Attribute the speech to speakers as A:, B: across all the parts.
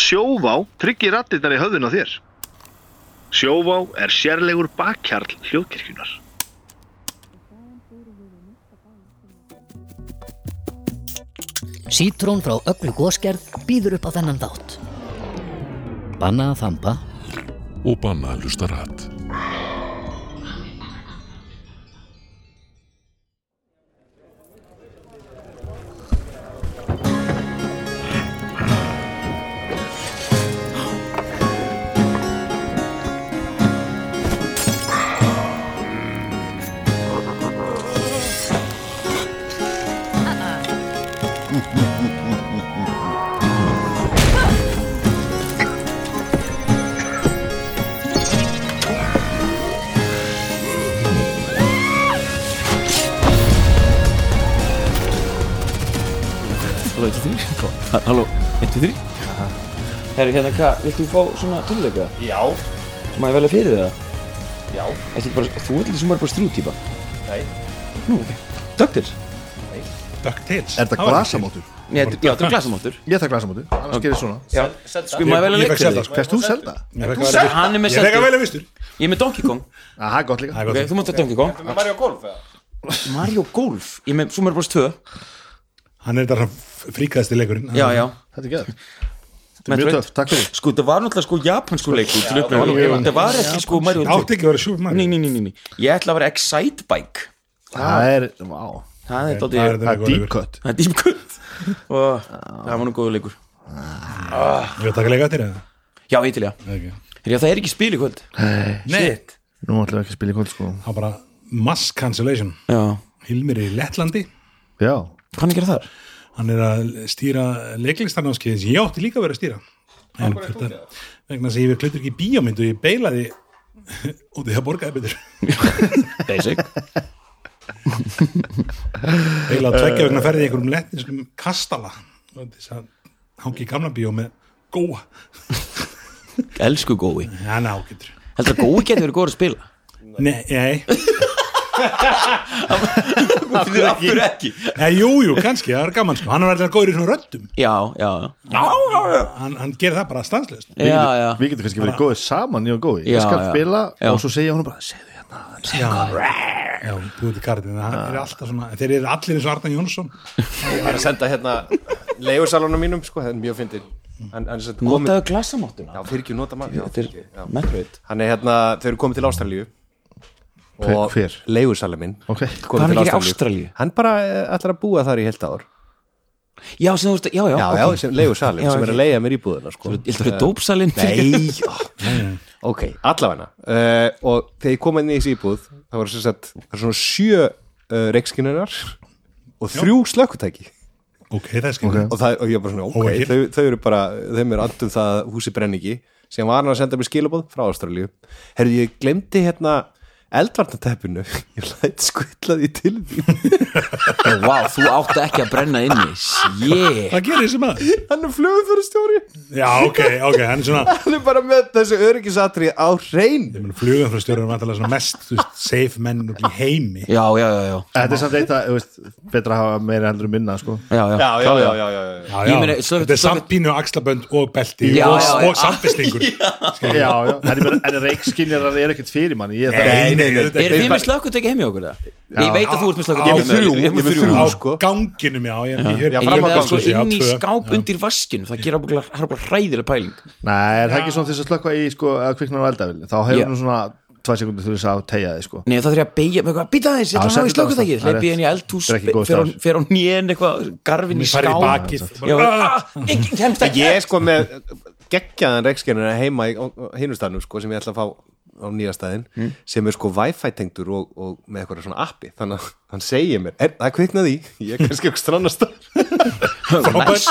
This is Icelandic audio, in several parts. A: Sjóvá tryggir rattirnar í höfðun á þér. Sjóvá er sérlegur bakkjarl hljóðkirkjunar.
B: Sítrón frá öllu góskerð býður upp á þennan þátt. Banna að þamba
C: og banna að hlusta rætt.
D: Halló, 1, 2, 3 Halló, 1, 2, 3 Herru, hérna, hvað, viltu fá svona tónleika?
E: Já,
D: Má ég velja fyrir þig það?
E: já,
D: Ertu ekki bara, þú ert líka bara strútýpa
E: nei,
D: Nú, ok Döktir?
F: DuckTales
G: Er þetta glasamótur?
D: Já, þetta já, þetta er glasamóttur
G: Ég ætla glasamótur, annars gerir svona
D: Já,
E: Zelda.
D: sko, má ég velja
F: Ég
D: leik
F: fekk
D: fyrir
F: selda
D: þig?
F: sko
G: Fæst þú selda?
F: Ég fekk að velja
D: Hann er með
F: fyrstur. Ég fekk að
D: selda.
F: velja fyrstur
D: Ég er með Donkey Kong
G: Aha, það er gott líka
F: Það er
D: Ok,
F: gott.
D: þú mátt að Donkey Kong
E: Ertu með Mario Golf eða?
D: Mario Golf Ég er með Super Bros. 2
F: Hann er þetta fríkaðasti leikurinn
D: Já, já
G: Þetta er geður Þetta er
D: Metroid.
G: mjög töff, takk fyrir
D: Sko, það var náttúrulega sko japansku leikur til upplöfum
G: já, já.
D: Það var ekki sko Mario 2
F: Átti ekki að vera sjúf
D: Ný,
F: mann
D: ný, ný, ný, ný Ég ætla að vera Excitebike
G: Það er, vá,
D: Það er
F: Það er
D: dálítið
G: það er
F: þetta
G: deep
F: leikur
G: cut
D: Það er dýmkvöld Og það var nú góður leikur
F: Við að taka leika til það
D: Já, ég til já
F: Ekki.
D: Herri, það er ekki spil í kvöld
F: Nei
G: Nú ætlum við ekki að spila í kvöld sko
F: Það var bara mass cancellation
D: Já
F: Hilmir er í Lettlandi
G: Já,
D: Hvað er að gera þar?
F: Hann er að stýra leiklistarnámskeið sem ég átti líka að vera að stýra En þetta vegna þess að ég klutur ekki í bíómynd og ég beilaði og því að borgaði betur
D: Basic
F: beilaði tveggja vegna ferði í einhverjum lettinskum kastala og þess að hangi í gamla bíó með góa
D: Elsku gói
F: hann ágættur
D: Heldur að gói getur verið góður að spila?
F: Nei, nei,
D: Af hverju ekki?
F: nei, jú, jú, kannski, það er gaman sko. hann er alltaf góður í svona röddum
D: Já, já, já
F: hann, hann gerir það bara stanslist
D: Já, já
G: við getum kannski verið góðið saman, ég og góði
D: Já,
G: Ég skal
D: já.
G: spila
D: Já.
G: og svo segja hún bara Segðu hérna,
F: Já, já búið til kartin það er alltaf svona, þeir eru allir eins og Arna Jónsson
E: Ég er að senda hérna leigursalunum mínum, sko, það er mjög fyndin Hann hann er sett komið
D: Notaðu glasamáttuna
E: Já, fyrir ekki nota mann
D: Þetta er Metroid
E: Hann er hérna, þau eru komið til Ástralíu Og
G: Hver- hver?
E: leigursalun minn
G: ok
D: Hvað er
E: komið
D: hann
E: til
D: að gera í Ástralíu?
E: Hann bara eh, ætlar að búa þar í heilt ár
D: Já, sem þú veist Já, já,
E: Já, já, sem leigursalun,
D: Já,
E: sem er
D: ok.
E: að leiga mér íbúðuna, sko
D: Ég heldur að dópsalinn
E: Nei, ok, allavegna uh, og þegar ég kom inn í þessi íbúð það var sem sagt, það er svona sjö uh, reikskinunar og þrjú slökkutæki
F: ok, það er skil
E: og, það, og ég var bara svona, ok,
F: Óvægir.
E: þau, þau eru bara þeim er andum það að húsi brenn ekki sem var hann að senda mér skilabóð frá Ástralíu herrðu, ég glemdi hérna eldvarnateppinu, ég læt skvilla því til því,
D: Vá, þú áttu ekki að brenna inni Sjé
F: það gerir þessi maður
E: hann er flugumfærastjóri
F: já, ok, ok, hann er svona
E: hann er bara með þessu öryggisatri á reyn
F: flugan frá stjórnum vantarlega svona mest þú veist, safe menn út í heimi
D: Já, já, já, já
G: Þetta er samt eitt að, þú veist, betra að hafa meira heldur en minna sko
D: Já, já,
E: já, já, já, já, já, já.
F: Já, já.
D: Ég meina, svo-
F: þetta er
D: svo-
F: samt pínu axlabönd og belti
D: Já,
F: og,
D: já, já.
F: og samfestingur
G: Já, já, en ég meina- en reikskiljarar er ekkert fyrir manni Ég er
F: Nei, nei,
D: Er
F: þetta
D: þið með slökkutæki heimi okkur það? Ég veit að þú ert með
F: Ég
D: slökkutæki
F: er með þrjú,
D: Ég er með þrjú
F: á
E: sko.
F: ganginum, já ég, ég, ég,
E: Já,
D: En ég
E: fram á
D: með
E: gangi,
D: sko
F: já,
D: inn í
F: tvö,
D: skáp undir vaskinu Það gera bara, það er bara hræðileg pæling
G: Nei, er það ekki svona til þess að slökka í sko að kvikna á eldavil þá hefur
D: Já.
G: nú svona tvað sekundir þurfis að tegja þig sko
D: Nei, það þarf ég að beigja með eitthvað, býta þess, ég
G: Já,
D: ætla að ná
G: settu
D: í
G: þetta á
D: slökkutækið,
G: stað.
D: hleypi ég inn í
G: Það er
D: eldhús,
G: rétt. Þetta er ekki góð
D: fer á-
G: staður.
D: fer á nýjan eitthvað, garfin í
F: ég farið í
D: skám.
F: bakið
D: Já, ah, ég kemst ekki.
E: ég er sko með geggjaðan reikskennina heima í hinustanum sko, sem ég ætla að fá á nýja staðin sem er sko wifi tengdur og, og með eitthvað svona appi þannig að hann segir mér, er það kviknaði í? ég er kannski okkur strannast er
D: Næs.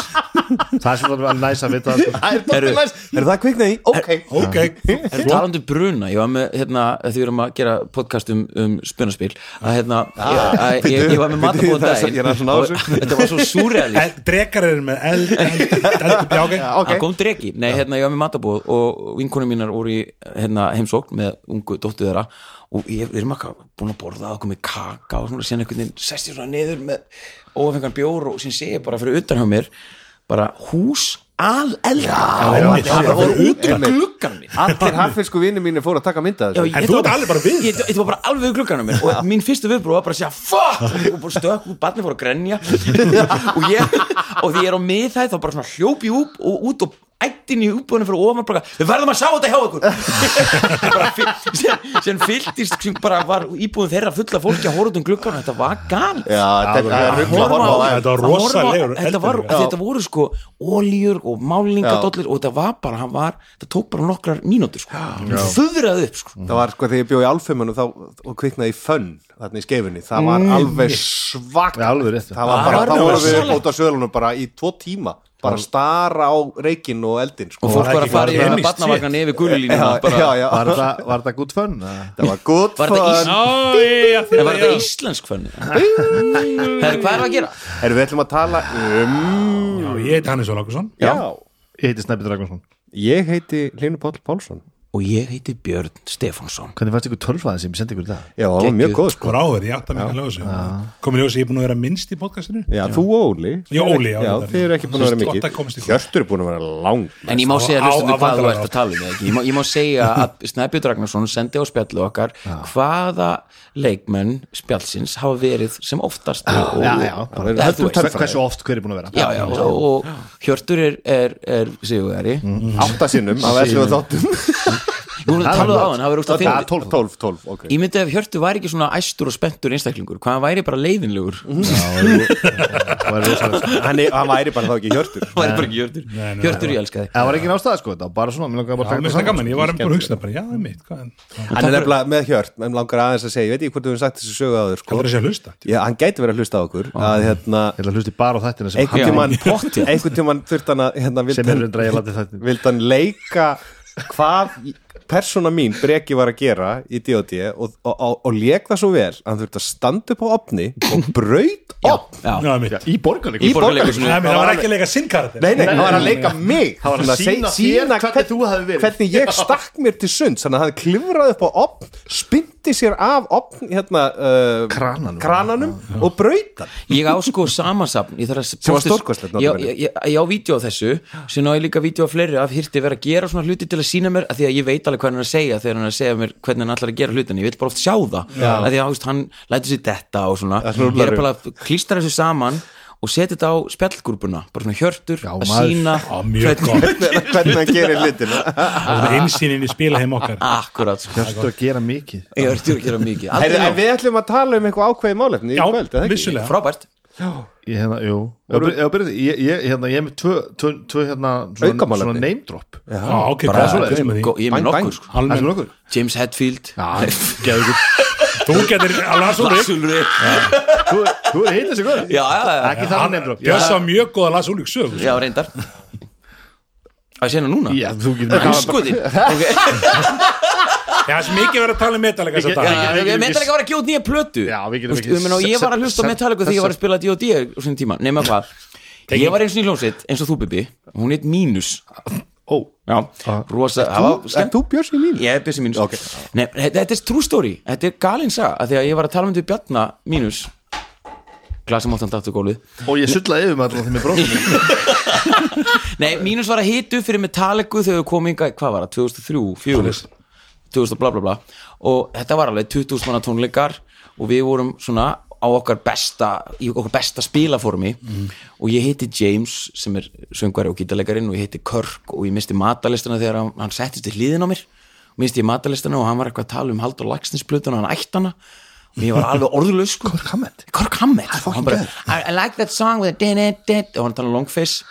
G: Það er svona alveg næs að vita sko.
D: Eru-
E: það kviknaði í? ok,
F: ok,
D: En talandi um bruna, ég var með, hérna, því við erum að gera podcast um, um spunaspil, að hérna, ég, að, ég, ég var með
E: Bíddu,
D: matabóð
E: það er svo-
D: daginn.
E: ég er að svona á
D: og-
E: þessu.
D: Þetta var svo súrealist.
F: En drekar eru með eld, eld, eld, eld já, ok,
E: ok,
D: Það kom dregi, nei hérna ég var með matabóð og vinkunum mínar voru í hérna, heimsókn með ungu dóttu þeirra og ég, við erum eitthvað búin að borða okkur með kaka og svona, síðan einhvern veginn sest ég svona niður með óafengan bjór og síðan sé ég bara fyrir utan hjá mér bara hús al elda
F: einmitt.
D: það var bara út um
E: Einmitt.
D: gluggan minn
E: Allir haffisku vinnir mínir fóru að taka mynda
D: Já,
E: þessu
D: ég-
F: En
D: þetta
F: þú
D: var
F: ert alveg bara við
D: Ég- ég- Þetta var bara alveg við glugganum minn og mín fyrstu viðbrú var bara að segja fuck og bara stökk og barni fór að grenja og ég og því ég er á miðhæð þá bara svona hljóp ég upp og út og ættin í útbúðinu fyrir ofan bara, við verðum að sjá þetta hjá ykkur bara fyll- sem, sem fylltist sem bara var íbúðin þeirra fulla fólki að horfa út um glugganum, þetta var gal
E: Já, þetta er
F: Að
E: rugl að
F: horfa
E: horfa á
F: á-
E: það
F: Þetta var
D: að horfa-
F: rosalegur
D: þetta, var,
F: eldur.
D: þetta voru sko ólíur og málingadollir og þetta var bara, hann var þetta tók bara nokkrar mínútur sko. þöðraði upp sko.
E: Það var sko þegar ég bjóði í alfeimanu þá, og kviknaði í fönn þarna í skeifunni, það var alveg svagt
G: Já, alveg rétt.
E: það var
D: Það
E: bara,
D: var
E: þá vorum við
D: rosalegt.
E: út á sölunum bara í tvo tíma, bara stara á reikinn og eldinn sko.
D: og fólk
F: það
D: var að
F: ekki
D: fara
F: bara
D: í
F: feminist
D: barnavagnan yfir
E: já,
D: gululínuna
E: já,
D: bara,
E: já,
G: Var þetta- var þetta good fun? eða?
E: það var good
D: Var þetta
E: fun
D: ís- en var þetta íslensk fönni? Herri, hvað er að gera?
E: Erum við ætlum að tala um
F: Já, ég heiti Hannes Olakusson
E: Já,
G: Ég heiti Snæpi Dragnarsson
E: ég heiti Hlynur Páll Pálsson
D: og ég heiti Björn Stefánsson
G: Hvernig fannst ykkur tölfræðin sem ég sendi ykkur í dag?
E: Já, það var mjög góð sko
F: Hvor áverði, ég átt að minna ljósi Komið ljósi, ég er búin að vera minnst í podcastinu
E: Já, þú og Óli
F: Já, Óli, já,
E: Já,
F: reyndar.
E: þið eru ekki búin að vera
F: Gott að komast í
E: mikið
F: gang.
E: Hjörtur er búin að vera lang
D: en ég má segja
F: Á-
D: hlustum
F: á-
D: hvað þú
F: vandræðarást.
D: ert að tala um eða ekki? ég má, ég má segja að Snæbjörn Ragnarsson sendi á spjallu okkar hvaða leikmenn spjallsins hafa verið sem oftast og,
G: Já, já, bara höldum
D: Já, þú veist.
G: tölfræði Hversu oft hver er búin að vera?
D: Já, já, og, og Hjörtur er, er, er sigurveri mm.
F: Mhm.
E: Átta sinnum af 11 þáttum
D: Nú erum við að tala á hann, það verður út að
E: Já,
D: finna
E: 12, 12, 12, ok
D: Ég myndi ef Hjörtur væri ekki svona æstur og spenntur einstaklingur, hvað hann væri bara leiðinlegur mm.
E: Mhm.
G: Það var rosalegt. sko.
E: hann, er, hann væri bara þá ekki hjörtur
D: væri bara ekki Hjörtur
F: nei,
D: Hjörtur, ég elska þig
G: Það var ekki nástað sko, þetta var bara svona Mér langar bara
F: Það
G: að taka
F: var mest að
G: þetta
F: gaman,
G: saman
F: ég var bara að hugsa bara, já, það er mitt hvað er- Það
E: hann er nefnilega með hjört, menn langar aðeins að segja ég veit ekki hvort þú hefur sagt þessu sögu áður sko.
F: er þessi að hlusta
E: Já, hann gæti verið að hlusta á okkur að hérna,
G: Ég ætla að hlusti bara á þættina sem um-
E: einhvern
D: Já.
E: tímann
D: Pottþétt.
E: einhvern tímann þurft hann að hérna,
G: sem er
E: vild,
G: hundra ég lati þættin
E: vild hann leika hvað persóna mín breki var að gera í D.O.D. og, og, og, og lék það svo vel að hann þurft að standa upp á opni og braut opn
D: Já,
F: Já, mitt
G: Í borgarleikum
E: í
G: Í
D: Borgarleikhúsinu.
E: borgarleikusinu
F: Það var ekki að leika sinn karakter
E: Nei, nei, hann var að leika mig
G: var að
E: Svona
G: sýna
E: seg-
G: þér
E: sýna
G: hvernig þú hafir verið.
E: Hvernig ég stakk mér til sund Þannig að hann klifraði upp á opn Spindi sér af opn hérna, uh,
G: Krananum.
E: krananum Og brautan
D: ég á sko samansapn ég þarf að
E: Sem var stórkostlegt,
D: ég,
E: náttúrulega.
D: ég, ég, ég á vídeo á þessu sem á ég líka vídeo á fleiri af hirti vera að gera svona hluti til að sína mér af því að ég veit alveg hvað hann er að segja þegar hann er að segja mér hvernig hann ætlar að gera hlutin ég vil bara oft sjá það af því að ást, hann lætur sér detta og svona
E: Það rúllar
D: ég er bara að klístra þessu saman og setja þetta á spjallgrúpuna bara svona hjörtur að
G: maður.
D: sína
F: Já, mjög gott
E: Hvernig hann gerir hlutina
F: Það er einsýnin í spila heim okkar
D: akkurat sko.
G: Hjörstu að gera mikið
D: ég er að gera mikið
E: Heyrðu, En
D: Aldrei nóg.
E: við ætlum að tala um eitthvað ákveðið málefni í
F: Já,
E: kvöld, eða ekki?
F: vissulega
D: frábært
G: Ég hérna, jú Ég var byrjað Ég ég- hérna, ég er með tvö- tvö tvö, hérna svona-
E: Aukamálefni.
G: Svona name drop
F: Já, ok,
D: Bara-
F: hvað er svo
D: Gó- ég er með
E: Bang, bang.
D: nokkur sko.
G: Það er
F: Almenn,
G: nokkur
D: James Hetfield
G: Geðugur
F: þú getur alveg að svo
D: Basul Rick
G: Þú þú er heitast í góður
D: já, já, já,
G: Ekki það name drop
F: Björn sá mjög góða Lars Úlík sög
D: já, reyndar að sé hana núna
G: Já, þú getur
D: Æskotin okay.
F: Já, sem ekki verið að tala um metalega þess að
G: Ég-
F: dag
G: ég- ég- ég-
D: Metallica var að gefa út nýja plötu
G: Já, við getum
D: Þú veist,
G: ekki-
D: ég meina, og Ég var að hlusta á Metallica þegar ég var að spila D.O.D. á svona tíma, nema hvað Ég var eins og í hljómsveit, eins og þú Bibi Hún heit Mínus
G: Ó,
D: Já,
G: Ah.
D: rosa það var
E: Er
D: skemmt-
E: þú Björns í mín?
D: Ég er Bjössi Mínus Nei, þetta þetta er true story, þetta er galin saga af Því að ég var að tala um þetta Bjarna Mínus Glasum áttan dættu gólið
G: og ég sullaði yfir með allan þeim með bróðum
D: Nei, Mínus var að hitu fyrir Metallica þegar við komum inga, hvað var það, 2003, 2004 2000 og bla bla bla og þetta var alveg 2000 manna tónleikar og við vorum svona á okkar besta í okkar besta spilaformi og ég heiti James sem er söngvari og gítarleikarinn og ég heiti Kirk og ég misti matalistana þegar hann, hann settist í hliðin á mér og misti ég matalistana og hann var eitthvað að tala um Haldur Lagsnesplötun og hann ætti hana og ég var alveg orðlaus sko. Kirk Hammett Kirk Hammett Og hann bara, I, I like that song with a din it dit og hann talaði um Longface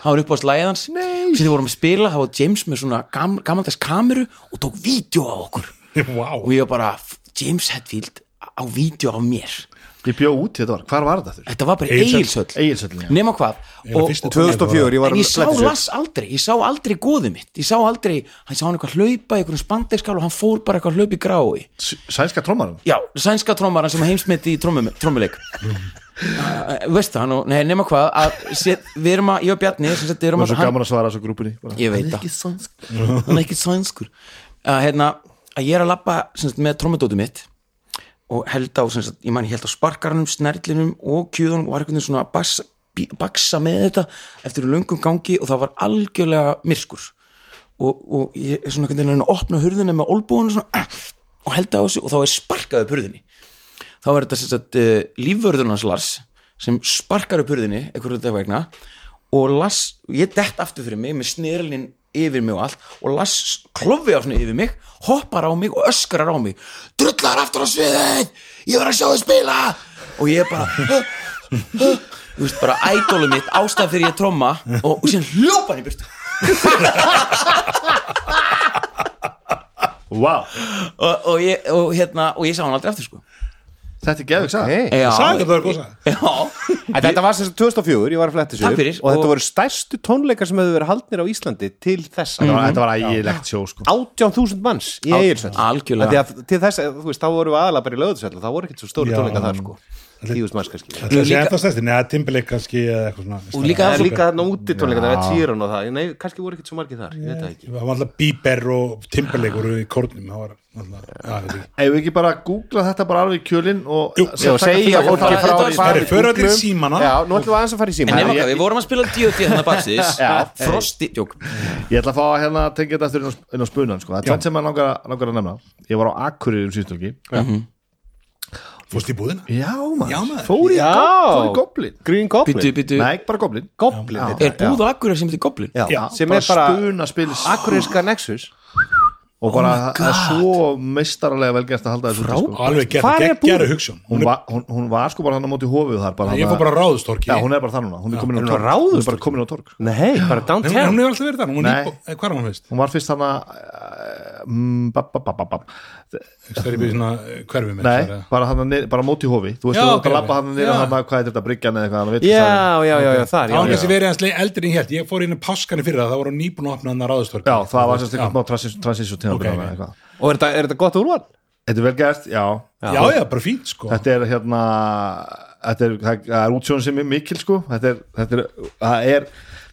D: hann var upp á slæðið hans Nei. sem þið vorum að spila, það var James með svona gam, gamaldags kameru og tók vídeo á okkur
F: Vá,
D: og ég var bara, James Hetfield á vídeo af mér
G: Ég bjó út í þetta var, hvar var þetta þurr?
D: þetta var bara
F: Egilshöll.
D: eigilsöll
G: Egilsöllin, já
D: nema hvað
F: Eiginlega
D: og,
F: fyrstu
D: og,
E: 2004, ég
D: en
E: var að
D: ég sá
E: fletta þessu.
D: Lass aldrei, ég sá aldrei góðið mitt ég sá aldrei, hann sá hann eitthvað hlaupa í einhvern spandeikskál og hann fór bara eitthvað hlaup í grái
G: S- Sænska trómarum
D: já, sænska trommaran sem heimsmeti í trommum- trommuleik Uh, veist það, hann og, nei, nema hvað að, set, við erum að, ég og Bjarni sem sagt, við
G: Það
D: erum
G: var
D: að,
G: svo gaman að svara þessu grúpunni bara.
D: ég veit það hann er ekki sænskur að hérna, að ég er að labba sem sagt, með trommedótið mitt og held á, sem sagt, ég man, ég held á sparkaranum, snerlinum og kjúðunum var einhvern veginn svona bass bí- baksa með þetta eftir löngum gangi og það var algjörlega myrkur og, og ég er svona einhvern veginn að reyna að opna hurðina með olbúinu svona, ah, og held á þessu og þá er sparkað upp hurðinni þá er þetta sem sagt uh, lífvörðun hans Lars sem sparkar upp hurðinni einhverju þetta vegna og Lars, ég dett aftur fyrir mig með snirlinn yfir mig og allt og Lars kloffi á svona yfir mig hoppar á mig og öskrar á mig drullar aftur á sviðin ég var að sjá þið spila og ég bara "Huh, huh." þú veist bara ædólu mitt ástæð fyrir ég tromma og, og síðan hljópa hann í burtu
G: wow.
D: og, og, ég, og, hérna, og ég sá hann aldrei aftur sko
G: Þetta er geðvig sagt hey.
D: Já,
F: Sagan það er góð saga.
D: já,
E: En þetta var sem sagt 2004, ég var að fletta sér
D: Takk fyrir.
E: og þetta
D: Og-
E: voru stærstu tónleikar sem hefur verið haldnir á Íslandi til þessa
G: Þetta var ægilegt sjó sko
E: 18.000 manns í Egilsvöld
D: algjörlega.
E: Til þess, að, þú veist, þá vorum við aðalega bara í lögðusvöld og það voru ekkert svo stóri
F: Já.
E: tónleikar þar sko 10.000 manns kannski
F: Það sé
D: líka-
F: enda stæsti, neða Timberlake kannski eða eitthvað svona.
D: Og líka-
E: Það er
D: Super.
E: líka þarna úti tónleikar, það er týran og það Nei, kannski voru ekkert svo margir þar, ég veit það ekki
F: Það var alltaf Bieber og Timberlake voru í kórnum, það var alltaf, að veit ekki.
G: Ef við ekki bara googla þetta bara alveg í kjölinn og
F: Jú,
G: Sem
E: og
G: taka
E: segja
G: fullt af-
E: fólki
D: þetta
E: frá
D: var- Herri,
E: því- fara í
F: förum allir í
E: Google-um.
F: símana.
E: Já, nú ætlum við aðeins að fara í
D: en
E: símana
D: nema
E: Ég-
D: hvað, við vorum að spila D.O.D. þannig hérna baksins Frosti, jók
G: Ég ætla að fá að hérna tengja þetta eftir inn á, inn á spunan sko. Það er tvennt sem maður langar, að- langar að nefna Ég var á Akureyri um síðstölki
D: Mhm.
F: Fórst í búðina?
G: Já maður,
F: Já, maður.
G: Fór, í
E: Já.
G: go- fór í goblin
E: Green
D: Býtu,
E: Goblin
D: býtu,
G: Nei, bara goblin
E: Goblin heitir
D: er
E: það, já.
D: búð á Akureyri sem heitir Goblin?
E: Já,
F: Já,
E: sem er bara Ah,
G: spuna spils
E: Akureyska Nexus
G: og bara það er svo meistarlega velgerst að halda þessu úti, sko.
F: Alveg gerð,
E: Hvar er
F: geggjara
E: búðin?
F: hugsun.
G: hún,
F: Hún
G: var, hún, hún var sko bara hann á móti hófið þar bara
F: er, ég
G: þarna-
F: fór bara ráðustorki.
G: Já, hún er bara þar núna, hún er komin á
E: hún á
G: torg
E: Ráðhústorgi?
G: Hún er bara komin á torg
F: Nei,
E: Nei, bara
F: hún
E: downtown
F: hefur alltaf verið þar, hún
G: Nei.
F: er nýbúð, hvað er hún veist?
G: Hún var fyrst eh, mm, hann að
F: Það er í byrju svona eh, hverfi með
G: Nei,
F: þessari-
G: bara, hana, bara móti hófi Þú veist,
F: Já,
G: þú
F: ok,
G: okay, lappa
F: ok.
G: hann niður
F: Já.
G: hann hvað er þetta, bryggjan eða eitthvað hann veit það.
E: Já, já, já, já, þar
F: Það var
E: já,
F: kannski
E: já.
F: verið hans eldri en ég held, ég fór inn í páskani fyrir það, það voru nýbúin að opna hann að ráðustorki.
G: já, það var sérst
F: Já.
G: eitthvað smá transition tíma
F: Ok, ok.
G: Þetta
E: Og er þetta- er þetta gott úrval?
G: er vel gert, já
F: Já, já, bara fínt sko.
G: Þetta er hérna þetta er, það það er útsjón sem er mikil sko þetta er, þetta er, það er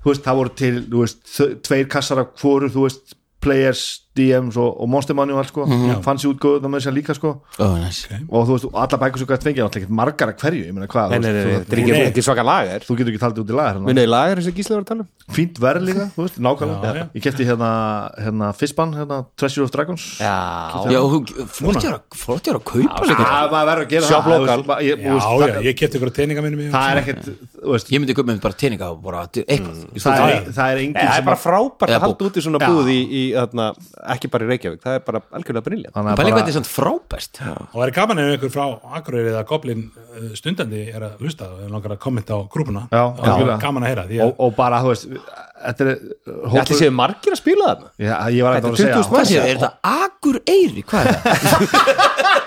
G: þú veist, það voru til, þú veist, þ- tveir kassar af hvoru, þú veist, players DMs og, og Monster Manual sko fanns í útgóðu það með þess að líka sko
D: Oh, nice.
G: og þú veist, og allar bækur sem gætt fengið náttúrulega ekkert margar að hverju, ég meina hvað
E: Nei,
G: þú
E: nei, nei,
G: veist,
E: þetta er ekki-
F: Nei.
E: ekki svaka lagar
G: þú, þú getur ekki taldið út í lagar hérna.
E: Minni lagar þessi gíslega var að tala um
G: fínt verð líka, þú veist, nákvæmlega
F: Já, já.
G: ég kefti hérna, hérna Fistbann, hérna Treasure of Dragons
E: Já,
D: Já, flott er að kaupa líka
G: það Ah, maður verður að gera
E: Shop
G: það, þú
E: local.
G: veist, bara- ég-
F: Já,
G: þú veist,
F: já,
G: það-
F: ég kefti ykkur að teininga minni mér.
G: það er ekkert, þú veist
D: Ég myndi kaupa með bara teininga og bara eitthvað Ég
G: það
D: stundum-
G: er, það er enginn
E: það er
G: sem
E: bara frábært
D: Eða
E: að
D: bók.
E: halda út í svona búð í, í þarna, ekki bara í Reykjavík, það er bara algjörlega briljant
G: þannig að
D: Bæli hvað
G: bara-
D: þetta er samt frábært
F: Og það er gaman ef einhver frá Akureyri eða Goblin eh, stundandi er að hlusta og langar að kommenta á grúpuna
G: Já,
F: það er
G: algjörlega.
F: gaman að heyra því
G: og,
F: að
G: og bara, þú veist þetta er
E: Ég ætli séu margir að spila þarna
G: ég, ég var eitthvað að
E: Þetta er
G: segja
E: 20.000
D: Hvað séu, er þetta agur eiri? Hvað er það?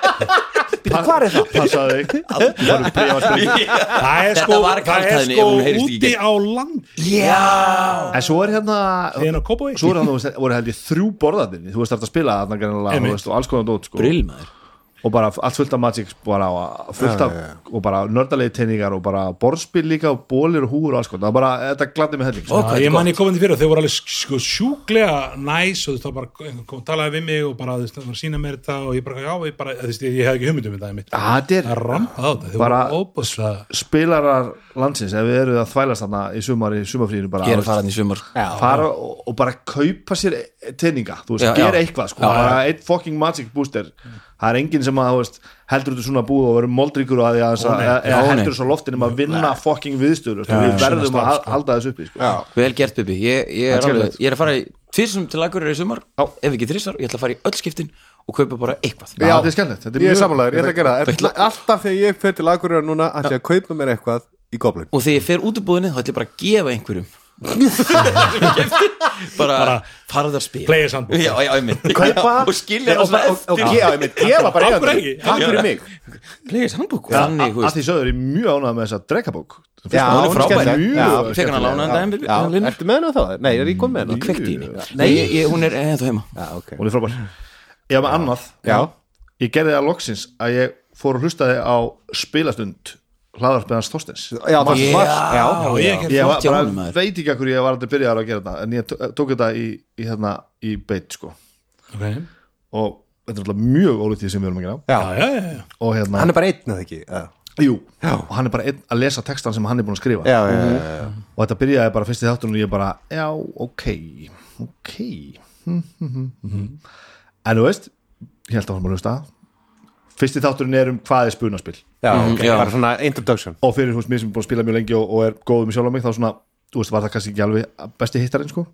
E: Hvað er það?
G: passaði þig Þú farið bréf að spyrja.
F: það er
D: Þetta
F: sko,
D: var
F: það er
D: karlhæðni,
F: sko
D: ef hún heyrist ekki í
F: úti
D: gegn.
F: á land
D: Já
G: en svo er hérna
F: þegar á Kópaví
G: svo er hérna, þú veist, voru held ég þrjú borðatinni þú veist, þetta spila þarna greinlega
F: Einmitt.
G: þú veist, og alls konar dót sko.
D: Brill maður
G: og bara allt fullt af magic bara, og fullt af, og bara nördalegi teiningar og bara borðspil líka og bólir og húur og alls konar, það var bara, þetta gladdi mig helling
D: Ó, hvað
F: ég
D: er
F: man
D: gott
F: ég komandi fyrir og þau voru alveg sko, sjúklega næs og þú veist, þá bara einhver kom, talaði við mig og bara þú veist, það var að sína mér þetta og ég bara, já, ég bara þú veist, ég, ég hef ekki hugmyndum um þetta einmitt.
D: Ah,
G: það er
F: það rampaði á þetta, þau
G: Bara-
F: voru óbúslega
G: spilarar landsins ef við eruð að þvælast þarna í sumar í sumarfríðinu bara
D: Gerum faran í sumar
G: fara og, og bara kaupa sér teininga, þú veist,
D: Já,
G: gera
D: já.
G: eitthvað sko, bara einn fucking magic booster það er enginn sem að, þú veist, heldur út í svona búð og verður moldríkur að því að þess að eða- eða
D: Ó, nei.
G: heldur svo loftinum að vinna fucking viðstöður, þú veist, við verðum að hal- halda þessu uppi, sko,
D: Vel gert Bibi, ég,
G: Þetta er
D: ég, er, alveg,
G: skemmtilegt.
D: ég er að fara í tvisum til agurir í sumar Ef ekki þrissar, ég ætla að fara í öll skiptin og kaupa bara eitthvað
G: já, þetta er skemmtilegt þetta
E: Ég
G: mjög-
E: er samanlegaður, ég ætla að gera það Ætla- Alltaf þegar ég fer til Akureyra núna ætla ég að kaupa mér eitthvað í goblin
D: Og þegar ég fer út úr búðinni þá ætla ég bara að gefa einhverjum Sem ég keypti. Bara farðar spil
F: players handbook.
D: Já, já, einmitt
E: Kaupa
D: Og skilja
E: Nei, og bara- og- og- Já, ég mynd, ég var bara
F: Af hverju
E: eigandi.
F: ekki?
E: Takk fyrir mig
D: Players handbook
G: Já,
D: Þannig,
G: að-
D: þú
G: að
D: veist
G: því söður ég er mjög ánægð með þessa drekabók
E: Já,
D: hún er frábær.
E: skemmtileg.
G: Mjög
E: Já,
D: Ég fekk hann að lána þetta
E: Já,
D: en við
E: ertu með hana þá? Nei, er ég komið með hana?
D: kvekti í henni Nei, ég, ég, hún er ennþá heima
E: Já, ok
G: hún er frábær ég var með annað,
E: Já,
G: ég gerði það loksins að ég fór og hlustaði á spilastund hlaðarpiðans Þorstins
E: já, það
D: Já.
E: var Já,
F: og
G: ég
F: ég
D: Flott
G: var,
D: hjá
G: bara,
D: honum, maður.
G: veit ekki að hverju ég var aldrei byrjaður að gera þetta en ég tó- tók þetta í, í, hérna, í beitt sko.
F: er hér
G: og þetta er alltaf mjög ólítið sem við erum að gera
F: já, já, já, já.
G: og hérna,
E: hann er bara einn að ekki Já,
G: Jú, og hann er bara einn að lesa textan sem hann er búin að skrifa
E: já, já, já, já.
G: og þetta byrjaði bara fyrst í þáttunum og ég bara, já, ok ok Mhm, mhm, mhm. en þú veist ég held að hann bara hlusta fyrst í þáttunum er um hvað er spunaspil
E: Mhm. já, ok,
D: já.
E: bara svona introduction
G: og fyrir þú veist mér sem er búin að spila mjög lengi og, og er góð með sjálf á mig þá svona, þú veist, var það kannski ekki alveg besti hittarinn, sko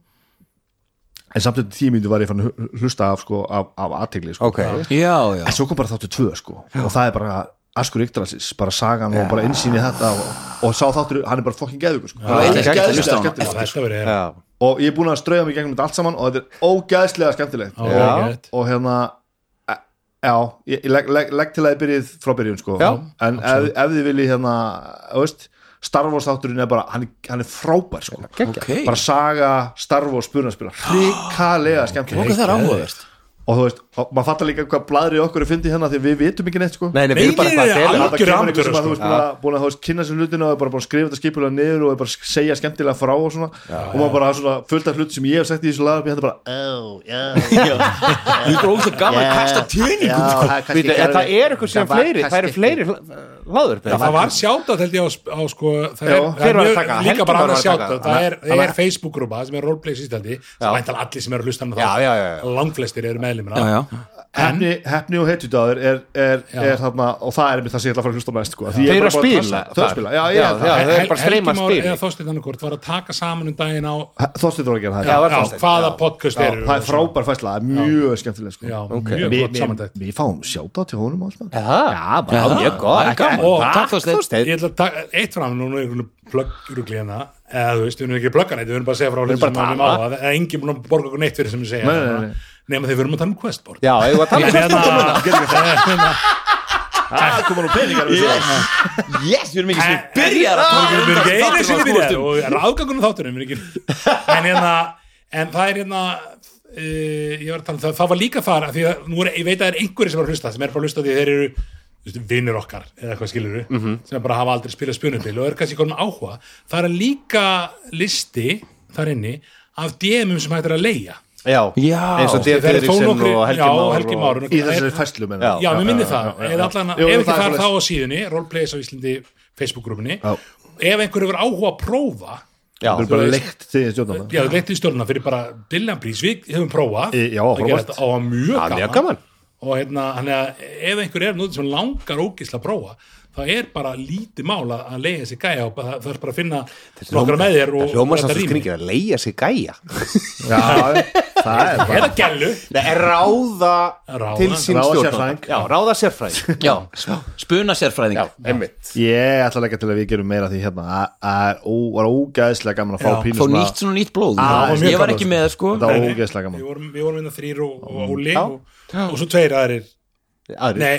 G: en samt þetta tímyndu var ég fann hlusta af, sko, af, af aðtegli, sko
E: ok,
D: já, já
G: en svo kom bara þáttu tvö sko og það er bara Askur Yggdrasis, bara sagan og bara innsýn í þetta og, og sá þáttur, hann er bara fokkin geðugur sko. Bara
D: ég ætla ekki að
G: ógeðslega
D: hlusta á hann.
G: skemmtilegur.
F: Þetta verið er
E: já,
G: og ég er búin að strauja mig í gegnum þetta allt saman og þetta er ógæðslega skemmtilegt
F: ágætt.
G: og hérna e- já, ég, ég legg, legg, legg til að ég byrjið frá byrjun sko,
E: Já,
G: en ef, ef þið viljið hérna, þú veist Star Wars þátturinn er bara, hann, er- hann er frábær sko.
D: ok,
G: bara saga Star Wars spurnarspila, hrikalega
D: ok,
G: skemmtilegt
D: það er áhugaverst
G: og þú veist, og maður fattar líka hvað bladrið okkur er fyndið hérna því að við vitum ekki neitt sko
E: nei, nei, við erum
F: Nei,
E: bara
F: nei,
E: eitthvað að dela
F: nei,
G: það
F: Algjör
G: kemur einhver
F: amateur,
G: sem að þú
F: sko.
G: veist búin að, búin að þú veist kynna sér hlutina og er bara búin að skrifa þetta skipulega niður og er bara að segja skemmtilega frá og svona og maður bara svona fullt af hlut sem ég hef sagt í þessu lag og ég hætti bara, oh, já, já
D: Þú er bara ógst að gaman að kasta töningum sko.
E: Býtu, en það er ykkur sem fleiri, það eru fleiri hláður
F: Já, það var sjáta held ég á, sp- á sko, það
G: Já.
F: er, það
E: Hver
F: er
E: var að
F: mjög-
E: taka?
F: líka
E: Helgi
F: bara
E: var
F: annað
E: að taka.
F: sjáta það er,
E: Hann-
F: er Facebook-grúpa sem er roleplay sístældi
E: Já.
F: það væntal allir sem eru að hlusta með
E: Já, já, já, já.
F: það langflestir eru meðlumina
D: Já, já,
G: hefni, hefni og heitjúdaður er, er,
F: Já.
G: er þarna, og það er einmitt það sem ég ætla að fara að hlusta á næst sko. Því ég
E: Þeir
G: er
E: eru
G: bara
E: að
G: búin
E: spila
G: Þau eru að spila, já, ég er
E: Já,
G: það
E: já. það er bara streyma spil.
F: eða Þorsteinn Annarkort var að taka saman um daginn á
G: Þorsteinn var að gera það
E: Já,
G: já,
E: var
F: já,
E: Þorsteinn,
F: hvaða
E: já.
F: podcast
G: já,
F: eru
G: það er frábær fæsla, það er mjög skemmtilega sko.
F: já,
E: Ok.
F: mjög
G: Við-
F: gott
G: við-
F: samantækt
G: Við fáum sjáta til honum alltaf
E: Já, bara
D: Já,
E: mjög góð
D: það er gaman.
E: Og-
D: Takk, Þorsteinn.
F: ég ætla að taka eitt fram núna er einhvern plöggrugli hérna eða þú veist, við erum ekki að plögga neitt, við erum bara að segja frá hlutum sem
E: bara að
F: við mála, það er engin búin að borga okkur neitt fyrir sem við segja hérna.
G: Nei, nei, nei.
F: nema þegar við erum að tala um questboard
E: Já, ég var að tala um
F: Hérna-
G: það koma nú peningar við þessu.
D: yes, við erum ekki sem byrjar að tala
F: við erum ekki einu
D: þáttum
F: sinni
D: að
F: byrjað
D: snúast um.
F: og er afgangunum þáttunum við erum ekki- en hérna en það er hérna uh, ég var að tala um það, það var líka þar af því að nú er, ég veit að það er einhverjir sem er að hlusta sem er bara að hlusta því þeir eru þú veist, vinnir okkar eða eitthvað skilur við
E: Mhm.
F: sem bara hafa aldrei spilað spjönumbil og er kannski komin með áhuga það er líka listi þar inni af DM-um sem hægt er að leia
E: Já,
D: Já.
E: eins og
F: Það
E: D.
F: eru þó
E: Friðriksson
F: nokkri-
E: og Helgi
F: já,
E: Már
F: Helgi
E: og-
F: Már og-
G: í þessari fæslu meina ég.
F: Já, mér minni
E: já,
F: það,
G: já, já,
F: eða
G: já.
F: allan
G: Jú,
F: ef
G: jú,
F: ekki
G: það er
F: þar þá á
G: svoleiðis.
F: síðunni Roleplays á Íslandi Facebook-grúfinni
G: Já.
F: ef einhver hefur áhuga að prófa
E: Já,
G: Þú eru bara leikt til þessu stjórnum
F: Já, leitt í stjórnuna fyrir bara Dylan Brís, við hefum prófað
G: Í- já,
F: að gera
G: frábært.
F: þetta á mjög
E: Já,
F: gaman,
E: mjög gaman.
F: og hérna, hann er að ef einhver er nútið sem langar ógisla að prófa það er bara lítið mál að að leiða sér gæja og bara- það er bara að finna nokkra með þér og
E: Ljóma sem
F: þetta
E: svo
F: rými.
E: skringið að leia sig gæja
G: Já, það er bara
F: eða gellu
E: Nei, er ráða
F: Ráða.
E: til sín
G: Ráða
E: stjórnvöld
G: sérfræðing.
E: Já, ráða sérfræðing
D: Já, spuna sérfræðing
E: Já, einmitt
G: Ég ætla að leggja til að við gerum meira af því hérna að- að ó- var ógæðslega gaman að fá
F: Já,
G: pínu
D: Fá nýtt svona nýtt blóð
G: Ah,
F: var mjög
D: Ég var
F: gaman,
D: ekki með það sko
G: Þetta var
F: Nei, nei,
G: ógæðslega gaman
F: Við vorum, við vorum innan þrýr og, og Óli
E: Já.
F: og, og svo tveir aðrir
E: Aðri
F: Nei,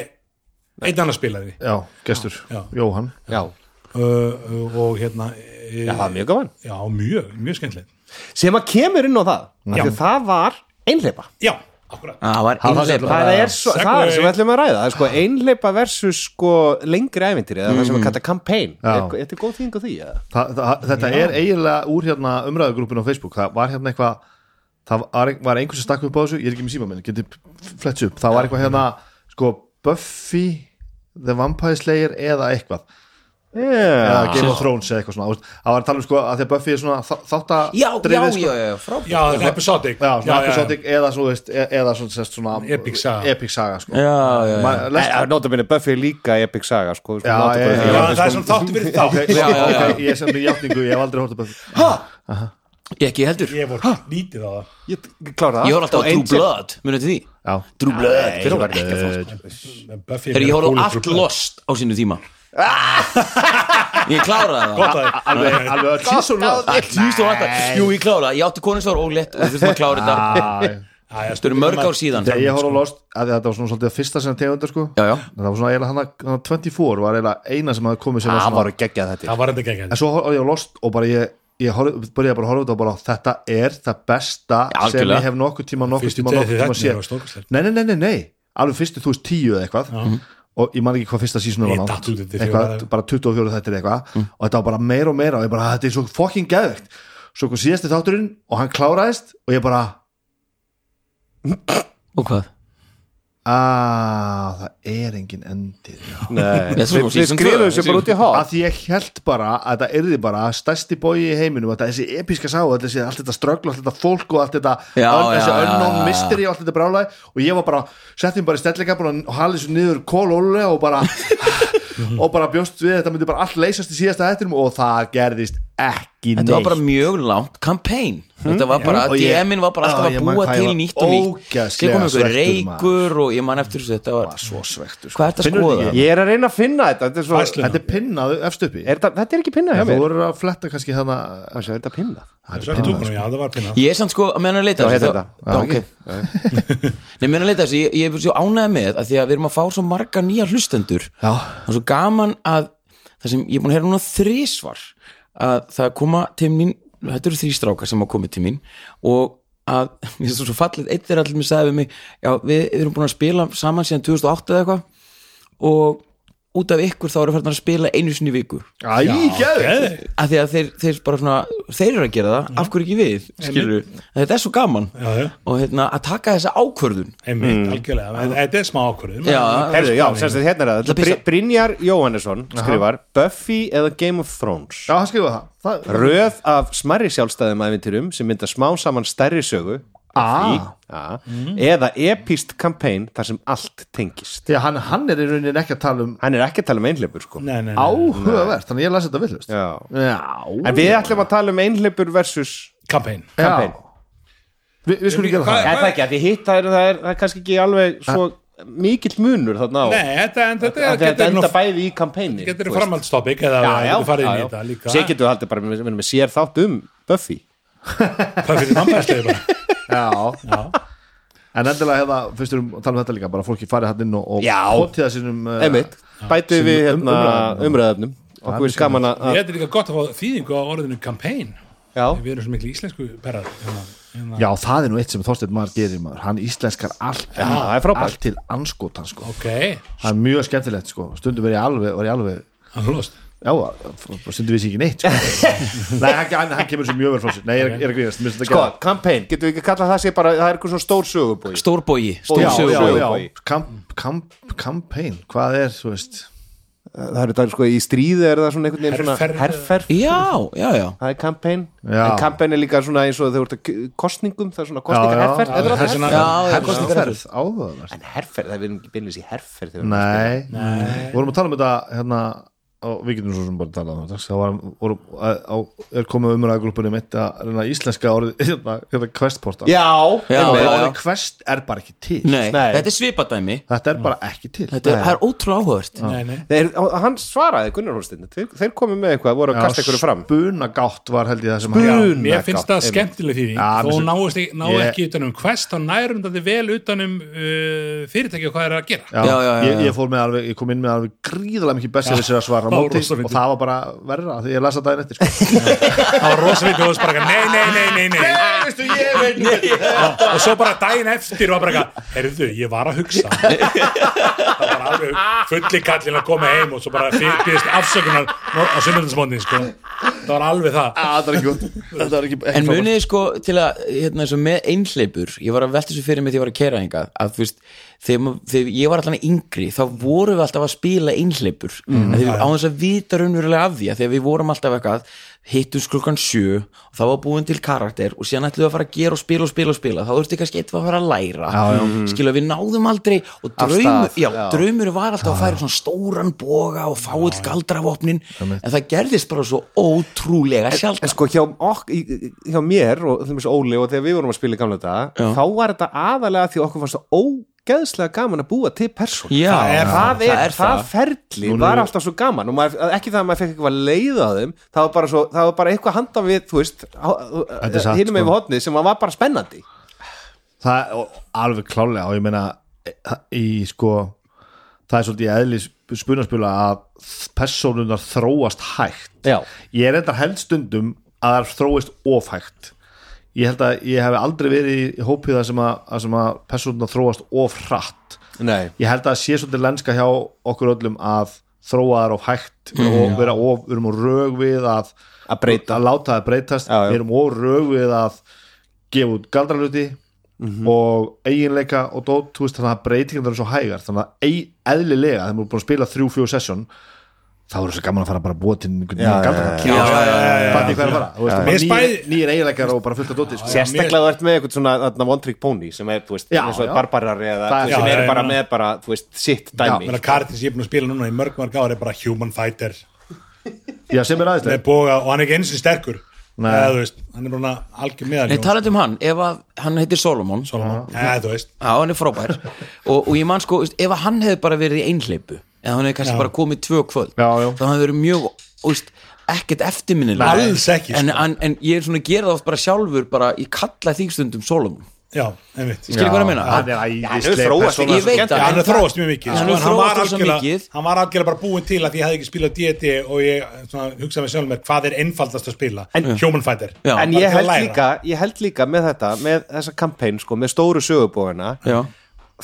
F: einn annar spilaði
G: Já, gestur,
F: Já.
G: Jóhann
E: Já,
F: uh, uh, og hérna e,
E: Já, það var mjög gaman
F: já, mjög, mjög skemmtilegt
E: Sem að kemur inn á það af
F: Já.
E: því að Það var einhleipa
F: Já, akkurat
D: Ah, Það var
G: var
D: innleip
G: sérfræðing.
E: Það er svo,
F: Segway.
E: það er sem við ætlum að ræða það er sko einhleipa versus sko lengri ævintýri eða það sem við kalla campaign
G: Já.
E: Þetta er góð þýðing á því eða?
G: Þa, það, Þetta er eiginlega úr hérna umræðugrúpin á Facebook Það var hérna eitthvað Það var, var einhver sem stakk upp á þessu Ég er ekki með síma minn, geti flett upp Það var eitthvað hérna, sko Buffy, The Vampire Slayer eða eitthvað Eða Game of Thrones eða eitthvað svona Þú veist, Það var að tala um sko að því að Buffy er svona þa-
D: Já, já,
G: þáttadrifið, sko.
D: já, já, frábært
F: Já, það er episodic
G: Já, svona episodic eða svo veist e- eða svona, sest, svona
F: Epic saga.
G: epic saga sko.
D: Já, já, já.
G: Ma-
E: Nei,
G: lest-
E: það er nota minni Buffy er líka epic saga sko, sko,
G: Já,
E: láta bara
G: já,
E: því
F: Já,
E: að-
F: það er svona þáttu fyrir þátt
G: ok,
D: já, já, já.
G: ok, ég sem í játningu, ég hef aldrei hórt upp að
D: Ég ekki heldur
F: Ég voru lítið á það
E: Ég ég klára það
D: Ég horf alltaf á
E: Og
D: True
E: Angel-
D: Blood Munið til því
G: Já.
D: True Blood
E: Fyrr var ekki að fá-
F: En Buffy
D: Þegar ég
F: er
D: horf á
F: cool
D: allt
F: trúblað.
D: Lost á sínu tíma Ég kláraði það
F: Gott að þér.
G: alveg, alveg öll sísón var
D: Allt líst og alltaf Jú, ég kláraði það Ég átti konustór og lett og við þurfum að klára
G: Ah.
D: þetta
F: Já, já,
D: Þetta eru mörg ár síðan
G: Þegar ég horf á Lost, að þetta var svona svolítið að fyrsta sem tegundar sko
D: sko. Já, já.
G: Það var svona eiginlega hann að- hann að 24 var eiginlega eina sem hafði komið
D: Ah,
G: sem var
E: Það
G: svona
E: var geggjað þetta
F: Það var enda gegn
G: En svo horf ég á Lost og bara ég ég horf- byrjaði bara að horfa út og bara þetta er það besta
D: Já,
G: sem
D: algjörlega.
G: ég hef nokkuð tíma nokkuð
F: Fyrstu
G: tíma
F: tveir
G: nokkuð tíma
F: þættir
G: séð
F: var stórkostlegt.
G: nei, nei, nei, nei, nei, alveg fyrstu þú veist tíu eða eitthvað og ég man ekki hvað fyrsta sísunum
F: Mhm. Ég
G: var
F: datt út
G: langt
F: eftir
G: eitthvað,
F: fjóra.
G: bara 24 þættir eða eitthvað
D: Mhm.
G: og þetta var bara meira og meira og ég bara, þetta er svo fucking geðvegt svo kom síðasti þátturinn og hann kláraðist og ég bara,
D: Og hvað?
G: að það er engin endir
E: Nei,
D: Yes,
E: við,
D: season
E: við skrifum
D: two.
E: þessu bara út í
G: að
E: hot
G: því ég held bara að þetta yrði bara stærsti bói í heiminum, að þessi episka sá allt þessi, allt þetta ströggl, allt þetta fólk og allt þetta
D: Já,
G: ön,
D: já,
G: þessi
D: já, já,
G: unknown
D: já.
G: mystery og allt þetta brálaði og ég var bara, settum bara í stellingabun og halið svo niður kólólulega og bara og bara bjóst við þetta myndi bara allt leysast í síðasta hættinum og það gerðist ekki neitt
D: Þetta var bara mjög langt kampæn Þetta var bara,
G: Hm? Og ég-
D: DM-in var bara
G: Já,
D: alltaf
G: ég
D: að
G: man
D: búa
G: hvað ég
D: til
G: var
D: nýtt og nýtt
G: ógeðslega
D: Þegar kom einhver
G: svekktur, maður.
D: reykur og ég man eftir þessu Þetta var,
G: svo svektur
D: hvað er þetta að
G: Finnurðu
D: skoða?
G: ekki?
E: Ég er að reyna að finna þetta Þetta er, svo,
F: Fæsluna.
G: þetta er pinnaðu efst uppi
E: er þetta, þetta er ekki pinna hjá
G: þú
E: mér
G: voru að fletta kannski þarna
E: Má sjá, Er þetta pinna?
F: Það er tungunum, já, það var pinna
D: Ég er samt sko að meina að leita
E: Já,
D: þessu,
E: heitir
D: þá- Já, ok Nei, meina að leita þessu, ég, ég er svo ánægð með að því að við erum að fá svo marga nýja hlustendur
G: Já.
D: Það er svo gaman að það sem ég er búin að heyra núna þrísvar að það koma til mín þetta eru þrýstrákar sem hafa komið til mín og að, ég veist það svo fallið eitt er allir mér sagði við mig, já við erum búin að spila saman síðan 2008 eða eitthvað og út af ykkur þá eru farin að spila einu sinni í viku
G: æ, gæður
F: Geðveikt.
D: að því að þeir, þeir bara svona þeir eru að gera það, af hverju ekki við skilur þetta er svo gaman
F: Já, já,
D: og hérna, að taka þessa ákvörðun
F: einmitt, algjörlega En Þetta er smá ákvörðum
D: Mm. Já.
E: Herðu, já, semst þetta hérna er það
D: Þetta pissa.
E: Br- Brynjar Jóhannesson skrifar Buffy eða Game of Thrones
G: já, hann skrifa það, það
E: Röð af smærri sjálfstæðum æfintyrum sem mynda smá saman stærri sögu
G: Ah.
E: Í- ja, eða epist kampæn þar sem allt tengist
G: því að hann, hann er í rauninni ekki að tala um
E: Hann er ekki að tala um einhleipur sko
F: Nei, nei, nei,
G: áhugavert, þannig að ég las þetta villust
E: Já.
G: já.
E: En við ætlum að tala um einhleipur versus
F: kampæn
E: kampæn
G: Já. Vi, við skulum gera
F: Hvað-
G: það
E: Er það ekki, af því hitt það er, það er, það er kannski ekki alveg svo mikill munur þarna á
F: Nei, þetta, en þetta
E: Af
F: er-
E: því að Þetta
F: getur nú
E: enda bæði í kampæni
F: getur framhaldstópik eða
E: Já, já,
F: þú farið inn í
E: já,
F: þetta
E: já.
F: líka
E: Sér getur við haldið bara við erum með sér þátt um Buffy
F: Það fyrir mannbæðslega bara
G: já. en endilega hefða, fyrst erum að tala um þetta líka bara fólki farið hann inn og, og
E: Já.
G: hótið það sínum uh,
E: Einmitt, bætið við
G: Sem um-
E: hérna,
G: umræðuefnum.
E: umræðefnum
G: Það
E: Okkur
G: er
E: er gaman að
F: Ég þetta er líka gott að fá þýðingu á orðinu kampæn
E: Já,
F: Við erum svo miklu íslensku perrar hérna, hérna.
G: já, það er nú eitt sem Þorsteinn maður gerir maður hann íslenskar allt, já,
E: það er frábært.
G: allt til anskotan sko.
F: Ok,
G: það er mjög skemmtilegt, sko. stundum er ég alveg, var ég alveg
F: hann hlust
G: Já, stundum vissi ég ekki neitt sko. Nei, hann, hann, hann kemur svo mjög vel frá sér Nei, ég er, ég er að grínast, mér finnst þetta
E: sko,
G: geggjað.
E: kampæn, getum við ekki að kalla það sé bara það er eitthvað svo stór sögubói
D: stórbógi,
E: Já,
G: já,
D: stórsögur
G: já,
E: sögubogi.
G: já. Kamp, kamp, kampaign, hvað er þú veist
E: Það eru það sko í stríði er það svona einhvern veginn
F: Herferð.
E: svona herferð
D: já, já, já
E: Það er kampæn,
G: Já.
E: en kampæn er líka svona eins og þegar þú ert að k- kosningum, það er svona kosningar herferð, þetta er alltaf herferð
D: já, já, já.
G: herrferð áhugaverð
E: En herferð, það er við erum ekki byrnins í herferð þegar við erum að spila.
G: Nei, við vorum að tala um þetta hérna og við getum svo sem bara að tala um þetta þá var, vorum, á, á, er komið umræðagrúpunni mitt að reyna íslenska orðið hérna, hérna questporta
E: Já,
D: Já,
G: Og
E: einmitt.
G: orðið quest er bara ekki til
D: Nei,
E: Nei.
D: þetta er svipadæmi
G: þetta er bara ekki til
D: þetta er, það er ótrúlega áhugavert
F: Nei, nei
E: Þeir, hann svaraði Gunnar Hólsteinn þeir, þeir komu með eitthvað, voru að kasta eitthvað fram
G: spunagátt var held ég það sem
E: Spuna-
G: hann-
F: Já,
E: Unagátt,
F: mér finnst það
E: einmitt.
F: skemmtileg þýðing
G: Já, mér
F: þó hún
G: finnst-
F: náist ekki, ná
G: Ég-
F: ekki utanum quest þá nærum þetta vel utanum uh, fyrirtæki og hvað er að gera
G: Já,
D: Já, já, já,
G: ég,
D: já.
G: ég fór með alveg, ég kom inn með alveg gríðarlega mikið bestið þessir að svara á
F: það var
G: móti
F: rosa
G: og
F: fyndið.
G: það var bara verra því ég lasa daginn eftir sko.
F: það var rosavítið og það var bara eitthvað, nei, nei, nei, nei, nei.
G: veistu, ég veit
F: Já, og svo bara daginn eftir var bara eitthvað herðu, ég var að hugsa það var alveg fulli kallin að koma heim og svo bara fyrirbyðist afsökunar nú- á sunnundasmóndin sko. það var alveg það
G: það er ekki gott þetta var ekki, ekki
D: En
G: frábært.
D: muniði sko til að hérna, eins og með einhleipur, ég var að velta þessu fyrir mig þegar ég var að kera hingað, að þú veist þegar, ma- þegar ég var allan yngri, þá vorum við alltaf að spila einhleipur mm, við, á þess að vita raunverulega af því að þegar við vorum alltaf eitthvað, hittum klukkan sjö og það var búin til karakter og síðan ætlum við að fara að gera og spila og spila og spila þá þurfti kannski eitthvað að fara að læra já, já. skilu við náðum aldrei og draumur,
E: stað,
D: já,
E: já.
D: draumur var alltaf að færa svona stóran boga og fáill galdravopnin en það gerðist bara svo ótrúlega sjálf
E: En sko hjá, ok, í- í- hjá mér og þeim þessu Óli og þegar við vorum að spila í gamla dag þá var þetta aðalega því okkur fannst það ógeðslega gaman að búa til persón
D: Já,
E: það er, það, er, það, ferli
G: Núna
E: var
G: er-
E: alltaf svo gaman og maður, ekki það að maður fekk eitthvað leið á þeim það var bara, svo, það var bara eitthvað handa við þú veist,
G: Þetta er satt,
E: hinum
G: sko.
E: yfir hotnið sem var bara spennandi
G: það er og alveg klálega og ég meina e- í sko það er svolítið eðli spunarspila að persónunar þróast hægt
E: Já.
G: ég er enda held stundum að það þróist ofhægt ég held að ég hef aldrei verið í hópið það sem að, að, sem að persónunar þróast of hratt
E: Nei.
G: ég held að það sé svolítið lenska hjá okkur öllum að þróa þar of hægt
D: Mhm.
G: og vera of, við erum of rög við að,
E: Að breyta.
G: að láta það breytast
E: Já, já.
G: við erum of rög við að gefa út galdraluti
D: Mhm.
G: og eiginleika og dót þú veist, þannig að breytingar eru svo hægar þannig að ei, eðlilega, þegar maður er búin að spila þrjú, fjú session þá er þessi gaman að fara bara að búa til einhvern nýjan galdra
D: já, já, já, já, já.
G: hvað er að fara, þú veist,
F: Mér
G: bara nýjir-
F: spæði-
G: nýjir eiginleikar og bara fullt af dóti sko.
E: Sérstaklega þú ert með eitthvað svona þarna, one trick pony sem er, þú veist,
G: Já,
E: eins og
G: já.
E: barbarar
G: Það-
E: eða þú veist,
F: Já,
E: sem
F: já,
E: eru
F: já,
E: bara
F: já.
E: með bara, þú veist, sitt dæmi
F: Meina, Kartins ég er búin að spila núna í mörg mörg ári bara human fighter
G: já, sem er aðeinslega
F: með boga og hann er ekki eins og sterkur
G: Nei.
F: eða þú veist, hann er bara algjör meðal
D: Nei, talaðu um hann, ef að hann heitir Solomon Já,
F: Solomon, eða þú veist
D: hann er frábær og, og ég man sko, veist, ef að hann hefði bara verið í einhleipu eða hann hefði kannski
F: Já.
D: bara komið tvö kvöld
G: Já, já.
D: þá hann verið mjög, veist, ekkert eftirminnilega
F: Alls ekki,
D: en,
F: sko.
D: en, en ég er svona að gera það oft bara sjálfur bara, ég kalla þig stundum Solomon
F: já, einmitt
D: Skilur hvað ég meina?
G: hann er æðislega
E: þróast
G: persóna,
D: ég
G: sko.
D: veit
F: Já,
D: það,
F: hann
D: en
F: er þróast mjög mikið
D: Já, hann
F: sko,
D: hefur
F: en hann var
D: þróast rosa
F: algjörlega
D: mikið.
F: hann var algjörlega bara búinn til að því ég hafði ekki spilað D&D og ég svona, hugsaði mig sjálf með hvað er einfaldast að spila en, Human Fighter
D: Já.
F: Bara
E: en ég
F: til að
E: held,
F: læra.
E: líka, ég held líka með þetta með þessa kampæn, sko, með stóru sögubóðina
D: Já.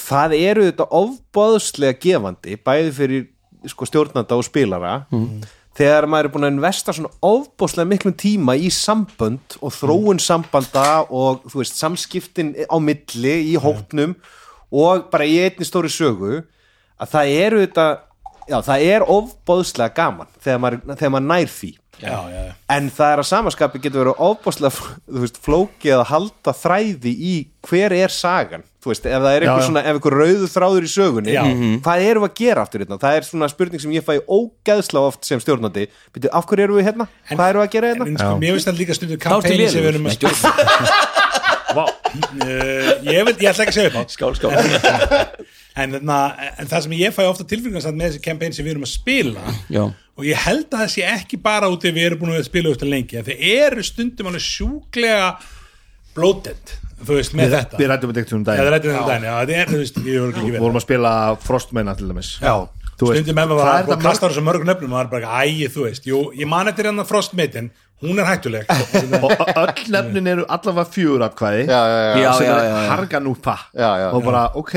E: það eru þetta ofbóðslega gefandi bæði fyrir sko, stjórnanda og spilara þegar maður er búin að investa svona ofbóðslega miklum tíma í sambönd og þróun sambanda og þú veist, samskiptin á milli í hópnum og bara í einni stóri sögu að það eru þetta já, það er ofbóðslega gaman þegar maður, þegar maður nær því
F: já, já, já.
E: en það er að samaskapi getur verið ofbáslega þú veist, flókið að halda þræði í hver er sagan þú veist, ef það er eitthvað
G: já.
E: svona, ef eitthvað rauðu þráður í sögunni,
F: Já. Mhm.
E: hvað erum við að gera aftur hérna, það er svona spurning sem ég fæ ógæðsla oft sem stjórnandi, byrju, af hverju erum við hérna hvað erum við að gera
F: En,
E: hérna,
F: en sko, mér veist það líka
D: þá
F: stundu
D: ertu
F: kampæni sem við
D: liður
F: erum
D: Nei,
F: að spila
D: djók.
F: Vá. Eh, ég, vil, ég ætla ekki að segja upp á skál, skál. En, en, en það sem ég fæ ofta tilfengarsamt með þessi kampæn sem við erum að spila
D: Já.
F: og ég held að það sé ekki bara út ef við erum búin að spila út að lengi af því eru stundum alveg sjúklega bloated, þú veist, með þetta
G: við rættum við dektum um
F: Já, það
G: daginn
F: rættum við um daginn, já, þetta er, þú veist, ég voru ekki
G: við
F: verið
G: vorum að spila Frostmenna til dæmis Þú veist,
F: Stundum með maður
G: það
F: var
G: er
F: að
G: það
F: kasta þessu mörg nöfnum og það er bara, æ, þú veist, jú, ég man eftir hennar frostmeitin, hún er hættuleg
G: og ö- öll nefnin eru allavega fjögur atkvæði
D: já, já,
G: sem
D: já,
G: er
D: já.
G: harganúpa
E: Já, já,
G: og bara ok,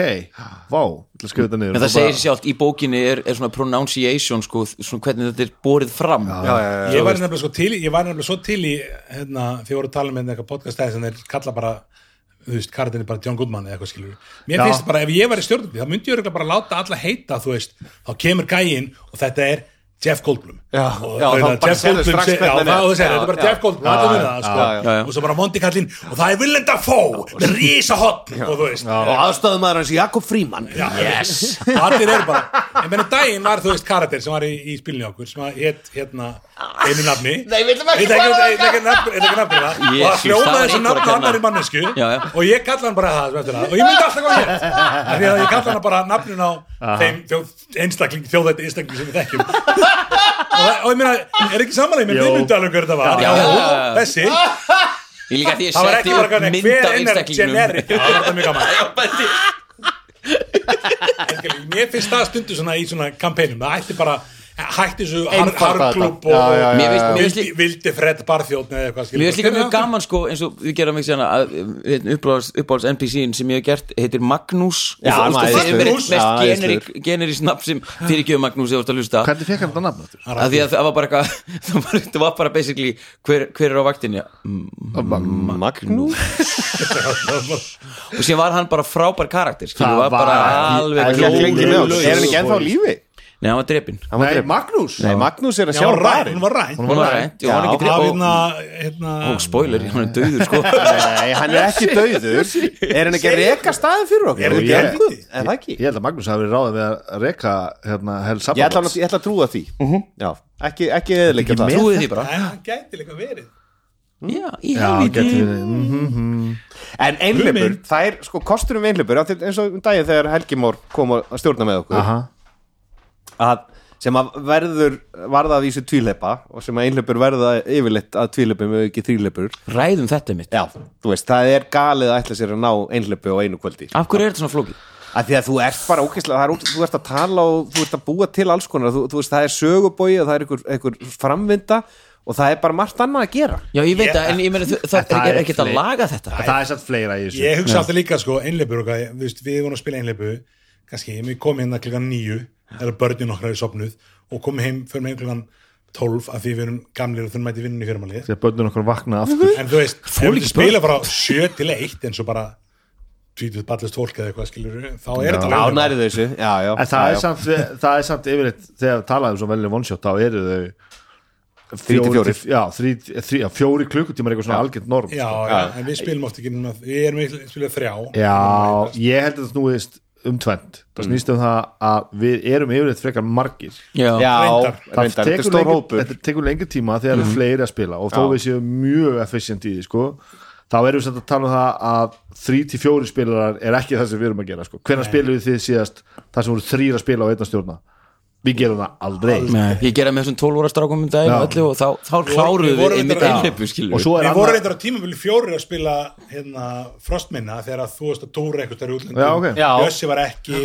G: vá, ætla að skrifa þetta niður
D: En það
G: Og
D: segir
G: bara-
D: sér sjálft, í bókinni er, er svona pronunciation sko, svona hvernig þetta er borið fram Já, já,
E: Eh,
D: já
F: Ég var nefnilega svo til í, ég var nefnilega svo til í, hérna, því voru að tala með hérna eitthvað podcastæði sem þeir kalla bara, þú veist, kartin er bara John Goodman eða eitthvað skilur. Mér
G: Já.
F: finnst bara, ef ég var í stjórnandi, þá myndi ég örugglega bara láta alla heita, þú veist, þá kemur gæinn og þetta er Jeff Goldblum.
E: Já.
F: og,
E: Já,
F: og,
E: þá
F: hérna,
E: bara
F: Jeff
E: sérðu
F: Goldblum
E: strax
F: seg- já,
E: hvernig
F: þá
E: hann er.
F: þú segir,
E: Já,
F: þetta er bara
E: já.
F: Jeff Goldblum, allir muna það, sko.
E: já,
D: já.
F: Og svo bara Mondi kallinn, og það er Willem Dafoe, þetta er Risa Hot, og þú veist.
E: og aðstöðum aðra hans Jakob Fríman
F: Já, yes Allir eru bara En menn daginn var þú veist karakter sem var í, í spilinu hjá okkur sem að hétt hérna einu nafni Nei, við ætlum ekki að Ég ætla ekki að nafn- ég ætla ekki að nafni það og
D: Jesus,
F: að
D: það
F: hljóma
D: var einhver
F: þessu
D: að
F: nafn
D: kenna.
F: annari mannesku
D: Já, já.
F: og ég kalla hann bara það sem eftir það og ég myndi alltaf hvað hétt af því að ég kalla hann bara nafnin á þeim þjóð, einstakling, þjóðætti einstakling sem við þekkjum og, það- og ég meina, er ekki samanlega með
G: Jú.
F: við myndi alveg hver þetta var
D: Já, já, já.
F: þessi,
D: Ég líka því ég
F: það var
D: setti
F: ekki bara
D: upp
F: hvernig
D: mynd af
F: hver innar
D: einstaklingnum
F: generic, Já, það var þetta mjög gaman
D: Bæti.
F: Helgi, mér finnst það stundu svona í svona kampænum, það ætti bara hætti þessu har-
E: Einfalda
F: harklúb
E: þetta. Já, já,
F: og
D: Mér finnst- mér finnst
F: vildi,
D: líka-
F: vildi Fred Barþjóðn eða eitthvað skilur.
D: Mér finnst líka
F: Hvernig
D: mjög
F: er það?
D: gaman sko eins og við gerum ekki sérna að um, uppáhalds, uppáhalds NPC-in sem ég hef gert heitir Magnús og
E: Já, hann
D: þú
E: er
D: veist það er
E: æðislegur.
D: eitt mest
E: Já,
D: generik, generik nafn sem fyrirgjöf Magnús ég vorst að hlusta
G: hvernig fekk hann þetta nafn aftur?
D: að því að það var bara eitthvað það var- það var bara basically hver, hver er á vaktinni Mm,
E: Magnús
D: og síðan var hann bara frábær karakter
G: Það
D: skilur, var bara
G: var-
D: alveg
G: Ég-
E: er hann
G: Ég-
E: ekki með okkur?
G: Ég-
E: Er hann ekki ennþá á lífi?
D: Nei, hann var drepin
E: Hann var
G: Nei,
E: drepinn.
G: Magnús
E: Nei, Magnús er að
F: Já,
E: sjá
F: hún var rænt,
E: barinn.
F: hún var rænt
D: Hún var rænt, já, hann er
E: Já.
D: ekki
F: Af
D: drepin
F: hérna,
D: og,
F: hérna
D: og spoiler, hann er döður sko
E: Nei, hann er ekki döður Er hann ekki að reka staðin fyrir okkur? Er hann ekki
G: Ég-
E: engu? Er það ekki?
G: ég held að Magnús hafi verið ráðið með að reka hérna, hel
E: Ég ætla,
G: sabbað
E: ég ætla að trúa því Já, ekki, ekki eðilegja það
D: trúið því bara
F: en hann gæti líka verið
D: já, í
G: já,
D: helviti
G: getur við mhm.
E: En einhleipur, það er sko kosturum einhleipur af því- eins og um daginn þegar Helgi Mór kom að stjórna með okkur
G: Aha.
E: að, sem að verður varða að vísu tvíleipa og sem að einhleipur verða yfirleitt að tvíleipum og ekki þríleipur
D: ræðum þetta mitt
E: Já, þú veist, það er galið að ætla sér að ná einhleipu á einu kvöldi
D: af hverju er þetta svona flókið?
E: að því að þú ert bara ókvæslega er, ógeðslega- þú ert að tala og þú ert að búa til alls konar þú, þú veist, það er sögubói og það er einhver, einhver framvinda og það er bara margt annað að gera
D: já, ég veit það, en ég meni það er
G: Það
D: ekki-
G: er
D: er ekkert að
G: flip.
D: laga þetta
G: það er satt fleira í þessu
F: ég hugsa alltaf líka sko, einleipur og hvað, við, við vorum að spila einleipu kannski, ég kom hérna klukkan nýju þegar börnin okkar er sopnuð og kom heim, förum heim klukkan 12 af því við erum gamlir og þurfum mæti vinnu í fyrramalið
G: þegar bönnun okkur vakna aftur
F: en þú veist, ef
D: Fólk
F: við
D: í
F: spila frá 7 til 1 eins og bara tvítið ballist fólk eða eitthvað skilur þá
E: Já,
F: er þetta
E: já nærið þessu já, já,
G: en það,
E: já,
G: er
E: já.
G: samt, það er samt yfirleitt þegar talaðum svo velinu vonsjótt þá eru þau
E: Þrír til fjórir.
G: já, þrí, þrí, já, fjóri klukkutímar eitthvað svona algjörn norm
F: já,
G: sko.
F: já, en við spilum oft ekki núna við erum ekki spilum þrjá
G: já ég held að það snúist um tvend
E: Mm.
G: það snýst um það að við erum yfirleitt frekar margir
D: já,
E: já,
F: Reyndar.
G: það
E: reyndar, þetta er
G: tekur,
E: stór
G: lengi,
E: hópur Mm.
G: þetta tekur lengi tíma þegar það er fleiri að spila og þó
E: Já.
G: við séum mjög efficient í því sko, þá erum við samt að tala um það að þrý til fjóri spilarar er ekki það sem við erum að gera sko. hvenær spilum við þið síðast þar sem voru þrýr að spila á einna stjórna við gerum það aldrei
D: Nei, ég gera með þessum 12 óra strákum um daginn
G: Já.
D: og öllu og þá, þá kláruðu
F: við vorum
D: við einmitt
F: reyndar-
D: einhleipu skilur
G: og svo er
F: við vorum
G: annað
F: eitthvað tímabili fjórir að spila hérna, frostminna þegar að þú veist að tóra eitthvað þar í útlöndum
G: Já, ok.
E: Já.
F: Bjössi var ekki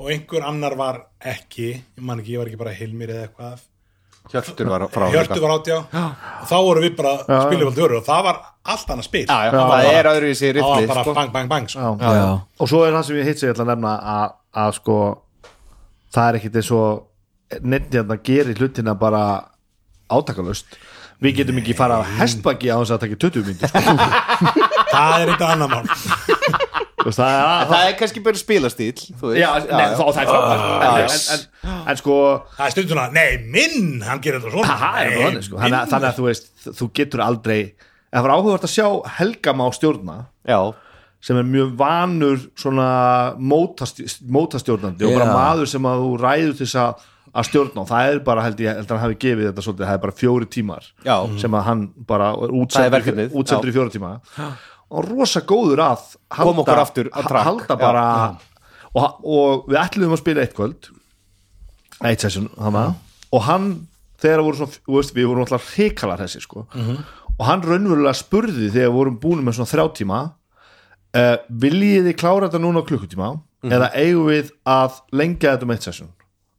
F: og einhver annar var ekki ég man ekki, ég var ekki bara Hilmir eða eitthvað
E: Hjörtur var frá hérna.
F: Hjörtu var átjá og þá voru við bara að spila valdið öru og það var allt annað spil
E: Já, já,
F: það var
E: það er
F: bara-
E: öðru í sig
F: það var
E: riffli
F: bara
E: sko.
F: bang, bang, bang sko.
G: Já.
D: já, já.
G: og svo er það sem ég hitt sem ég ætla að nefna að, að sko það er ekkit eins og nefndi að gerir hlutina bara átakalust við getum ekki fara að hestbaki á þess að taka 20 myndir sko.
F: það er eitthvað annar mál
G: Þú veist, það er
E: Það er kannski bara spilastíl þú veist.
G: já, nei, þá, það er frábært en,
E: yes.
G: en, en, en sko
F: það er stundum svona, nei, minn, hann gerir þetta svona
G: aha, er
F: Nei,
G: það þannig, sko. þannig, að-
F: minn.
G: þannig að þú veist þú getur aldrei það var áhugavert að sjá Helga má stjórna
E: já,
G: sem er mjög vanur svona mótast, mótastjórnandi og bara
D: Já.
G: maður sem að þú ræður til þess að að stjórna og það er bara held ég held að hann hafi gefið þetta svolítið, það er bara fjóri tímar
E: Já.
G: sem að hann bara er
E: Það er
G: útsendur,
E: verkefnið,
G: útsendur í fjóri tíma og rosa góður að
E: Koma okkur aftur á track.
G: halda
E: Já.
G: bara og, og við ætluðum að spila eitt kvöld eitt session hana, og hann þegar voru svona, þú veist, við vorum alltaf hrikalar þessi sko
E: Mhm.
G: og hann raunverulega spurði þegar við vorum búin með svona þrjá tíma uh, viljið þið klára þetta núna á klukkutíma
E: Mhm.
G: eða eigum við að lengja þetta um eitt session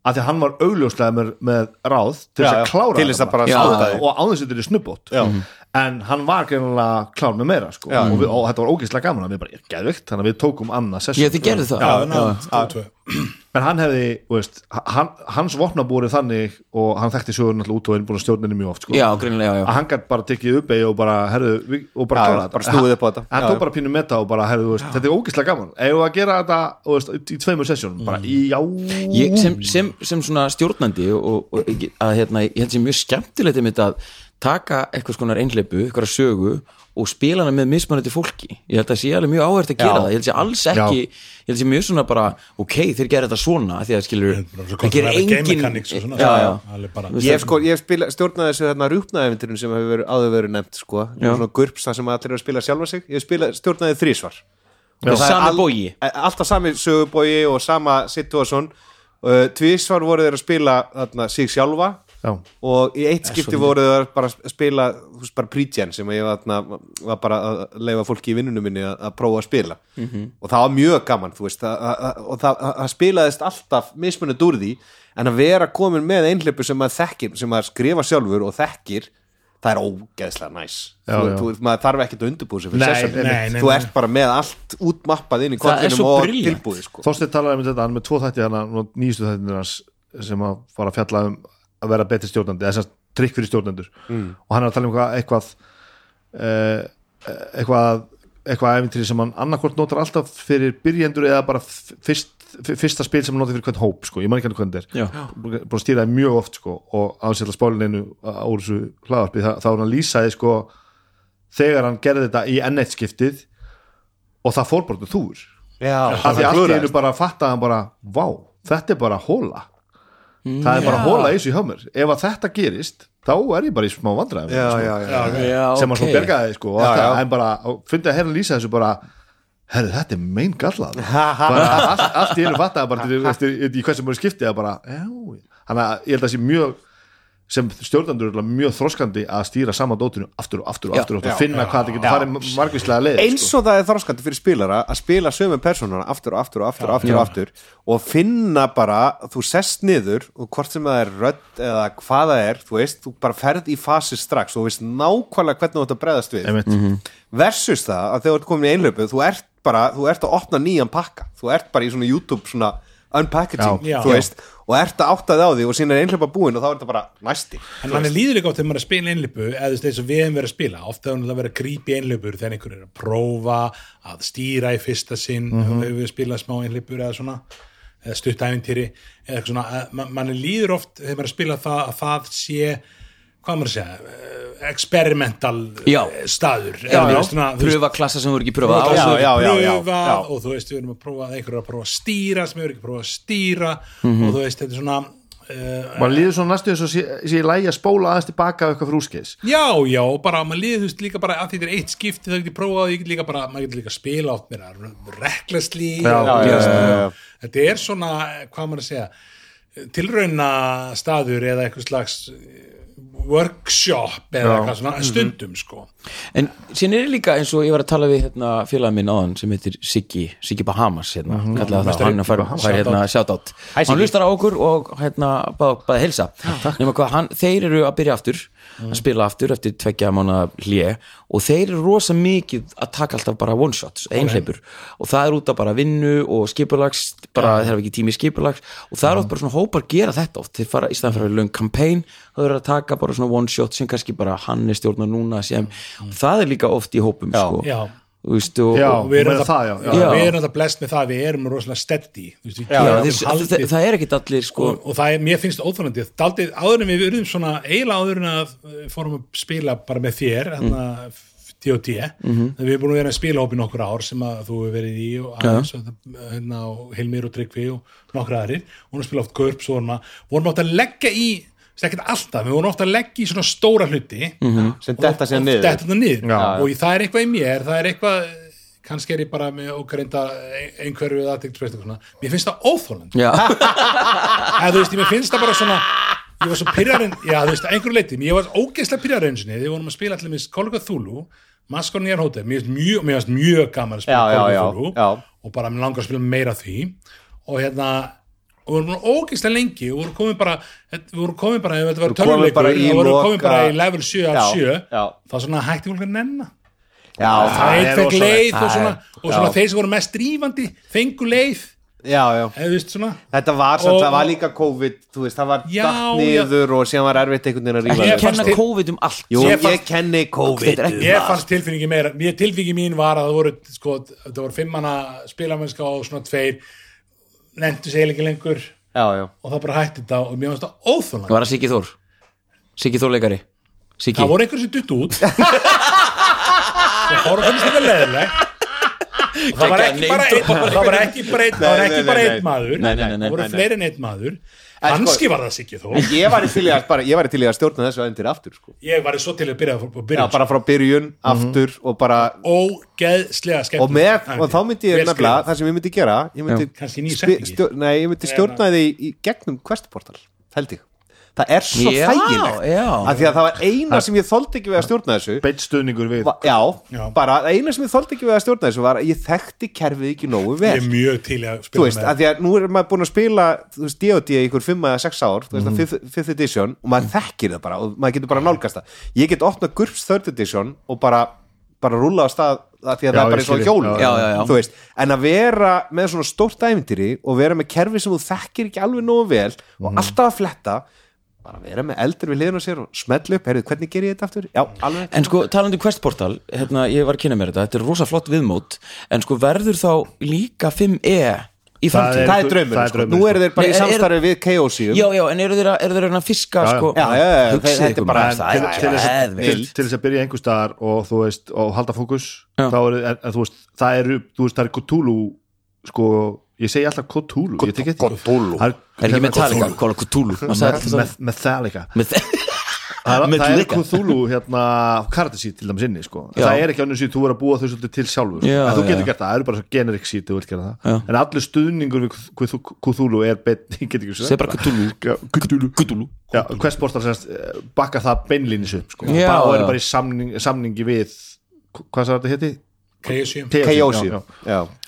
G: af því að hann var augljóslega með, með ráð til þess
E: Já,
G: að
E: já,
G: klára
E: til þess að
G: þetta
E: bara
G: Já,
E: sáta því.
G: og áður þetta er snubbót Mhm. en hann var greinlega klár með meira sko.
E: Já.
G: og, við, og þetta var ógeðslega gaman að við bara, geðvikt, þannig að við tókum annað session sko.
D: ég þið gerðu það
F: já, ná, stóð tvö.
G: en hann hefði, þú veist, hann, hans vopnabúrið þannig og hann þekkti sögur náttúrulega út og innbúin stjórninni mjög oft sko.
D: já, greinilega, já,
G: að hann gætt bara tekið upp eigi og bara, herðu, við, og bara
E: Já,
G: klára
E: já,
G: þetta.
E: bara snúið upp á þetta.
G: hann
E: Já,
G: tók
E: já.
G: bara pínu með það og bara, herðu, þú veist, þetta er ógeðslega gaman eigum við að gera þetta, þú veist, upp í tveimur sessjónum bara, í, já,
D: ég, sem, sem, sem svona stjórnandi og, og ekki- að hérna, ég held sem mjög skemmtilegt einmitt að taka eitthvað skonar einhleipu, eitthvað sögu og spila hana með mismunandi fólki ég held að sé alveg mjög áhært að gera
E: Já.
D: það ég held sé alls ekki, ég held sé mjög svona bara ok, þeir gera þetta svona, því að skilur
F: Bara svo
D: það
F: gott að
D: gerir
F: vera game
D: engin
F: mechanics og sko, svona.
D: já, já,
F: Alveg bara-
D: Þú veist,
E: Ég hef, sko, ég hef spila, stjórnaði þessu þarna rjúpnaðeventurinn sem hefur verið, áður verið nefnt sko.
D: Já.
E: svona gurps það sem allir eru að spila sjálfa sig ég hef spila, stjórnaði þrísvar
D: það er sami
E: Al-
D: bógi
E: e- alltaf sami sögubógi og sama situation uh, tvísvar voru þeir að spila þarna, sig sjálfa
G: já.
E: og í eitt skipti voru þeir bara að spila þú veist, bara pre-gen sem ég þarna, var bara að leifa fólki í vinnunum minni að, að prófa að spila og það var mjög gaman þú veist, að, að, að- og það, það spilaðist alltaf mismunandi úr því en að vera komin með einhleipu sem maður þekkir sem maður skrifa sjálfur og þekkir það er ógeðslega næs
G: Já,
E: þú,
G: já.
E: Þú, maður þarf ekkert að undirbúið sér fyrir
G: Nei,
E: session.
F: nei, nei,
E: þú
F: nei.
E: ert bara með allt útmappað inn í
D: Það er
E: kollinum
D: svo
E: og
D: brilliant.
E: tilbúið sko.
G: Þorsteinn talaði um þetta, hann er með tvo þætti hann og nýjustu þættinir hans sem að fara að fjalla um að vera betri stjórnandi eða þess að trikk fyrir stjórnendur og hann er að tala um eitthvað eitthvað, eh, eitthvað, eitthvað eventýri sem hann annarkvort notar alltaf fyrir byrjendur eða bara f- fyrst, f- fyrsta spil sem hann notar fyrir hvern hóp sko, ég man ekki hann hvernig þetta
D: Já.
G: er búin að stýra það mjög oft sko, og ásett að spólin einu úr þessu hlaðarpi þá er hann að lýsaði sko, þegar hann gerði þetta í N1 skiptið og það fór bara til þúr
E: Já,
G: af því allt í einu bara fattaði hann bara vá, þetta er bara hóla það er bara hóla í þessu hjá mér ef að þetta gerist, þá er ég bara í smá vandræðum
E: já,
G: sko,
E: já, já.
D: já,
G: sem að
D: ok.
G: svo bergaði sko, og
E: Já,
G: það,
E: já.
G: en bara, og fundið að herra lýsa þessu bara herru, þetta er mein gallað bara allt, allt í einu fattaði bara eftir, eftir, eftir, í hversu mörg skipti að bara, já, hann að ég held að sé mjög sem stjórnandur er örugglega mjög þroskandi að stýra sama dótinu aftur og aftur og
D: Já.
G: aftur og aftur, finna hvað þetta getur farið margvíslega sko. leið
E: eins
F: sko.
E: og það er þroskandi fyrir spilara að spila sömu persónuna aftur og aftur og aftur, og aftur, og aftur og finna bara, þú sest niður og hvort sem það er rödd eða hvað það er, þú veist, þú bara ferð í fasi strax og þú veist nákvæmlega hvernig þú ætti að bregðast við
G: Einmitt. Mhm.
E: versus það að þegar þú ert komin í einlöpu þú ert bara, þú ert að opna nýjan pakka þú ert bara í svona YouTube svona unpackaging,
F: Já.
E: þú
F: Já.
E: veist og ert að átta þig á því og síðan er einhleipa búin og þá er þetta bara næsti
F: En hann er líðurlega átt þegar maður er að spila einlöpu eða þú veist eins og við hefum verið að spila ofta hefur það verið að grípi einlöpur þegar einhver er að prófa að stýra í fyrsta sinn mm -hmm. hefur við spilað smá einlöpur eða svona eða stuttæfintýri eða eitthvað svona að ma- manni líður oft þegar maður er að spila það að það sé hvað maður að segja eh, experimental
D: Já.
F: eh, staður
D: Já,
F: þú
D: já,
F: veist, svona, þú veist,
D: pröfa klassa sem voru ekki pröfa á
E: Já,
F: já, já,
E: já, já,
F: pröfa
E: já.
F: og þú veist, við erum að prófa einhverju að prófa að stýra sem hefur ekki prófað að stýra og þú veist, þetta er svona uh,
G: maður líður svona næstu eins og sé, sé ég lægi að spóla aðeins tilbaka af eitthvað frúskeis
F: Já, já, og bara maður liður þú veist líka bara að því þetta er eitt skipti þá getur prófað, ég get líka bara, maður getur líka að spila átt mér rekklesli
G: já,
E: já, já, já.
F: þetta er svona, hvað maður að segja tilrauna staður eða eitthvað slags eh, workshop eða eitthvað svona stundum sko
D: En síðan er líka eins og ég var að tala við hérna, félagin minn áðan sem heitir Siggi, Siggi Bahamas hérna,
F: Mhm.
D: kallaði það, hann fær, fær hérna sjátátt hann hlustar á okkur og hérna bæði bað helsa, nema hvað hann, þeir eru að byrja aftur,
F: Mhm.
D: að spila aftur eftir tveggja mánu hlje og þeir eru rosa mikið að taka alltaf bara one shots, einhleipur, og það er út af bara vinnu og skipulags, bara þeir hafa ekki tími í skipulags og það er oft bara svona hópar gera þetta oft, þeir fara í staðan fyrir löng campaign þá eru að taka bara svona one shot sem kannski bara hann er stjórnar núna sem, og það er líka oft í hópum sko.
F: Já.
D: Þú veist, og,
G: Já,
D: og,
F: við erum
G: meira
F: það-
G: það, já, já.
F: við erum þetta blest með það, við erum rosalega steady þú veist, við
D: já,
F: getum
D: þess,
F: haldið-
D: það, það er ekkit allir sko,
F: og, og það er, mér finnst óþvonandi daldið áður en við urðum svona eiginlega áður en að eh, fórum að spila bara með þér hérna T.O.T. Mm við erum búin að vera að spila hópi nokkur ár sem að þú hefur verið í og aðeins og það- hérna og Hilmir og Tryggvi og nokkra aðrir, og hún spila oft Körp svo vorum að, vorum átt að leggja í þú veist, ekkert alltaf, við vorum oft að leggja í svona stóra hluti
E: sem detta síðan niður.
F: detta þetta niður
G: Já.
F: og í- það er eitthvað í mér, það er eitthvað kannski er ég bara með ógreinda einhverju eða aðtektur, mér finnst það óþólandi
D: já,
F: eða þú veist, ég mér finnst það bara svona ég var svo pyrrarinn, já þú veist, að einhverju leiti ég var ógeðslega pyrrarinn sinni, við vorum að spila allir með Kolga Thulu, Maskon Nýjar Hótel mér finnst mjög, mér finnst mjög gaman að spila
E: Já, já,
F: Kolga
E: já,
F: Thulu
E: já.
F: og bara mér langar að spila meira af því og hérna og við vorum ógeðslega lengi og vorum komin bara við vorum komin bara, ef þetta var
E: Við vorum komin
F: tölvuleikur við vorum komin
E: bara í loka-
F: bara í level 7 af
E: Já,
F: 7
E: já.
F: þá svona hætti fólk að nenna
E: já,
F: það
G: er
F: er fekk
G: rosalegt.
F: leið og svona, og svona
E: já.
F: þeir sem voru mest drífandi fengu leið,
E: já, já
F: eða þú veist svona
E: Þetta var, samt,
F: Og-
E: það var líka COVID, þú veist, það var
F: Já,
E: datt
F: já.
E: niður og síðan var erfitt einhvern veginn að
D: ekki
E: rífa
F: Ég
E: þig.
D: kenna
F: fannst-
D: COVID um allt
E: Jú,
F: ég
E: ég,
F: fannst-
E: kenni COVID.
D: Þetta er ekki-
F: Ég fannst tilfinningi meira, mér tilfinningi mín var að það voru, sko, það voru fimmana spilamennska og svona tveir nefndu segil ekki lengur og
E: Já, já.
F: það bara hætti þetta og mér finnst það óþólan
D: var það Siggi Þór Siggi Þór leikari Siggi,
F: það voru einhver sem dutt út það fór að finnst þetta leðileg og það var ekki bara einn það var ekki bara einn, það var
E: Nei,
F: ekki
E: nei,
F: bara
E: nei,
F: einn
E: nei.
F: maður
E: Nei, nei, nei,
F: það voru
E: nei, sko- nei.
F: fleiri en einn maður kannski var það sikið þó
E: Ég var í til í að, bara, ég var í til í að stjórna þessu endir aftur, sko.
F: ég var svo til að byrja að
E: Já,
F: byrja
E: bara frá byrjun,
F: Mhm.
E: aftur og bara,
F: ógeðslega skemmt
E: og með, og þá myndi ég nefnilega, það sem ég myndi gera, ég myndi,
F: Kannski ný
E: spi-
F: setning.
E: stjórn- nei, ég myndi stjórna því í gegnum questportal, held ég. Það er svo
D: Já,
E: þægilegt.
D: já.
E: Af því að það var eina sem ég þoldi ekki við að stjórna þessu,
G: beitt stuðningur við
E: Va- Já,
F: Já.
E: bara það eina sem ég þoldi ekki við að stjórna þessu var að ég þekkti kerfið ekki nógu vel
F: ég er mjög til í að
E: Þú
F: spila
E: veist,
F: með
E: að því að nú er maður búin að spila þú veist, D.O.D. í ykkur 5 eða 6 ár þú veist, mm. fifth, fifth edition og maður þekkir það bara og maður getur bara nálgast það Ég get opnað GURPS 3rd edition og bara, bara rúla á stað að því
G: Já,
E: að það er bara
G: ég
E: eins
G: skil.
E: og hjólum
D: Já, já, já.
E: Þú veist, en að vera með svona stórt æfintýri og vera með kerfi sem þú þekkir ekki alveg nógu vel og alltaf að fletta bara vera með eldur við hliðina á sér og smetla upp, heyrðu, hvernig ger ég þetta aftur? Já, alveg
D: en sko talandi um Quest Portal hérna, ég var að kynna mér þetta, þetta er rosa flott viðmót en sko verður þá líka 5E
G: Það
D: í framtíð
E: það er
G: gu-
E: draumur,
G: það er
E: sko.
G: draumurinn,
E: nú
G: sko.
E: eru þeir bara
D: Nei,
E: í
D: er-
E: samstarfi við KOC
D: Já, já, en eru þeir að, eru þeir að reyna að fiska
G: já.
D: sko,
E: Já, já, já, já,
D: hugsið
E: þetta er
D: ykkur
E: bara-
D: maður, það
G: til,
D: er
G: til, þess, að- til,
D: geðveikt.
G: til þess að byrja einhver staðar og þú veist og halda fókus
D: Já.
G: þá er, er, þú veist, það eru þú veist það er Cthulhu sko ég segi alltaf Cthulhu ég tek eftir því.
E: Cthulhu.
G: Það
D: Er ekki Metallica, Call of Cthulhu maður sagði alltaf
G: Meth-
D: það.
G: Metallica
D: Með-
G: það er, það er
D: Metallica.
G: Cthulhu hérna kardasít til dæmis inni sko
D: Já.
G: það er ekki annars síð, þú verður að búa þau svolítið til sjálfur sko.
D: Já,
G: en þú
D: já,
G: getur
D: já.
G: gert það, það eru bara svo generic sít þú vilt gera það,
D: Já.
G: en allir stuðningur við Cth- Cthulhu er beinn, ég get ekki
D: Segðu bara Cthulhu.
G: Cthulhu Cthulhu Já, hvers portar semst eh, bakka það beinlínis upp sko
D: Já,
G: bara, og
D: já.
G: eru bara í samning, samningi við hvað sagði þetta hétti?
F: KSM
E: KOC
G: já, já.
E: já.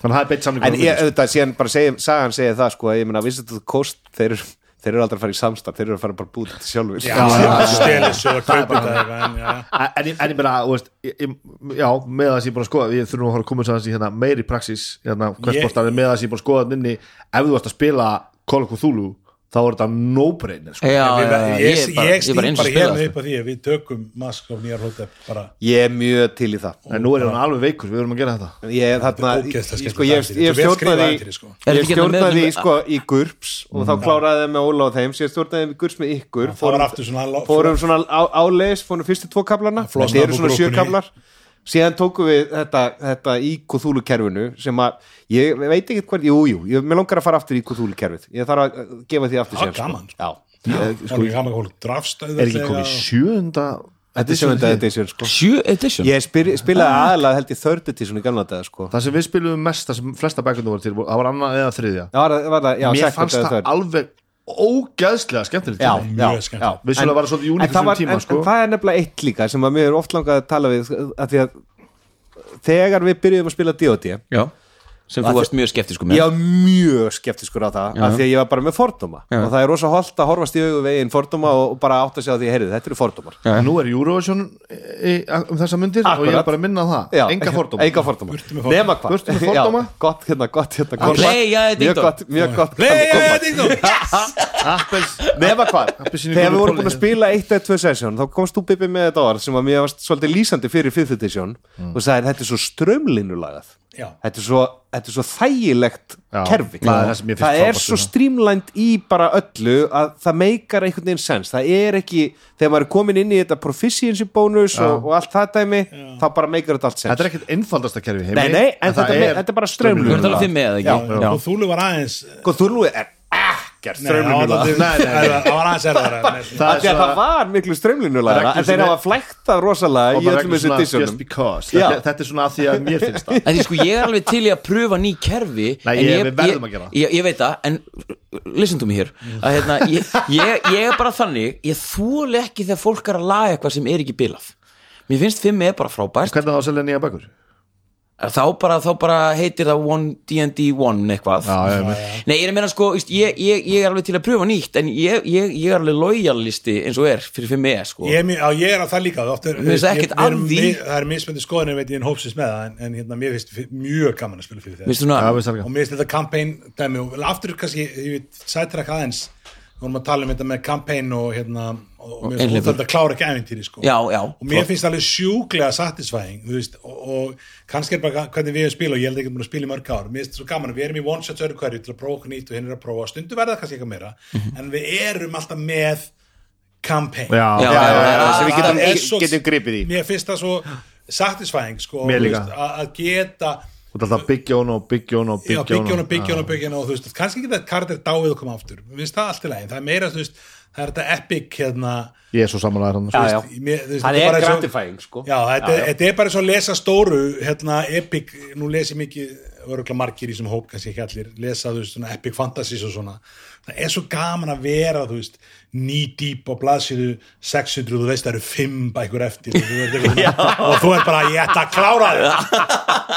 G: Þannig að það er beitt samningur
E: En ég, auðvitað, síðan bara segjum, sagan segir það sko, að ég meina, vissi þú kost þeir, þeir eru aldrei að fara í samstarf, þeir eru að fara bara að búta þetta sjálfur
F: já, steli svo að kaupa þetta en, já.
G: En, en, ég- en ég meina, þú veist ég, ég- já, með þess ég er búin að skoða við þurfum að fara að koma svo aðeins í hérna meiri praxis hérna,
F: Ég-
G: hversbóltan, með þess ég er búin að skoða þarna inni, ef þú varst að spila Call of Cthulhu, þá er þetta no-brainer sko.
D: já, já,
F: Við-
D: já, ég
F: ég,
D: er bara,
F: ég
D: ég er
F: stýr
D: bara
F: bara,
D: eins og sko.
F: hérna
D: spila
F: upp að því að við tökum Mask of Nýjar Hótef bara
E: ég er mjög til í það
G: en nú er hann alveg veikur, við verum að gera þetta
E: ég, þarna, ég,
F: ógeðslega
E: sko, ég,
F: skemmtilegt
E: ég
F: ævintýri. Þetta er vel skrifað
E: stjórnaði
F: ævintýri, sko.
D: Er
E: ég
D: þetta ekki hérna með-
E: stjórnaði í, sko, í GURPS og þá kláraði ég með Óla og þeim ég stjórnaði í GURPS með ykkur
F: það var aftur svona lo-
E: fórum svona á, áleis, fórum fyrstu tvo kaflarna
F: flosnaði
E: þetta eru
F: upp úr
E: svona sjö
F: grúppunni.
E: kaflar síðan tókum við þetta, þetta í Cthulhu kerfinu sem að, ég veit ekki hvern jú, jú, ég, mér langar að fara aftur í Cthulhu kerfið ég þarf að uh, gefa því aftur
F: Já,
E: síðan, sko.
F: gaman, sko.
E: já,
F: Það var ekki gaman að fólk drafst
G: er ekki komið sjöunda
E: þetta er sjönda edition sko.
D: sjö edition
E: ég spyr, spilaði
F: Ah.
E: aðalega held ég third edition í gamla dag sko.
G: það sem við spilum mest, það sem flesta bækundu voru til voru- það var annað eða þriðja
E: það var, var það, já,
G: mér
E: second
G: fannst
E: eða
G: það
E: third.
G: alveg ógæðslega skemmtilegt
E: já,
G: tími.
E: já,
F: Mjög skemmtilegt.
E: já.
G: Vissulega
E: En-
G: var það svolítið unique
E: en
G: á
E: það
G: þessum
E: var-
G: tíma,
E: en-
G: sko.
E: en það er nefnilega eitt líka sem að mér er oft langað að tala við að því að þegar við byrjuðum að spila D.O.D.
D: já, sem þú varst mjög skeptisk
E: ég
D: með
E: var mjög skeptiskur á það af því að ég var bara með fordóma
D: Já.
E: og það er rosa holt að horfast í augu veginn fordóma og, og bara átt að segja því, heyrðu, þetta eru fordómar
G: nú er Eurovision í, um þessa myndir og ég
E: Akkurat.
G: er bara að minna á það
E: Já,
G: enga fordóma
E: enga fordóma. nema hvað
G: Burtu með fordóma.
E: Já, gott hérna, gott hérna gott.
D: Playa
E: mjög
D: Ding-dong.
E: gott, mjög gott
F: skendur
G: Apples,
E: nema hvað,
G: Appelsínu
E: þegar við
G: gulu
E: vorum búin að
G: poli.
E: spila eitt eða tvö sesjón, þá komst þú Bibi með þetta orð sem að mér varst svolítið lýsandi fyrir fyrþutisjón mm. og sagði þetta er svo strömlinulagað
F: Já.
E: þetta er svo, þetta er svo þægilegt
G: Já,
E: kerfi
G: það er það sem mér finnst
E: það
G: frábært
E: er
G: við
E: svo
G: það.
E: strímlænd í bara öllu að það meikar einhvern veginn sens það er ekki, þegar maður er komin inn í þetta proficiency bonus og, og allt það dæmi þá bara meikar þetta allt sens
G: þetta er ekkert einfaldasta kerfi í heimi
E: nei, nei, en þetta,
G: það
E: er, þetta er bara
D: þú ert alveg
E: strömlinulagað
D: fimm með eða ekki
F: og Þúlu var aðeins
E: og Sko, þú nú er ekkert
F: Nei, það var
E: strömlinulagað
F: dálítið-
G: Nei, nei, nei.
F: það var aðeins erðara
G: það er
E: Af því að það
G: svona
E: var miklu strömlinulega
G: Reglur
E: en þeir
G: sem
E: hafa
G: er-
E: flæktað rosalega
G: og
E: í
G: bara
E: öllum
G: reglur
E: þessum
G: svona just
E: dissunum
G: because
E: Já.
G: þetta, þetta er svona að því að mér finnst það
D: En því sko, ég er alveg til í að pröfa ný kerfi
G: Nei,
D: en
G: ég- við verðum að gera það.
D: ég, ég, ég veit það, en listen to me hér að, hérna, ég, ég, ég er bara þannig ég þúli ekki þegar fólk er að laga eitthvað sem er ekki bilað Mér finnst fimm er bara frábært
G: hvernig það á að selja nýja bækur
D: þá bara, þá bara heitir það 1D&D1 eitthvað
G: já,
D: Nei, ég er að meina sko, víst, ég, ég, ég er alveg til að pröfa nýtt en ég, ég, ég er alveg lojalisti eins og er fyrir 5E sko
F: Ég er, mjög- já, ég er á það líka oft er,
D: Mér finnst
F: ég-
D: ekkert
F: ég er
D: að því.
F: mi- Það er mismöndi skoðin veit ég en hópsins með það en, en hérna, mér finnst fi- mjög gaman að spila fyrir
D: Mér
F: þeir
D: finnst svona-
G: það er
F: og
G: sælga
F: mér finnst þetta kampæn dæmi og vel, aftur kannski, ég veit, sættrakka aðeins við vorum að tala um þetta með kampæn og hérna, og, og mér finnst
D: einhleypur.
F: þetta klára ekki ævintýri sko.
D: Já, já.
F: og mér finnst það alveg sjúklega satisfying, þú veist, og, og kannski er bara hvernig við erum spila og ég held ekki búin að spila í mörg ár, mér finnst þetta svo gaman að við erum í one shots öru hverju til að prófa okkur nýtt og hinn er að prófa stundu verða kannski eitthvað meira,
D: Mhm.
F: en við erum alltaf með kampæn
G: já,
D: Já, já, já, já.
E: sem við
F: Það
E: getum-
F: er svo-
E: getum gripið í.
F: mér finnst það svo satisfying sko,
G: Mér
F: þú
G: líka.
F: veist, að að geta
G: þú ætlar að byggja hún og byggja hún og
F: já,
G: byggja
F: byggja
G: hún
F: hana, byggja hana, byggja hana og þú veist, kannski geta kardir dáið og koma aftur mér finnst það allt í lægin, það er meira þú veist, það er þetta epic hérna
G: ég er svo sko. samanlega hann
E: Já, já.
F: mér- þú veist,
E: það
F: þetta
E: er
F: bara eins og-
E: gratifying sko
F: Já, þetta, þetta er bara svo að lesa stóru hérna epic, nú les ég mikið öruglega margir í sem hóp, kannski ekki allir lesa þú veist svona epic fantasies og svona það er svo gaman að vera þú veist ný dýp á blaðsýðu 600, þú veist það eru 5 bækur eftir og þú, er, og þú er bara ég ætla að klára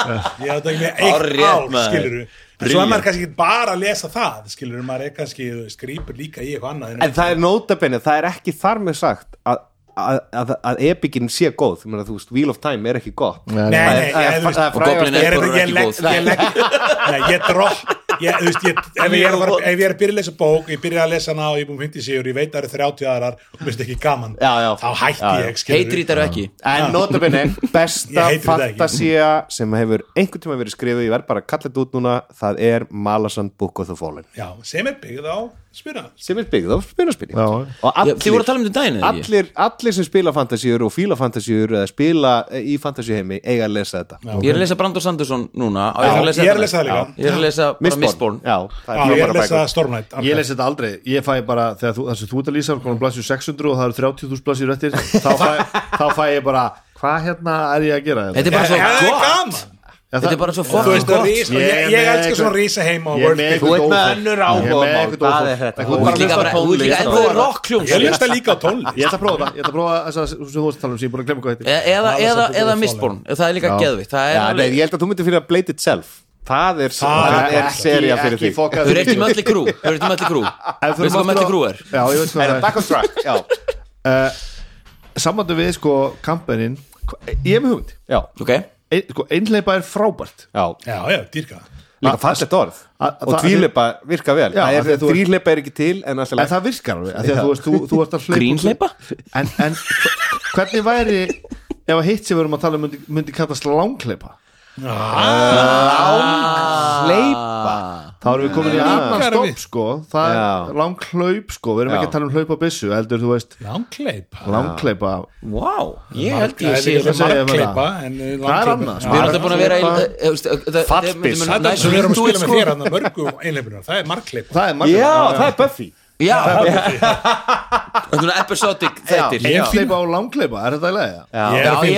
F: þetta ég ætla ekki með eitt
D: Hárrétt,
F: ál
D: maður.
F: skilur en svo er maður kannski ekki bara að lesa það skilur, maður er kannski, þú veist, grípur líka í eitthvað annað
E: en það er nótabenni, það er ekki þar með sagt að að, að, að epikinn sé góð Ég meina, þú veist, Wheel of Time er ekki gott
G: Nei,
F: Nei,
E: Það
F: nei,
E: er- það
F: ég-
E: er-
F: þú veist-
E: það er
D: Og
E: frægast-
D: Goblin
F: Ég er
D: Emperor er
F: þetta- ég
D: ekki
F: legg
D: góð.
F: ég legg- Nei, ég dropp ég, þú veist, ég, ef, ég er að fara, ef ég er að byrja að lesa bók ég byrja að lesa hana og ég er búin 50 sigur ég veit að það eru 30 aðrar og mér finnst ekki gaman
E: Já, já.
F: þá hætti
E: Já, já.
F: ég skilurðu.
D: heitir þetta eru ekki
E: en nótabenni, besta
F: Ég heitir þetta ekki.
E: fantasia sem hefur einhvern tíma verið skrifuð ég verð bara að kalla þetta út núna, það er Malasand Book of the Fallen
F: já, sem er byggð á spyrna
E: sem er byggð á spunaspinning
G: Já.
E: og
D: Já, Þið voru að tala um þetta daginn eða ekki?
E: allir, allir sem spila fantasíur og fíla fantasíur eða spila eh, í fantasíuheimi eiga að lesa þetta
D: Ég er að lesa Brandur Sanderson núna á,
F: Já, ég er að
D: þetta
F: lesa
D: næst?
F: það
D: Já,
F: líka.
D: Ég er að lesa bara Mistborn
E: Já, það
F: já,
E: er
F: ég er að
E: frábæra
F: lesa
E: bækur
F: Stormlight
G: ég les þetta aldrei, ég fæ bara þegar þú, þessu þú ert að lýsa, konum blaðsjú 600 og það eru 30.000 blaðsjú réttir þá fæ, þá fæ ég bara, hvað hérna er ég að gera
D: Þetta er bara
F: Já,
D: svo
F: það er
D: gott
F: gaman
G: Já,
D: Þetta er bara svo
F: Þú
D: fucking
F: veist, það
D: gott
F: er rís- og
G: Ég er
F: ég ég
G: með
F: elska
G: eitthvað-
F: svona rísa heima
G: Ég er með
E: Þú ert með
G: Óþol.
E: önnur
G: Ég er með
E: áhugamál,
G: eitthvað
E: það
G: óþol.
E: er þetta
G: Þú
D: Þú ert
G: ert
D: líka
G: bara
D: bara, þú ert líka, en þú er rockljón
F: ég lesta líka á tónlist
G: Ég ætla að prófa það, ég ætla að prófa þess að sem þú varst að tala um sem ég er búin að glemma hvað heitir
D: Eða, eða, eða
F: Malasand Book of the
D: Mistborn, það er líka geðvitt Það er
E: Já, nei,
D: alveg
E: ég held að þú myndir fyrir að Blade Itself það er,
F: Það
E: það
F: er
E: er seria fyrir
G: ekki
E: þig
G: fokað
D: Þau eru ekki mölli krú Þau eru ekki mölli krú
G: Ef
D: Veistu
G: við
D: hvað
G: förum
D: mölli
G: aftur
D: krú
G: á-
D: er?
G: Já, ég veit
E: Er
G: hvað
E: það
G: það
E: back on track? Já,
G: er Samandu við sko kampanin Ég er með hugmynd
E: já,
D: Ok
G: Ein- sko, Einhleipa er frábært
E: já
F: já, já, dýrka
E: Líka fallegt orð
G: að- að-
E: Og
G: það-
E: tvíleipa virka vel
G: Já, af því að þú-
E: Þríleipa er ekki til en
G: En
E: alltaf
G: það virkar alveg af því að þú, veist, þú, þú ert að hlaupa
D: Grínhleypa?
G: En, en hvernig væri ef að hitt sem við erum að tala um myndi, myndi kallast langhleypa
F: Ah.
E: Hleypa
G: þá erum við komin í annan
F: Langar við.
G: stopp sko það
E: Já.
G: er langhlaup sko við erum ekki
E: Já.
G: að tala um hlaupa byssu heldur þú veist
F: langkleipa
G: langhleypa
D: Wow Ég held ég sé
G: Margæði.
D: Við
G: Hvað segja ég með
F: margkleipa
G: það?
F: en eh,
G: Það er annað, sko.
D: erum alltaf búin að vera Eh,
E: Fallbyssa.
F: það er sem við erum að spila með
D: þér
F: þér hann að mörgu einleipunar, það er margkleipa
G: það er
E: Já,
G: marghlaup
E: það er Buffy
D: Já Þetta er svona episodic þættir
F: Ég fíla-
G: langhleypa og langhleypa er þetta í lagi?
D: Já, ég held að
E: Ég-
D: ég- ég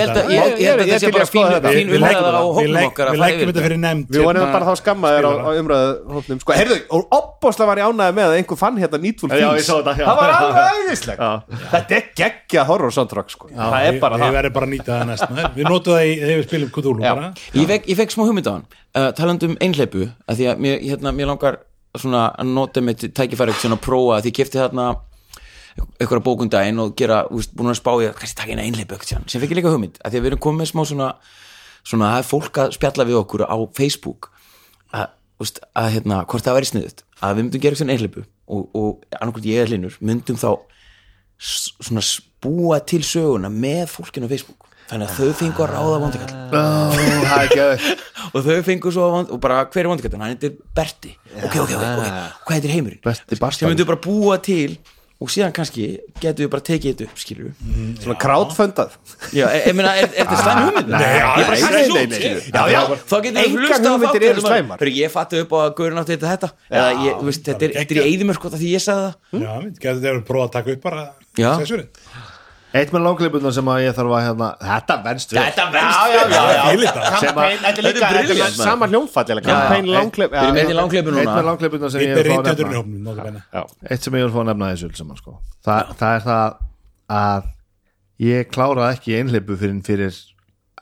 D: held
E: ég-
D: að
E: ég
D: þetta sé
E: til í
D: bara
E: að skoða
D: fín
E: þetta.
D: fín
F: Við
D: umræða á
F: lækum- við
D: hókum
F: læk-
D: okkar að
F: við
D: fara
F: lækum
D: yfir
F: þetta fyrir nefnd
E: Við vorum
F: hérna,
E: bara þá skammaðir á, á
F: spilara.
E: umræðahóknum Sko, heyrðu, og opbósla var ég ánæði með að einhver fann hérna Needful
G: Já,
E: Things
G: ég sá þetta, já.
E: Það var alveg æðislegt Þetta er geggja horror soundtrack, sko Það er bara
F: Við
E: það
F: verðum bara að nýta það næst maður. Við notum það í, þegar við spilum Cthulhu bara
D: Ég fekk, ég fekk smá hugmynd á hann uh, talandi um einhleipu að því að mér, hérna, mér langar svona að nota mitt tækifæri svona að prófa að því ég kefti þarna einhverja bókundaginn og gera úst, búin að spá ég að kannski taka eina einhleipu ekkert síðan. sem fekk ég líka hugmynd að því að við erum komið með smá svona svona að það er fólk að spjalla við okkur á Facebook að, úst, að hérna, hvort það væri sniðut að við myndum gera eitthvað einhleipu og, og annarkvæmt ég eða hlinur myndum þá s- svona spúa til söguna með fólkinu á Facebook þannig að þau fengu að ráða vondikall
G: Ó, það er geðveikt.
D: og þau fengu svo vand, og bara hver er vandikættan, hann heitir Berti ok, ok, ok, ok, hvað heitir heimurinn
G: Berti
D: sem
G: Bastard.
D: myndu bara búa til og síðan kannski getum við bara tekið þetta upp skilur við,
E: Svona crowdfundað
D: já, e- ég ég meina er, er þetta slæm hugmynd?
F: Nei,
D: ég bara
F: nei,
D: kasta
F: nei,
D: þessu
F: nei,
D: út
F: nei,
D: skilur við.
F: nei.
D: Já, já, þá getum
E: Engar
D: við hlustað á
E: hugmyndir
D: þáttin
E: eru
D: sem að-
E: slæmar.
D: Hörru, ég fatti upp á að gaurin átti þetta þetta eða ég, þú veist, þetta er, þetta er í eigðumörk því ég sagði það
E: Hm?
F: Já, við getum þetta að prófa að taka upp bara
D: Já.
F: sensorinn.
G: eitt með langhleypunar sem að ég þarf að hérna þetta venst við
D: þetta venst,
E: já, já
F: Ég vil þetta.
E: Campaign, þetta er líka
D: Þetta er
E: þetta er
D: brilliant, maður.
E: sama hljónfall Campaign, langklepp
D: við erum með í langleipinu
G: eitt með
D: núna
G: langhleypunar sem ég
F: Þetta
G: er að fá
F: er
G: að
F: reyndjöndurinn í
G: nefna
F: hópnum nákvæmlega.
G: eitt sem ég er að fá að nefna í þessu öllu saman, sko. Þa, það er það að ég kláraði ekki einhleipu fyrir, fyrir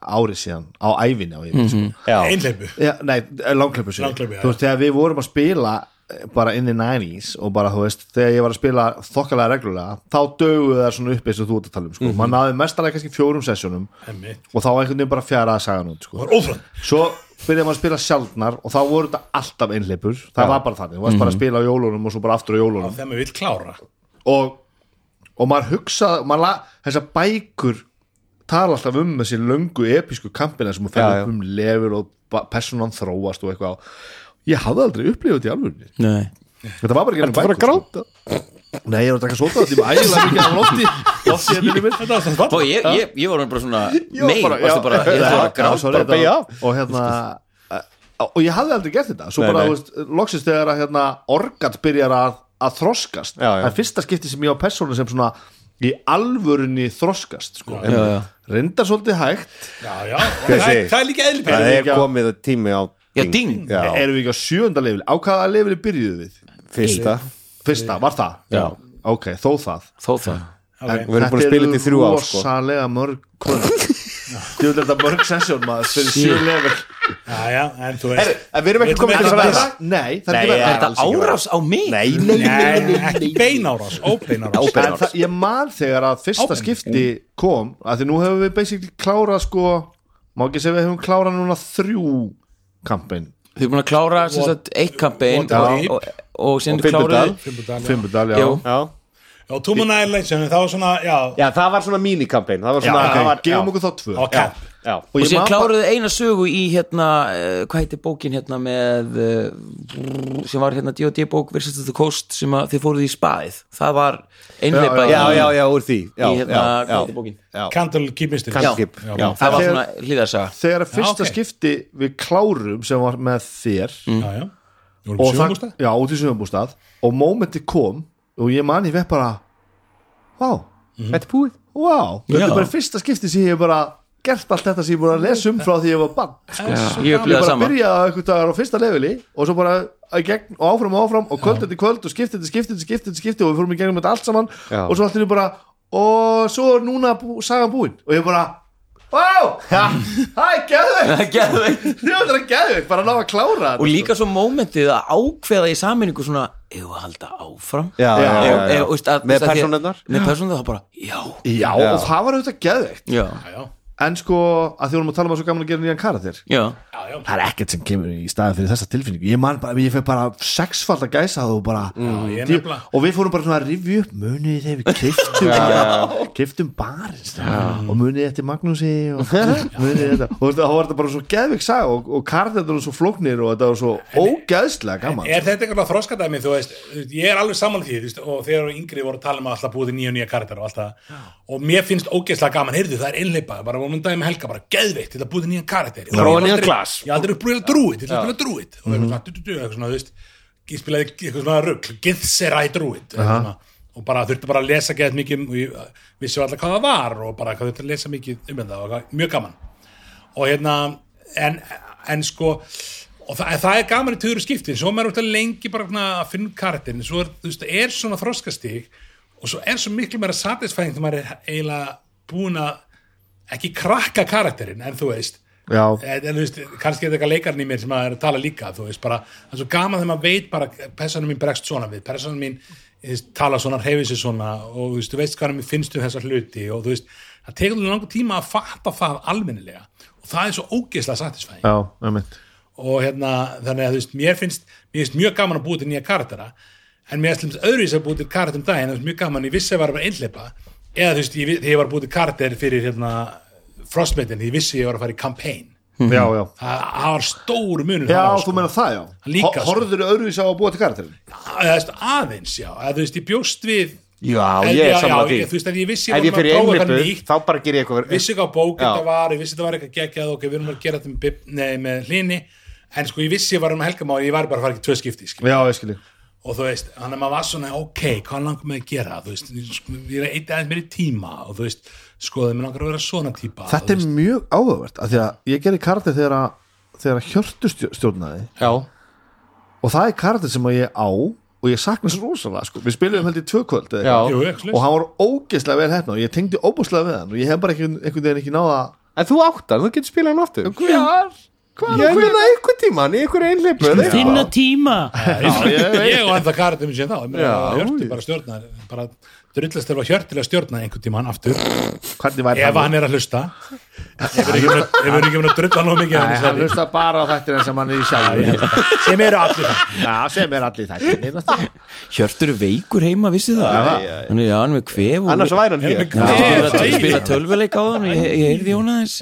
G: árið síðan á ævinni á ég mm -hmm. sko.
F: Einhleypu
G: Já, nei, langklöpu sér
F: Langhlaupi, já,
G: þú veist, þegar við vorum að spila eh, bara inn í 90s og bara, þú veist, þegar ég var að spila þokkalega reglulega, þá döguðu það svona upp eins og þú ert að tala um, sko, mm -hmm. maður náði mestalega kannski fjórum sessjónum
F: Einmitt.
G: og þá einhvern veginn bara fjaraði sagan út, sko
F: Það var ófram
G: svo byrjaði maður að spila sjaldnar og þá voru þetta alltaf einhleipur, það var bara þannig þú varst bara að spila á jólunum og svo bara aftur á jólunum
F: Þegar maður vil klára
G: og, og maður hugsaði og maður la, þessar bækur tala alltaf um þessi löngu episku kampina sem hún
E: Já, já.
G: fer upp um lefur og ba- persónan þróast og eitthvað ég hafði aldrei upplifað þetta í alvörunni
D: Nei.
G: þetta var bara ekki enn
E: Það var að
G: bækur sko.
E: gráta
G: nei, ég var að taka sóta þetta ég var ægilega mikið af lofti lofti hérna ég minni mér
F: Þetta var svona
D: Fá,
F: fall
D: ég, ég, ég var bara svona
G: var
D: mein,
G: bara-
D: varstu
G: já.
D: bara, ég var bara
G: Já,
D: grátt
G: sorry,
E: bara beygja
G: þetta-
E: af.
G: og hérna eh, og ég hafði aldrei gert þetta svo
E: Nei,
G: bara,
E: nei.
G: þú veist, loksist þegar að hérna, orgat byrjar að, að þroskast
E: Já, já.
G: það er fyrsta skipti sem ég á persónu sem svona í alvörunni þroskast sko.
D: Já, já.
G: reyndar svolítið hægt
F: Já, já Það er- það er líka
E: Það
F: eðlipið
E: er komið tími á
D: Já, ding.
E: Já,
G: erum við ekki á sjönda lefili, á hvaða lefili byrjuðu við
E: fyrsta
G: fyrsta, var það?
D: Já.
G: ok, þó það
D: þó það
F: Ok.
E: Við erum búin að spila þetta í þrjú ár, sko
G: rosalega mörg Þú vil þetta mörg sessjón maður fyrir sjö level
F: Já, já, en þú veist
E: En við erum ekki komin
F: Við
E: til
F: erum
E: að
F: ekki
E: vera
G: Nei, það
E: Nei,
G: er ekki verið
E: ja.
D: Er þetta
E: alls ekki
D: árás á mig?
E: Nei,
F: Nei, ekki beinárás, óbeinárás
E: Óbein
G: En það, ég man þegar að fyrsta
F: Ábyrgð.
G: skipti kom að því nú hefum við basically klárað sko má ekki segja við hefum klárað núna þrjú kampin
D: Þið er búin að klára sem sagt, eitt kampein
F: og-
D: og, og, og síðan
E: Og Fimbuldahl.
D: kláraði
G: Fimbudal, já,
D: Jú.
E: Já.
F: Já, Tumen Island sem það var svona, já
E: Já, það var svona mínikampain Það var
G: já,
E: svona það var-
G: gefum
E: já.
G: okkur þá tvö
F: Það var kamp
E: Já.
G: og
D: og
G: ég
D: síðan
G: man bara,
D: kláraði eina sögu í hérna, uh, hvað heitir bókin hérna með uh, sem var hérna D.O.D. bók versus the coast sem að þið fóruð í spaðið það var einleipa
G: Já,
E: já, já, já, úr því já,
D: í hérna,
E: já,
D: hvað
E: já,
D: heitir bókin
E: já.
F: Candle Keep Mystery
E: Candlekeep,
F: Já,
E: já.
F: já,
D: það var
G: Þegar-
D: svona hlýðarsaga
G: þegar að fyrsta
F: ok. Mm.
G: skipti við klárum sem var með þér
F: já, já. Við
G: og
F: vorum
G: það,
F: sjöngústa
G: já, út í sögumbústað og mómenti kom og ég man ég vepp bara vá,
E: Þetta er búið
G: vá, þetta er bara fyrsta skipti sem ég hef bara gert allt þetta sem ég búin að lesa um frá því ég var bann
D: ég
G: ég
D: upplýða
G: bara
D: saman
G: byrjaði að einhvern dagar á fyrsta leveli og svo bara að gegn og áfram og áfram og kvöld eftir kvöld og skipti eftir skipti eftir skipti eftir skipti og við fórum í gegnum þetta allt saman
E: Já.
G: og svo allir bara og svo er núna bú, sagan búin og ég bara Wow, það er geðveikt
D: Geðveikt.
G: Þú ætlar að geðveikt, bara að ná að klára þetta sko.
D: og líka svo mómentið að ákveða í sammenningu svona, ef að halda áfram
E: Já, já,
D: Eigum-
E: já, já.
D: eigum- veist Eh, að-
E: Með
D: veist að því-
E: persónurnar?
D: með persónurnar þá bara, já,
G: Já,
E: Já.
G: og það var auðvitað geðveikt
D: já,
F: já,
G: En sko, að því vorum að tala um að svo gaman að gera nýjan karakter
D: já
F: já, já.
G: Það er ekkert sem kemur í staðan fyrir þessa tilfinningu Ég man bara, ég fekk bara sexfald að gæsa það og bara
F: ég er
G: Djú-
F: nefnilega-
G: Og við fórum bara svona að rifja upp munið þegar við kiftum Kiftum barist Og munið eftir Magnúsi og munið þetta Og veistu, þá var þetta bara svo geðveik saga og, og karakterður svo flóknir og þetta var svo ógeðslega gaman
F: Er þetta eitthvað þroskadæmi, þú veist, þú veist, ég er alveg saman því, þú veist, og þegar yngri voru að tala um að alltaf búið til nýja og nýja karakter og alltaf, og mér finnst ógeðslega gaman, heyrðu, það er einleipa, bara vorum við daginn með helga, bara geðveitt til að búið til nýja karakter. Ég
E: Prófa
F: hef
E: nýjan
F: aldrei-
E: glas.
F: Ég hef aldrei búið til drúið, til að spila drúið, og eitthvað svona, du- du- du- eitthvað svona, þú veist, ég spilaði eitthvað svona rugg, githsera í drúið, svona, og bara þurfti bara að lesa geðt mikið, og ég vissi alltaf hvað það var, og bara hvað þurfti að lesa mikið um þetta, og hvað- mjög gaman og hérna en, en sko og það, það er gaman í töður skiptin svo er maður er lengi bara svona að finna út karakterin svo er, þú veist, er svona þroskastig og svo er svo miklu meira satisfæðing þegar maður er eiginlega búin að ekki krakka karakterin en þú veist
G: Já.
F: Eh, en, en þú veist, kannski er þetta eitthvað leikarinn í mér sem að er að tala líka, þú veist, bara það er svo gaman þegar maður veit bara, personum mín bregst svona við personum mín þú veist, tala svona, hreyfi sig svona og þú veist, þú veist hvað mér finnst um þessar hluti og þú veist, það tekur þú langur tíma að fatta það almennilega og það er svo ógeðslega satisfæðing
G: Já, einmitt
F: og hérna, þannig að þú veist, mér finnst mér finnst mjög gaman að búa til nýja karaktera en mér finnst öðruvísi að búa til karakter um daginn, það finnst mjög gaman, ég vissi að ég var bara einhleipa eða þú veist, ég, vi- þegar ég var að búa til karakter fyrir hérna, Frostmaiden, ég vissi að ég var að fara í campaign
G: Já, já
F: það það var stór munur
G: Já,
F: þar á,
G: þú meina það, já
F: Líka,
G: Ho-
F: sko.
G: Horfðurðu öðruvísi á að búa til karakterin
F: Að- eða, þú veist, aðeins, já, eða, þú veist, ég bjóst við
E: Já,
F: En-
E: ég
F: já,
E: er samla
F: já,
E: því
F: ég- þú veist, ef ég vissi ég
E: Ef
F: var
E: ég
F: búin að
E: fyrir
F: prófa eitthvað
E: einlipu,
F: nýtt.
E: þá bara ger ég eitthvað
F: vissi hvað bók
E: Já.
F: þetta var, ég vissi þetta var eitthvað geggjað ok, við erum að gera þetta með, Bib- nei, með hlini en sko, ég vissi ég var um helgamá ég var bara að fara ekki tvö skipti, skil
G: Já, ég skilji
F: og þú veist, hann er maður var svona, ok, hvað langar mig að gera þú veist, ég sko, ég er eitt aðeins meiri tíma og þú veist, skoðið, mér langar að vera svona típa og
G: Þetta
F: þú
G: er
F: veist,
G: mjög áhugavert af því að ég gerði karakter þegar að þegar að hjörtu stjó- stjórnaði
D: já,
G: og það er karakter sem að ég á og ég sakna svo rosalega sko. við spilum held í tvö kvöld eða eitthvað.
F: jú, eitthvað
G: og
F: svoleiðis.
G: hann var ógeðslega vel hefna og ég tengdi óbúslega við hann og ég hef bara einhvern, einhvern veginn ekki náða
E: En þú áttar, þú getur spilað hann aftur
G: hvar, hvar
E: Ég meina einhver tíman í einhver einleipu eða eitthvað.
H: finna tíma
F: ég og ennþá kartum sem þá, ég meina,
E: Já,
F: hjörtu
E: ég-
F: bara stjórnar bara drullast þegar hjörtilega stjórna einhvern tíma hann aftur
G: hvernig væri
F: ef hann er að hlusta ef hann er ekki verið að drulla nóg mikið
G: Nei,
F: á henni,
G: hann
F: sagði ég.
G: hlusta bara á þættina sem hann er í sjálf
F: sem eru allir það
G: Já, sem er allir þættinir náttúrulega.
D: Hjörtur er veikur heima, vissi það hann er, já, hann er með kvef og
E: Annars væri hann hér
D: hann
F: Kvef,
D: spila,
F: æi.
D: spila tölvuleik á hann ég, ég heyrði hún aðeins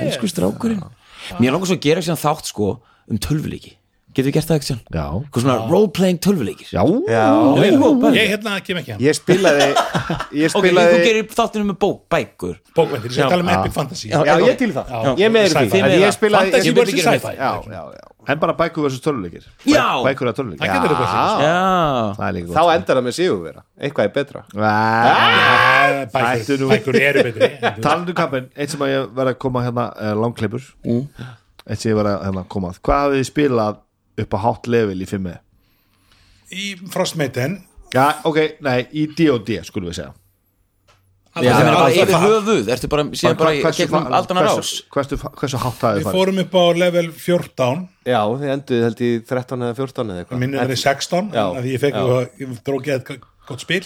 D: elsku strákurinn mér langar svo að gera síðan þátt sko um tölvuleiki getur við gert það ekki síðan?
G: Já,
D: eitthvað svona role-playing tölvuleikir
G: já,
E: Já,
F: ég hérna kem ekki hann,
E: ég spilaði Ég
D: ok, þú
E: spilaði
D: gerir þáttinu með bók, um bækur
F: bókvendir, ég skal tala um Epic Fantasy
D: Já,
E: Já, ég til í það, ég er með þér í
F: Sci-fi.
E: því En Ég spilaði
F: Fantasy
E: ég-
F: versus
D: gera
F: sci-fi
E: Já, já, já
G: en bara bækur versus töluleikir
D: Já.
G: Bækur að töluleikir
F: það getur þetta
E: Já.
D: já,
G: Það er líka
E: Þá
G: gott
E: endar það með sigurvera Eitthvað er betra
G: Þá
F: Bækur-
G: Ættu nú.
F: bækur eru betri en þú-
G: Talandi um kampin, eitt sem að ég verið að koma hérna uh, langkleipur
D: Mm.
G: eitt sem ég verið að hérna, koma að hvað hafið þið spilað upp á hátt level í fimmu?
F: í Frostmaiden
G: Já, ok, nei, í D&D skulum við segja
F: allir
D: það
F: sem
D: er
F: eru
D: bara
F: allir
D: yfir
F: það.
D: höfuð ertu bara, síðan bara í gegnum
G: fa-
D: aldana rás
G: hversu, hversu, hversu hátt hafið
F: við
G: þið farið?
F: fórum upp á level 14
E: Já, þið enduð held ég 13 eða 14 eða eitthvað
F: minnum það er 16
E: Já.
F: af því ég fekk
E: Já.
F: eitthvað- ég drókið eitthvað gott spil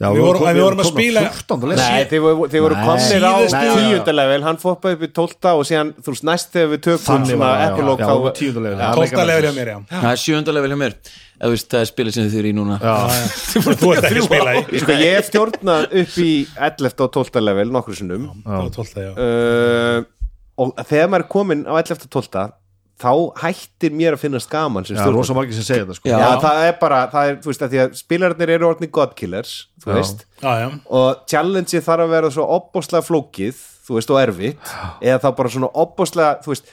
G: Já,
F: við vorum- við
G: komnir
F: vorum að
G: á
F: spila-
G: 14. level.
E: Nei, þið voru, þið voru
G: Nei.
E: komnir á
F: Síðustu-
E: tíundalevel, hann foppaði upp í tólta og síðan, þú veist, næst þegar við tökum
G: Þannig
E: svona
G: var það, já,
E: epilog
G: já,
E: þá-
G: við vorum tíunda level, það er
F: tólta
G: meika
F: level hjá
G: meika.
F: mér já
D: það er sjöndalevel hjá mér Eða, þú veist, það er spilið sem þið eru í núna
F: þú ert ekki að spila í
E: Sko, ég hef stjórnað upp í 11 og 12 level nokkru sinnum
F: Það var 12, já.
E: uh, og þegar maður er komin á 11 og 12 þá hættir mér að finnast gaman sem
G: Já, rosa
E: stjórnum
G: margir sem segja þetta sko
D: Já.
E: Já, það er bara, það er, þú veist, að því að spilarnir eru orðni godkillers, þú
G: Já.
E: veist
F: Já, já.
E: og challenge þarf að vera svo opbóslega flókið, þú veist, og erfitt eða þá bara svona opbóslega, þú veist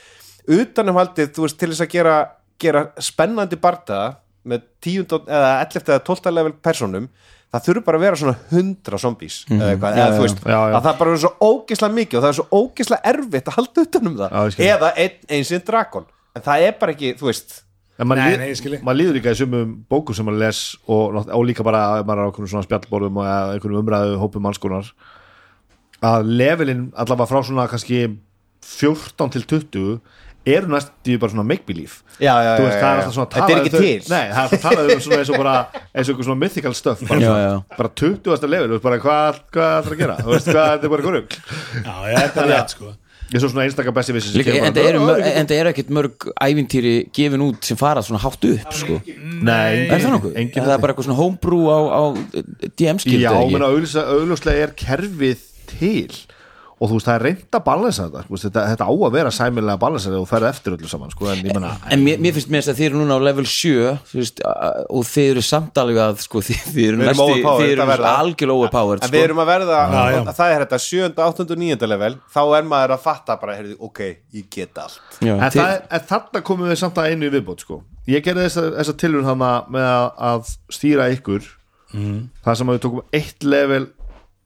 E: utanumhaldið, þú veist, til þess að gera, gera spennandi barda með 10 eða 11 eða 12 level personum, það þurfi bara að vera svona 100 zombies eða eitthvað, eða þú veist,
G: já, já.
E: að það bara er svo ógeðslega mikið og það er svo ógeðslega erfitt að halda utanum það,
G: Já, ég skil.
E: eða ein, einsinn drakon, en það er bara ekki, þú veist
G: En maður
F: Nei,
G: líð-
F: nei, ég skil.
G: maður líður líka í sumum bókur sem maður les og, nátt- og líka bara ef maður er á einhvern svona spjallborðum og eða einhverjum umræðu hópum mannskonar að levelin allavega frá svona kannski 14 til 20 eru næst í bara svona make-believe
E: Já, já,
G: Þú
E: já,
G: veist,
E: já,
G: það er
E: já.
G: alltaf svona
E: Þetta er
G: talað
E: ekki
G: um þau-
E: til.
G: Nei, það er alltaf talað um svona eins og bara eins og einhver svona mythical stuff bara,
D: Já,
G: svona,
D: já.
G: bara 20. level, þú veist bara hvað hvað það er að gera, þú veist hvað þetta er bara einhverjum
F: Já, já, þetta er rétt sko
G: eins og svona einstakar besti vissi
D: Líka, en það eru mör- en það eru ekkert mörg ævintýri gefin út sem fara svona hátt upp sko.
G: Nei,
D: er það nokkuð?
G: engin
D: það er bara eitthvað svona homebrew á, á DM-skildu
G: Já, menna augljóslega er kerfið til og þú veist, það er reynd að balansa þetta, sko, þetta þetta á að vera sæmilega balansa og ferð eftir öllu saman, sko, en ég menna
D: En mér, mér finnst mér að þið eru núna á level 7 þú veist, a- og þið eru samt alveg að sko, þið, þið eru
E: Við erum
D: næsti,
E: overpowered,
D: þið
E: það
D: eru
E: verða.
D: algjörlega overpowered sko.
E: en við erum að verða,
F: Já, já.
E: að það er þetta 7. 8. og 9. level, þá er maður að fatta bara, heyrðu, ok, ég get allt
D: Já,
G: en,
D: þið,
G: það, en þarna komum við samt að einu í viðbót sko. ég gerði þessa, þessa tilhjörn hana með að, að stýra ykkur
D: Mhm.
G: það sem að við tókum eitt level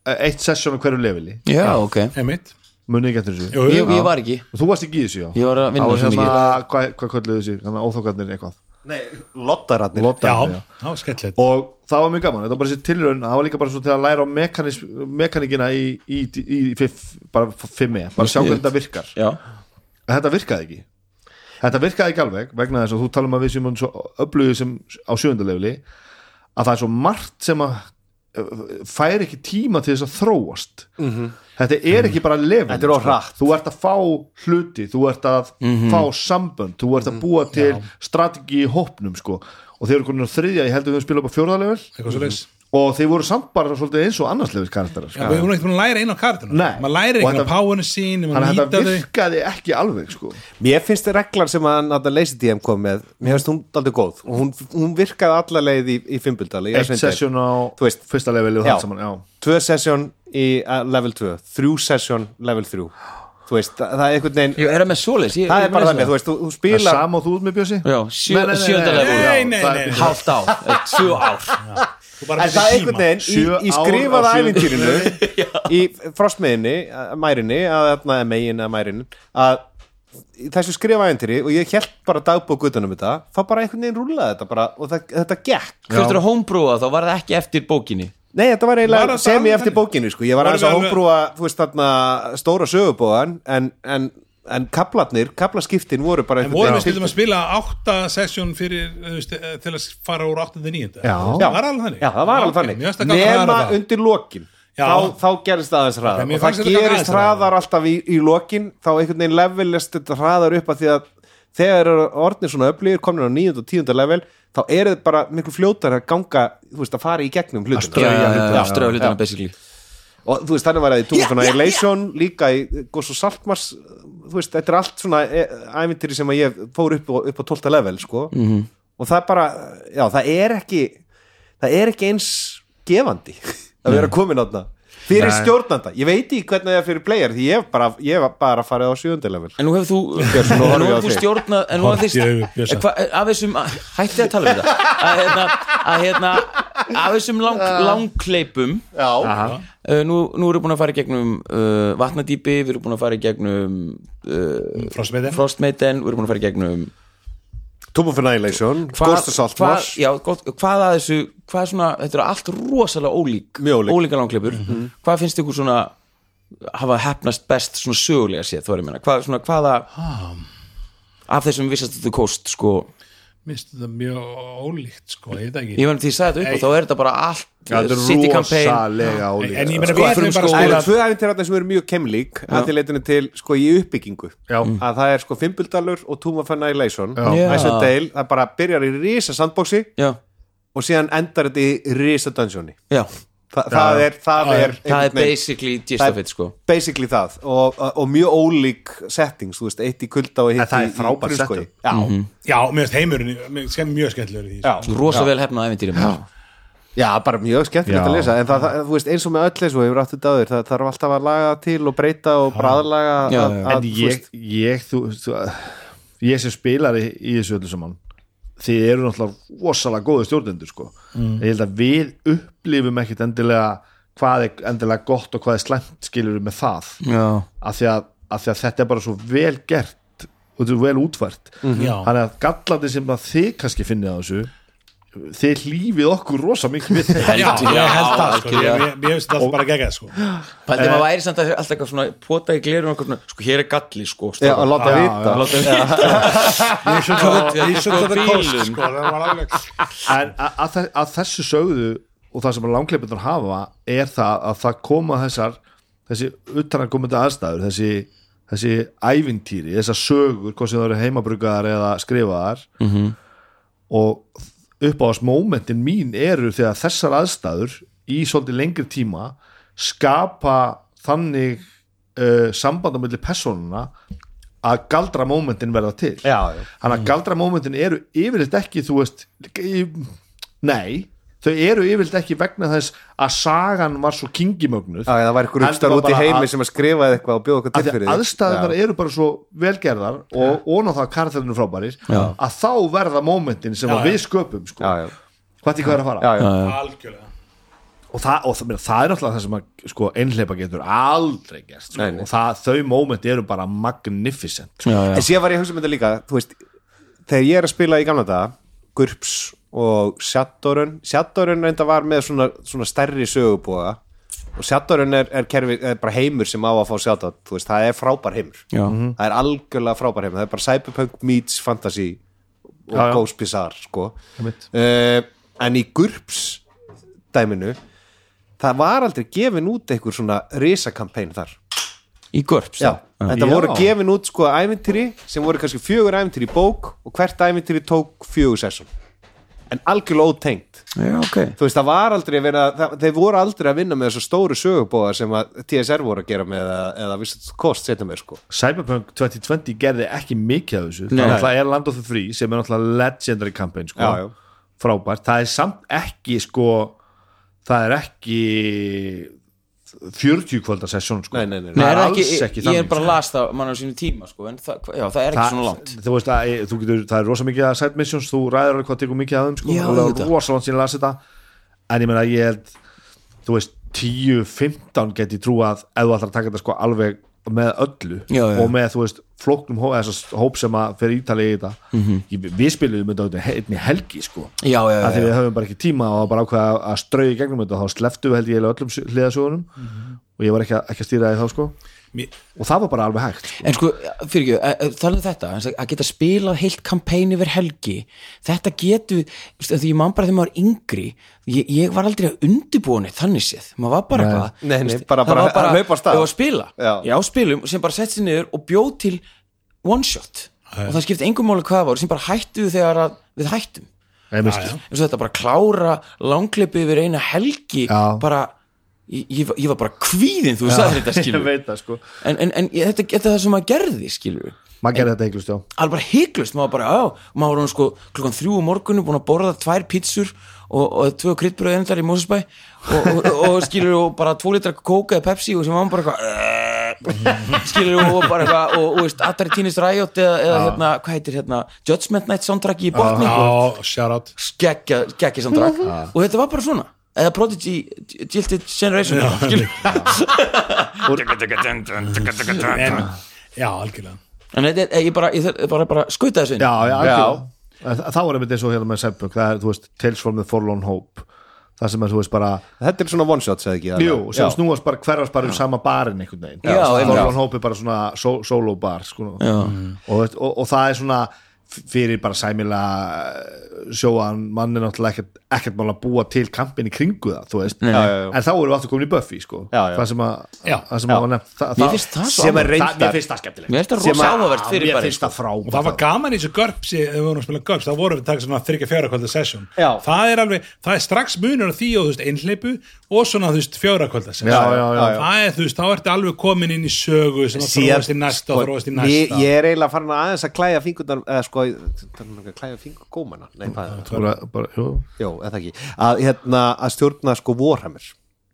G: eh, eitt session á hverju leveli
D: já, ok
F: Einmitt
G: munið ekki eftir þessu
F: Jú,
D: ég, ég var ekki,
G: og þú varst ekki í þessu já
D: ég var að
G: á
D: vinna svo
G: hérna,
D: mikið
G: hvað, hvað kölluðu þessu, þannig að óþókarnir eitthvað
E: Nei, loddararnir
F: Já,
G: Loddarnir, já.
F: já, skellilegt
G: og það var mjög gaman, þetta var bara þessi tilhjörn það var líka bara svo til að læra á mekanis, mekanikina í, í, í, í fiff, bara fimmi, bara sjá hvernig þetta virkar
D: Já,
G: En þetta virkaði ekki þetta virkaði ekki alveg vegna þess að þú talum að við séum svo öflugir sem á sjöndalefli að það er svo margt sem að uh, fær ekki tíma til þess að þróast -hmm. þetta er ekki bara level
E: Mhm. Þetta er of hratt. Mhm.
G: þú ert að fá hluti, þú ert að fá sambönd, þú ert að búa til strategi í hópnum sko og þeir eru konar á þriðja, ég heldur við að spila upp á fjórðalefel
F: Eitthvað svo leys
G: og þeir voru samt bara svolítið eins og annarsleifis karakterar sko.
F: Já, við erum ekki búin að læra einu á kartinu
G: Nei.
F: Maður læri
G: Og
F: ekki á
G: þetta-
F: páinu sín um að
G: þannig að
F: nýta
G: þetta
F: þau
G: virkaði ekki alveg sko
E: Mér finnst þið reglan sem að, að Lazy DM kom með, mér finnst hún aldrei góð og hún, hún virkaði alla leið í, í Fimbildali
G: eitt sesjón á
E: Þú veist.
G: fyrsta leveli og
E: Já.
G: það saman, já
E: Tvö sesjón í uh, level 2 Þrjú sesjón level 3 Þú veist, það, það er einhvern veginn
D: ég er að með svoleiðs ég-
E: Það
D: ég
E: er bara
D: með
E: þannig, þú veist, þú, þú
G: Það er
E: spilar
G: sama og þú út með Bjössi?
D: Já, sjö- sjönda level.
F: Nei, nei, nei, nei.
D: Hálft ár, eh, tvö ár
F: Þú bara
E: En það er
F: finnir
E: einhvern
F: tíma
E: veginn í,
G: Sjö
E: í
G: ár
E: skrifaða
G: á sjö-
E: ævintýrinu í frostmiðinni, að- mærinni að þarna er megin að mærinni að í þessu skrifa ævintýri og ég held bara dagbók utanum þetta þá bara einhvern veginn rúlaði þetta bara og það, þetta gekk
D: Hvernig er að homebrúa þá var það ekki eftir bókinni
E: Nei, þetta
F: Var
E: var eiginlega
F: þetta
E: sem ég
F: alveg
E: eftir
F: þannig?
E: bókinu sko. ég var
F: Var
E: aðeins að
F: þetta alveg-
E: hómbrúa þú veist þarna stóra sögubóðan en, en, en kaplarnir, kaplaskiptin voru bara
F: En
E: einhvern
F: vorum við
E: veginn-
F: stundum að spila átta sesjón fyrir, þú veist, eh, til að fara úr 8. til 9.
G: Já.
F: Það var alveg þannig.
E: Já, það var alveg
F: Mér finnst
E: þannig
F: það ganga
E: Nema
F: hraðar það.
E: undir lokin
F: Já.
E: þá, þá gerist það aðeins
F: Ok, mér
E: hraðar og það
F: fannst þetta ganga
E: gerist
F: aðeins hraðar.
E: hraðar alltaf í, í lokin þá einhvern veginn levelist þetta hraðar upp að því að þegar eru orðnir svona öflýr komin á 9. og 10. level þá eru þetta bara miklu fljótar að ganga þú veist að fara í gegnum hlutina
D: Afströðu hlutana basically
E: og þú veist þannig var það í Túlfana yeah, Elation líka í Goss og Saltmars þú veist þetta er allt svona e- ævintýri sem að ég fór upp, á- upp á 12. level sko.
G: Mhm.
E: -hmm. og það er bara já það er ekki það er ekki eins gefandi að vera komin átna fyrir stjórnanda, ég veit ekki hvernig það er fyrir player því ég hef bara, ég hef bara farið á 7. level
D: En nú hefur þú,
E: Björn, nú
D: en
E: horfum
D: nú
E: ég á
D: hefur þú
E: þig.
D: stjórnað En nú hefur
F: Horft í augu Bjössa.
D: þið Eh, Af þessum, að- hættið að tala um þetta Að hérna, að hérna Af þessum lang, langkleipum
E: já,
D: uh, Nú, nú erum við búin að fara í gegnum uh, Vatnadýpi, við erum búin að fara í gegnum uh,
E: Mm.
F: Frostmeiten.
D: Frostmeiten, við erum búin að fara í gegnum
E: Túlfana Elation
D: Hvað-
E: Goss og
D: hvað,
E: Saltmars
D: já, gott, hvað að þessu hvað er svona, þetta er allt rosalega ólík
E: Mjög ólík. Mhm.
D: ólíka langleipur hvað finnst ykkur svona hafa hefnast best svona sögulega séð þú var ég að meina, hvað, svona, hvaða af þessum vissast þú kost sko,
F: Mér finnst þetta mjög ólíkt, sko, ég veit það
D: ég
F: ekki.
D: meina því að ég sagði þetta upp og
F: Ei.
D: þá er þetta bara allt eh,
G: Þetta er
D: city campaign
G: rosalega
F: En ég
G: ólíkt
F: meina,
D: Sko,
F: við erum bara að
E: Það
F: spila
E: eru tvö æfintirarnar sem eru mjög kemlík að til leitinu til sko í uppbyggingu
G: Já.
E: að það er sko Fimbuldalur og Tuma Fanna í Leyson
D: Já.
E: Æsendale, það bara byrjar í risa sandboxi
D: já,
E: og síðan endar þetta í risa dungeoni
D: já,
E: Þa, það er, það er,
D: það er
E: einhvern veginn-
D: basically gist
E: Það
D: of
E: er
D: it sko
E: basically það og, og, og mjög ólík settings, þú veist, eitt í kulda og
G: En
E: hitt
G: það
E: í,
G: er frábær
E: í grunnskógi.
G: setup.
E: Já,
F: Já, mér finnst heimurinn, mér finnst hann mjög skemmtilegur í því.
E: já,
D: Svo rosa vel hefnað ævintýri maður.
E: Já, bara mjög skemmtilegt
G: Já.
E: að lesa en það, það, þú veist, eins og með öll eins og hefur áttu dáður það þarf alltaf að laga til og breyta og bræðlaga
D: Já,
E: að,
D: já.
E: að,
G: En
E: þú
G: ég,
E: veist,
G: ég, þú, þú, ég sem spilari í þessu öllu saman þið eru náttúrulega rosalega góði stjórnendur sko.
D: Mm.
G: ég held að við upplifum ekkit endilega hvað er endilega gott og hvað er slæmt skilur við með það
D: já,
G: af því að, af því að þetta er bara svo vel gert og þetta er vel útvært
F: Já.
D: Mhm.
G: þannig að gallandi sem að þið kannski finnið á þessu þið hlífið okkur rosa mikið við þeim.
F: Já,
D: Heldur-
F: ég held það, sko,
D: algjörlega.
F: ég- mér mér finnst það bara geggjað, sko
D: Pældi
E: Eh.
D: maður væri samt að alltaf eitthvað svona pota í glerun og eitthvað svona, sko hér er galli sko
E: Já, að láta
G: Já,
E: vita
G: já, láta-
F: Ég sjönd
D: Gott, við
F: það,
D: erum
F: ég sjönd
D: sko
F: það kost,
D: bílum.
F: sko Það var alveg
G: en að, að, þe- að þessu sögðu og það sem langleipendur hafa er það að það koma þessar þessi utanakomandi aðstæður þessi, þessi ævintýri þessar sögur, hvað sem það eru heimabrugaðar eða skrifaðar -hmm. og uppáðasmómentin mín eru þegar þessar aðstæður í svolítið lengri tíma skapa þannig uh, sambandamöldi persónuna að galdra mómentin verða til
E: Já, já.
G: þannig að galdra mómentin eru yfirleitt ekki þú veist í, nei, þau eru yfirleitt ekki vegna þess að sagan var svo kingimögnuð
E: Já, það var eitthvað
G: Heldur
E: uppstæður
G: bara
E: út í
G: bara
E: heimi
G: að-
E: sem að skrifaði eitthvað og bjóða
G: að
E: eitthvað til
G: því
E: fyrir
G: aðstæðunar eru bara svo velgerðar og ón á það að karakterinu frábærir
D: Já.
G: að þá verða mómentin sem að
F: já.
G: við sköpum sko.
E: Já, já,
G: hvað því hvað er að fara
E: já, já.
F: algjörlega
G: og, það, og það, meina, það er náttúrulega það sem að sko, einhleipa getur aldrei gerst sko.
E: Nei, nei.
G: og það, þau móment eru bara magnificent sko.
D: Já, já.
E: En síðan var ég að hugsa um þetta líka Þú veist, þegar ég er að spila í gamla daga Gurps og Shadowrun Shadowrun reynda var með svona, svona stærri sögubóða og Shadowrun er, er, kerfi, er bara heimur sem á að fá shoutout þú veist, það er frábær heimur
D: Já.
G: Mhm.
E: það er algjörlega frábær heimur, það er bara cyberpunk meets fantasy og
G: Já, já.
E: ghost bizarre sko.
G: Einmitt.
E: uh, en í Gurps dæminu það var aldrei gefin út einhver svona risakampæn þar
D: í görps
E: Já, þetta
G: Já.
E: voru gefin út sko ævintýri sem voru kannski fjögur ævintýri í bók og hvert ævintýri tók fjögur sessun en algjörlega ótengt
D: já ok
E: þú veist það var aldrei að vera það, þeir voru aldrei að vinna með þessu stóru sögubóða sem að TSR voru að gera með eða, eða vissið kost setja með sko
G: Cyberpunk 2020 gerði ekki mikið af þessu
D: Nei.
G: það náttúrulega er Land of the Free sem er náttúrulega legendary campaign sko.
E: Já, já.
G: frábært, það er samt ekki sko, það er ekki 40 kvölda sessjón sko.
E: Nei, nei, nei, nei.
D: Nei,
G: það
D: er
G: er
D: ekki,
G: alls ekki
D: ég er
G: þannig
D: bara
G: sko.
D: að las það mann á sínu tíma sko, en það, já, það er ekki svona langt
G: þú veist að eh, þú getur, það er rosa mikið að side missions, þú ræður alveg hvað tekur mikið að þeim sko,
D: Já,
G: og það
D: auðvitað.
G: er rosa langt síðan að lasa þetta en ég meina ég held þú veist 10-15 get ég trú að ef þú ætlar að taka þetta sko alveg með öllu
D: Já, já.
G: og með þú veist flóknum hó, þessast hóp sem að fyrir ítali í þetta ég, við spilum þetta auðvitað einni helgi sko
D: já, Mhm. já,
G: að því
D: já,
G: við
D: já.
G: höfum bara ekki tíma og bara ákveða að strauði gegnum þetta og þá sleftu við held ég eiginlega öllum hliðasögunum
D: Mhm.
G: og ég var ekki að, ekki að stýra því þá sko
F: Mér-
G: og það var bara alveg hægt sko.
D: en sko, fyrir ekki, talaðu þetta en að geta spilað heilt kampæn yfir helgi þetta getur veistu, af því ég man bara þegar maður var yngri ég, ég var aldrei að undibúa neitt þannig séð maður var bara eitthvað
E: Nei, nei,
D: veistu,
E: bara-
D: það
E: bara
D: var
E: að hlaupa af stað.
D: já, að spila,
E: Já.
D: spilum sem bara sett sér niður og bjóð til one shot og það skipti engum máli hvað það voru sem bara hættu þegar að, við hættum
G: Nei, mér-
D: eins og þetta bara klára langklippi yfir eina helgi
G: Já.
D: bara, ég, ég var- ég var bara kvíðin þú sagði þetta
G: ég
D: skilur en,
G: veit það sko
D: en, en ég- þetta, þetta er það sem maður gerði skilur
G: maður gerði þetta eiklust já
D: alveg bara hygglust, maður bara, já, maður var hann sko klukkan þrjú um morgunum búin að borða tvær pítsur og, og tvö kryddbröð endar í Mósesbæ og, og, og skilur og bara tvo litra kóka eða pepsi og sem var hann bara eitthvað eh, skilur og bara eitthvað og, og veist, Atari Teenage Riot eða, eða hérna, hvað heitir hérna Judgment Night soundtrack í botni
F: Já, shout out
D: geggja, geggja samt drakk
E: Ah.
D: og þetta var bara svona eða Prodigy Gilded Generation skilur.
F: En, Já, algjörlega
D: en þetta er, eh, ég bara, ég þarf bara, bara skauta þessu inn
G: já, já, já. það var einmitt eins og hérna með Seppuk það er, þú veist, Tales from the Forlorn Hope það sem er, þú veist, bara
E: þetta er svona one shot segði ekki
G: jú, sem
E: já.
G: snúast bara hverfast bara um sama barinn einhvern veginn,
D: Já,
G: Þú veist,
D: einmitt. Mm.
G: Forlorn Hope er bara svona so, solo bar, sko og, og, og, og það er svona f- fyrir bara sæmila sjóan mann er náttúrulega ekkert, ekkert mála að búa til kampin í kringu það, þú veist
D: Nei, nei.
E: Já, já, já.
G: en þá erum við aftur komin í Buffy, sko
E: Já, já.
G: það sem að,
F: Já.
G: það sem að var nefnt það,
D: Mér finnst það
G: sem
D: svo
G: er
D: áhugavert.
G: reyndar mér finnst það skemmtilegt
D: mér er þetta rosa áhugavert fyrir
G: mér
D: bara sko.
G: finnst það
F: og
G: frábært
F: það var gaman í þessu görpsi ef við vorum að spila görps, þá vorum við að taka svona þryggja fjóra kvölda session
E: Já.
F: það er alveg, það er strax munur á því og þú veist einhleipu og svona þú veist fjóra kvölda session
G: Já, já, já, já.
F: það er þú veist, þá ertu alveg komin inn í sögu sem að þróast um í
E: Síðan- sko,
F: næsta og þróast í
E: ég,
F: næsta
E: ég er eiginlega farin að aðeins að klæja fingurnar eða sko, það er ekki að klæja fingur gómana nei, hvað er það?
G: bara, bara, jú,
E: Jó, eða ekki að, hérna, að stjórna sko vorhamir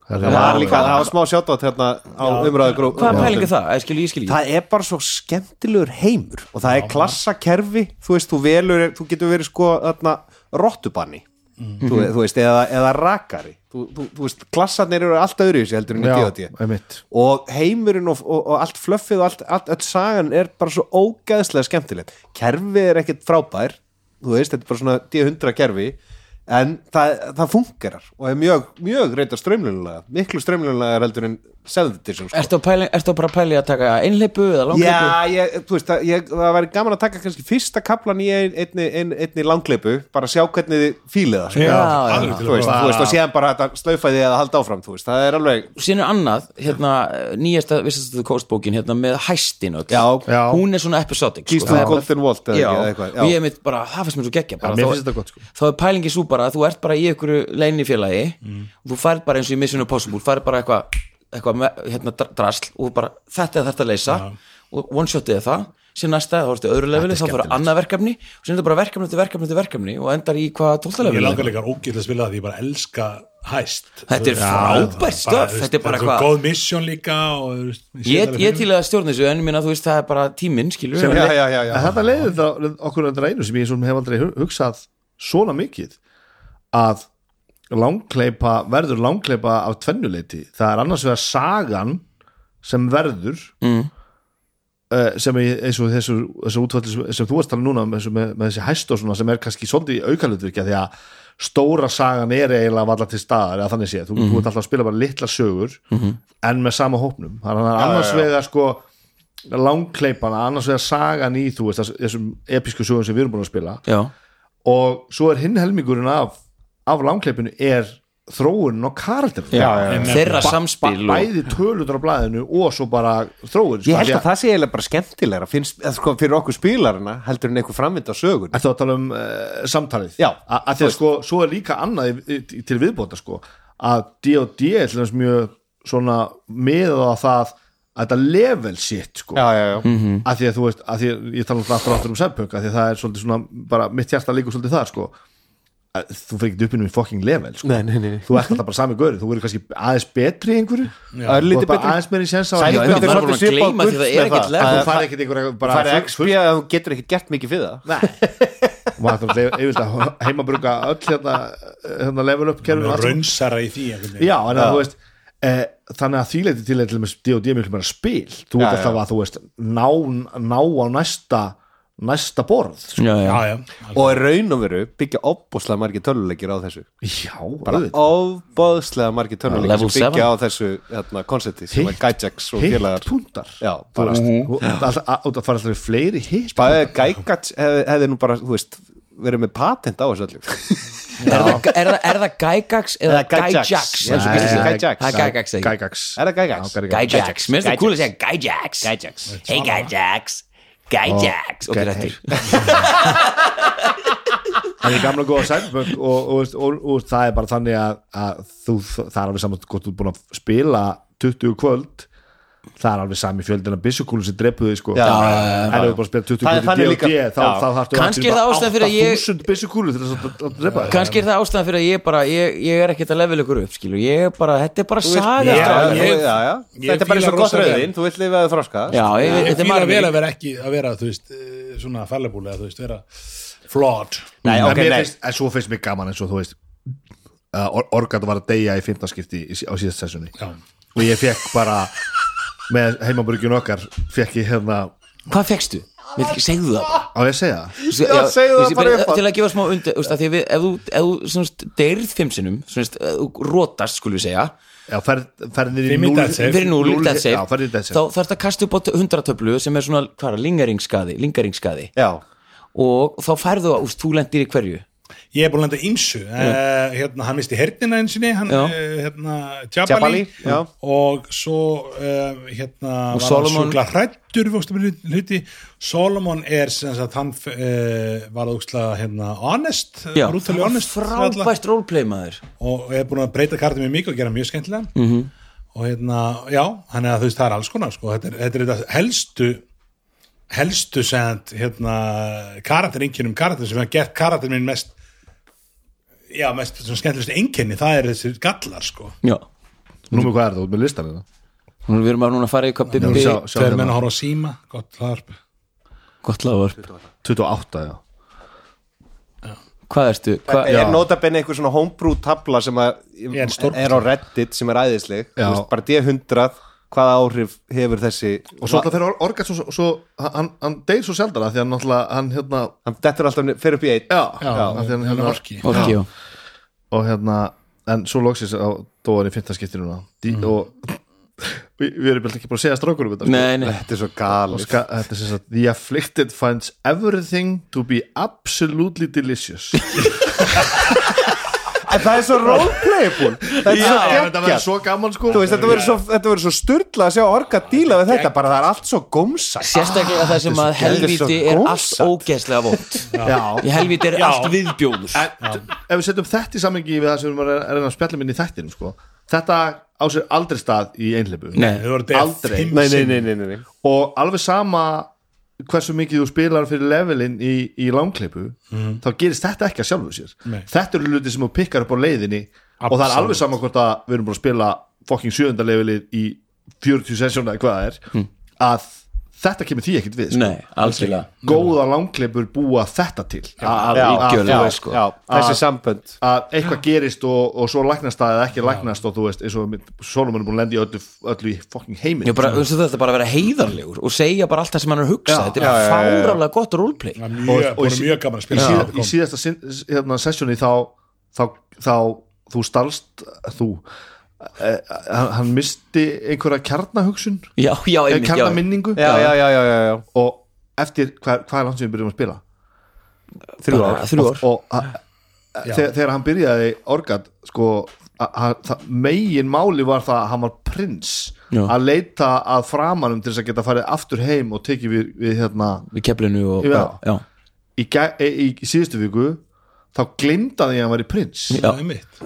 E: það var líka, það var smá sjátt hérna á umræðu grú
D: hvað pælinga það, ég skilur, ég skilur
E: það er bara svo skemmtilegur heimur og það er klassakerfi þú veist, þú velur, þú getur verið sko þarna, rottubanni
G: Mhm.
E: þú, þú veist, eða, eða rakari þú, þú, þú veist, klassarnir eru allt öðru í heldur en í
G: já,
E: D.O.D.
G: einmitt
E: og heimurinn og, og, og allt flöffið og allt, allt, allt sagan er bara svo ógæðslega skemmtilegt kerfið er ekkert frábær þú veist, þetta er bara svona D100 kerfi en það, það fungerar og er mjög, mjög reyndar strömlunulega miklu strömlunulega heldur en 7th edition sko.
D: Ertu, að pæla, ertu að bara að pæli að taka einleipu eða langleipu?
E: Já, ég, þú veist, það, ég, það væri gaman að taka kannski fyrsta kaplan í ein, einni, ein, einni langleipu, bara sjá hvernig þið fílið það, sko.
D: Já, já,
F: alveg
D: já.
F: til
E: þú,
F: að
E: veist,
F: prófa.
E: þú veist, og síðan bara þetta slaufaði eða halda áfram, þú veist, það er alveg
D: Sýnir annað, hérna, nýjasta Vissastu kóstbókin, hérna, með hæstin öll
E: já,
G: Já.
D: Hún er svona episodic
E: kýst
D: sko.
E: þú Golden Vault eða
D: Já, og
E: ekki, eða eitthvað,
D: ég
E: já,
D: er mitt bara, það finnst mér svo geggja bara,
G: mér
D: þá-
G: finnst þetta gott, sko.
D: þá er pælingi svo bara að þú ert bara í einhverju leinifélagi og þú færð bara eins og í Mission Impossible færð bara eitthvað eitthva, hérna, dr- drasl og bara þetta er þetta að leysa og one shotið er það síðan næsta, þá ertu í öðru leveli, þá fyrir annað verkefni og síðan er þetta bara verkefni til verkefni til verkefni og endar í hvað tólta
F: Ég langar
D: leveli
F: líka ógætlega að spila það því ég bara elska hæst
D: Þetta er
F: Já,
D: frábært
F: það er bara,
D: stöf,
F: þú veist,
D: þetta er bara
F: svo
D: hvað-
F: Góð misjón líka og, þú veist,
D: Ég, ég til að stjórna þessu en minna, þú veist, það er bara tíminn skilur
G: Sem
D: við
E: já, já, já, já.
G: En þetta leiðir þá okkur að reynu sem ég sem hef aldrei hu- hugsað svona mikið að langkleipa, verður langkleipa af tvennuleiti, það er annars vegar sagan sem verður mm. sem er eins og þessu, þessu útfalli sem, sem þú varst talað núna með, þessu- með, með þessi hæst og svona sem er kannski svolítið aukalutvirkja því að stóra sagan er eiginlega valla til staðar eða þannig sé, þú, þú ert alltaf að spila bara litla sögur en með sama hópnum þannig að annars vegar sko langkleipana, annars vegar sagan í þú veist, þess- þessum episku sögum sem við erum búin að spila
D: Já,
G: og svo er hinn helmingurinn af, af langkleipinu er þróunin og karakterin
E: já, já.
D: þeirra samspil og-
G: bæði tölutur á blæðinu og svo bara sko, þróun
E: Ég held að það sé eiginlega bara skemmtilegra finnst, eða sko, fyrir okkur spílarina heldur en einhver framvind á sögun
G: Ertu að tala um uh, samtalið?
E: Já.
G: A að því að sko, svo er líka annað í, í, til viðbóta sko, að D&D er til dæmis mjög svona miða á það að þetta level shit sko,
E: já, já, já,
G: að því að þú veist að því að ég tala um aftur og aftur um sæmpunk að því að það er svolítið svona, bara mitt hjarta líka svolítið þar sko að þú fyrir ekki uppinum í fucking level sko.
E: Nei, nei, nei, nei.
G: þú ert alltaf bara sami gauri, þú verður kannski aðeins betri í einhverju, þú
E: örlítið
G: ert bara
E: betri
G: aðeins meiri séns á
E: Sæl-
G: að-
D: Já,
E: Þetta
D: einmitt,
E: er
D: maður er
E: svolítið
D: búin að gleyma því það er
E: svipað gull með
D: ekkert
E: það.
D: level
G: þú farið ekkert einhverja bara
E: farið XP að þú getur ekkert gert mikið fyrir það
G: og maður þarf yfirlega að heimabruka öll hérna, hérna level up kerfinu og allt saman.
F: Rönnsara í því einhvern veginn.
G: já, en að þú veist e, þannig að þýleiti til er til dæmis D&D miklu meira spil, þú veist
E: Já, já.
G: alltaf að þú veist ná, ná á næsta næsta borð sko.
D: Já, já,
F: Já, já,
E: og í raun og veru byggja óbúslega margir töluleikir á þessu
G: já,
E: bara
G: auðvitað.
E: óbúslega margir töluleikir
D: Level
E: sem byggja á
D: seven.
E: þessu hérna, konsepti sem
G: Hitt-
E: að Gajax og
G: hitt
E: félagar
G: púntar
E: Já,
G: bara þú- að- að- að- það fara alltaf í fleiri hitt
E: bara ef Gajax hefði hefði nú bara, þú veist verið með patent á þessu öllu
D: Er það, er, það, er það Gygax eða
E: Eða Gyjax.
D: Gyjax?
E: Já, svo
D: Nei,
E: gæjax.
D: Gyjax. Það er Gygax eða ekki?
G: Gægax
E: Er það Gyjax?
D: Gyjax, mér finnst það cool að segja Gyjax Gyjax Hey Gyjax Gyjax Ok,
G: Gy-
D: rættur
G: það er gamla góða sæmböng og, og, og, og, og það er bara þannig að, að þú, það er alveg saman hvort þú er búin að spila 20 kvöld það er alveg sami fjöldin að byssukúlum sem drepuðu þig sko
E: Já, já, já,
G: en ef þú bara spila 20
E: Það
G: kvöld
E: er
G: í
E: þannig
G: D&D
E: líka-
G: þá,
E: já.
G: þá þarftu
D: Kannski er það ástæðan fyrir að ég-
G: 8000 byssukúlum til þess að- að drepa þig
D: Kannski er það ástæðan fyrir að ég bara ég, ég er ekkert að level ykkur upp, skilur Ég er bara, þetta er bara
E: Já,
D: saga sko.
F: Já,
E: já,
F: ég-
E: já, já.
F: ég
E: þetta er bara eins
F: fíla
E: og gott
F: rosa
E: rauðin þú vilt lifað að þroska
D: Já, ég, þetta
F: Ég
D: er
F: fíla
D: maður
F: vel
D: mér
F: að vera ekki að vera, þú veist, eh, svona fallible eða þú veist, vera flawed.
E: Nei,
G: en,
E: ok,
G: mér
E: nei.
G: finnst, en svo finnst mér gaman eins og þú veist uh, or, Orgat var að deyja í 15 skipti í, á síðast sessunni
F: Já.
G: og ég fekk bara með heimaburgjun okkar fekk ég hérna
F: Mm.
D: Hvað fekkstu? Mér segðu það bara
G: á ég að segja það
D: Sko,
E: Já, segðu það
D: ég- ég-
E: bara upp á-
D: Til að gefa smá undir, þú veist, af því að við- ef þú, ef þú semst, deyrð fimm sinnum, semst, ef þú rótast, skulum við segja
G: Já, ferð, ferðir í
F: Fimm í
G: núll
F: death save.
D: fyrir núl,
G: núll-
D: death
G: Já,
D: save
G: ferðir í death
D: þá
G: save
D: þarf að kasta upp á hundratöflu sem er svona, hvað er, lingaringsskaði lingaringsskaði
E: já,
D: og þá færðu að, úst, þú lendir í hverju
F: Ég er búin að lenda ímsu. Uh, hérna, hann misti hernina eins og niður, hann,
D: Já.
F: uh, hérna, Jabali.
E: Jabali, já.
F: Og svo, uh, hérna,
D: Og
F: var
D: Solomon-
F: hann sjúkla hrættur, fórstu með hluti. Solomon er, sem sagt, hann uh, var úkslega, hérna, honest, brutally honest. við alla.
D: frábært roleplay maður
F: og er búin að breyta kartum mjög mikið og gera mjög skemmtilega -hmm. og hérna, já, hann er að þú veist það er alls konar sko, þetta er þetta, er þetta helstu helstu send hérna, karaterinkjunum karater sem hafa gert karater minn mest já, mest svona skemmtilegstu einkenni, það er þessir gallar sko
D: já
G: Númer hvað er það út með listan hérna? þetta?
D: Nú við erum að núna að fara í hvað Bibbi
G: Sjá, sjá
F: tveir menn að
G: hérna,
F: horfa á síma, gott hlarp
D: gott lagvarp
G: 28 já.
D: hvað ertu hvað,
E: er notabenni einhver svona homebrew tabla sem að,
F: Er stórt.
E: er á Reddit sem er æðisleg
G: Já.
E: Þú veist, bara D100 hvaða áhrif hefur þessi
G: Og svo alltaf fyrir Orgat svo, svo hann, hann deyr svo sjaldara því að hann náttúrulega hann hérna
E: hann dettur alltaf ni- fer upp í eitt
G: Já,
F: já,
G: af því hann
F: hann er
G: hérna
F: orki
D: orki já.
G: og hérna en svo loksins á dóðan í fintaskiptir núna Dí,
D: Mm.
G: og við, við erum bara ekki búin að segja strákur um þetta sko.
D: Nei, nei,
E: Þetta er svo
G: Og
E: galið
G: ska, þetta er sem sagt The afflicted finds everything to be absolutely delicious
E: En það er svo roleplayable Þetta er svo
G: Þetta verður
E: geggjað
G: svo gaman sko
E: Þú veist, þetta verður svo, þetta verður svo sturla að sjá orga díla við þetta, bara það er allt svo gómsa
D: sérstaklega það sem að
E: þetta er svo
D: helvíti er allt
E: gómsætt.
D: ógeðslega vond
E: Já,
D: Í helvíti er
F: Já.
D: allt viðbjóður
G: Ef við setjum þetta í samengi við það sem við erum að reyna að spjalla minni í þættinum sko Þetta á sér aldrei stað í einhleipu
D: Nei,
F: Þau voru deyja
G: Aldrei.
F: fimm
E: nei, nei,
F: sinnum.
E: nei, nei, nei, nei.
G: og alveg sama hversu mikið þú spilar fyrir levelin í, í langkleipu þá gerist þetta ekki að sjálfu sér
F: Nei.
G: þetta eru hluti sem þú pikkar upp á leiðinni og það er alveg sama hvort að við erum búin að spila fokking sjöunda levelið í 40 sessjóna eða hvað það er að þetta kemur því ekkit við sko.
D: Nei, alls ekki
G: góða langkleipur búa þetta til að, að,
D: algjörlega,
G: að,
E: Já,
D: sko.
E: já, þessi sambönd
G: að eitthvað gerist og, og svo læknast það eða ekki læknast og þú veist, eins og Solomon er búin að lenda í öllu, öllu í fokking heiminn
D: Ég bara, þú veist, þetta er bara að vera heiðarlegur og segja bara allt það sem hann er að hugsa þetta er bara fáralega gott roleplay
F: Það er mjög,
G: og í
F: búin
G: sí-
F: mjög gaman að
G: í,
F: spila
G: síð,
F: þetta
G: í
F: kom.
G: síðasta sin- hérna, sessjóni þá, þá, þá þú stalst þú eh, hann hann misti einhverja kjarnahugsun
D: Já, já,
G: eh,
D: einmitt, já,
G: kjarnaminningu
E: Já, já, já, já, já, já.
G: og eftir hvað, hvað er langt sem við byrjum að spila
D: þrjú ár, þrjú ár.
G: og a, þegar, þegar hann byrjaði orgat sko a, a, það, megin máli var það að hann var prins
D: Já.
G: að leita að framanum til þess að geta farið aftur heim og tekið við, við hérna,
D: við keflinu og
G: Já.
D: já,
G: í, gæ, í, í síðustu viku þá glimta því að hann var í prins
D: já,
F: Það er mitt.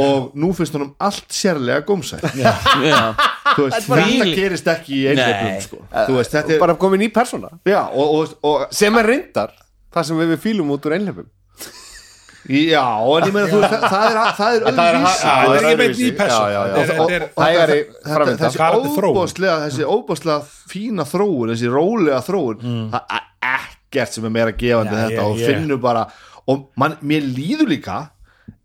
G: og nú finnst honum allt sérlega gómsætt
D: já.
G: Þú veist,
D: bara-
G: þetta gerist ekki í einhverjum
D: Nei.
G: sko. Þú veist, þetta er
E: Bara komið ný persóna
G: já, og, og, og,
E: sem er reyndar það sem við fýlum út úr einhleipum
G: já, en ég meina þú veist, það- það er, það er öðruvísi
F: já, það er ekki beint ný persóna.
E: persón
F: Þetta er-
E: hægari
G: Þetta-
E: framönda
G: þessi
F: Hvað er þetta þróun?
G: óbóðslega þessi óbóðslega fína þróun þessi rólega þróun það er ekkert sem er meira gefandi en
F: Já,
G: þetta
F: ég-
G: og
F: ég-
G: finnur bara og man, mér líður líka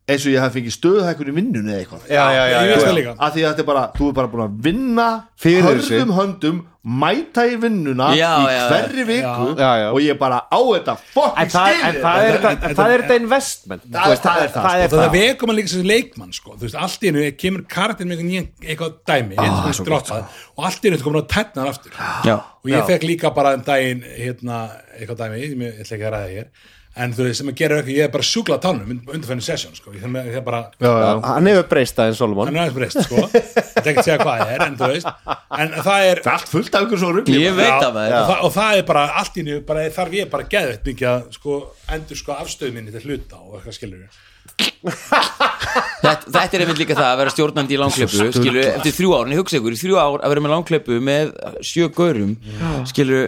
G: eins og ég hef fengið stöðhækun í vinnunni eða eitthvað
E: já, já, já,
F: Ég
E: já,
F: veist það
E: Sko, já.
F: líka.
G: að því að þetta er bara, þú er bara búin að vinna
E: Fyrir
G: hörðum
E: þessu.
G: höndum, mæta í vinnuna
D: Já,
G: í
D: já,
G: hverri viku
E: Já, já.
G: og ég er bara á þetta
E: En
G: fucking
E: það, en
G: skilið
E: það er
F: Þetta-
E: þetta- það er þetta investment
G: Það-
E: Þú veist,
G: það er það,
E: það sko. er
F: Það
E: það
F: vekum hann líka sem leikmann sko. Þú veist, allt í hennu kemur kartin með einhvern nýjan- eitthvað dæmi ah,
G: svo gott,
F: drottað, og allt í hennu komur að tætna hann aftur
D: já.
F: og ég fekk líka bara um daginn hérna, eitthvað dæmi, ég ég ætla ekki að ræða hér en þú veist, sem að gera eitthvað, ég er bara sjúkla tánum undanfennu sesjón, sko, ég þannig að ég er bara
G: Já, já.
E: hann hefur breyst aðeins Solomon
F: hann er aðeins breyst, sko þetta er ekki að segja hvað það er, en þú veist en það er
G: Það er allt fullt af ykkur svo rugli
D: Ég veit það, maður.
F: og, það, og það er bara, allt í nýju, bara þarf ég bara geðveitt mikið að, sko, endur sko afstöð minni til hluta og eitthvað skilur
D: Þetta, þetta er einmitt líka það að vera stjórnandi í langkleipu skilu, eftir þrjú ár, en ég hugsa ykkur, í þrjú ár að vera með langkleipu með sjö gaurum skilu,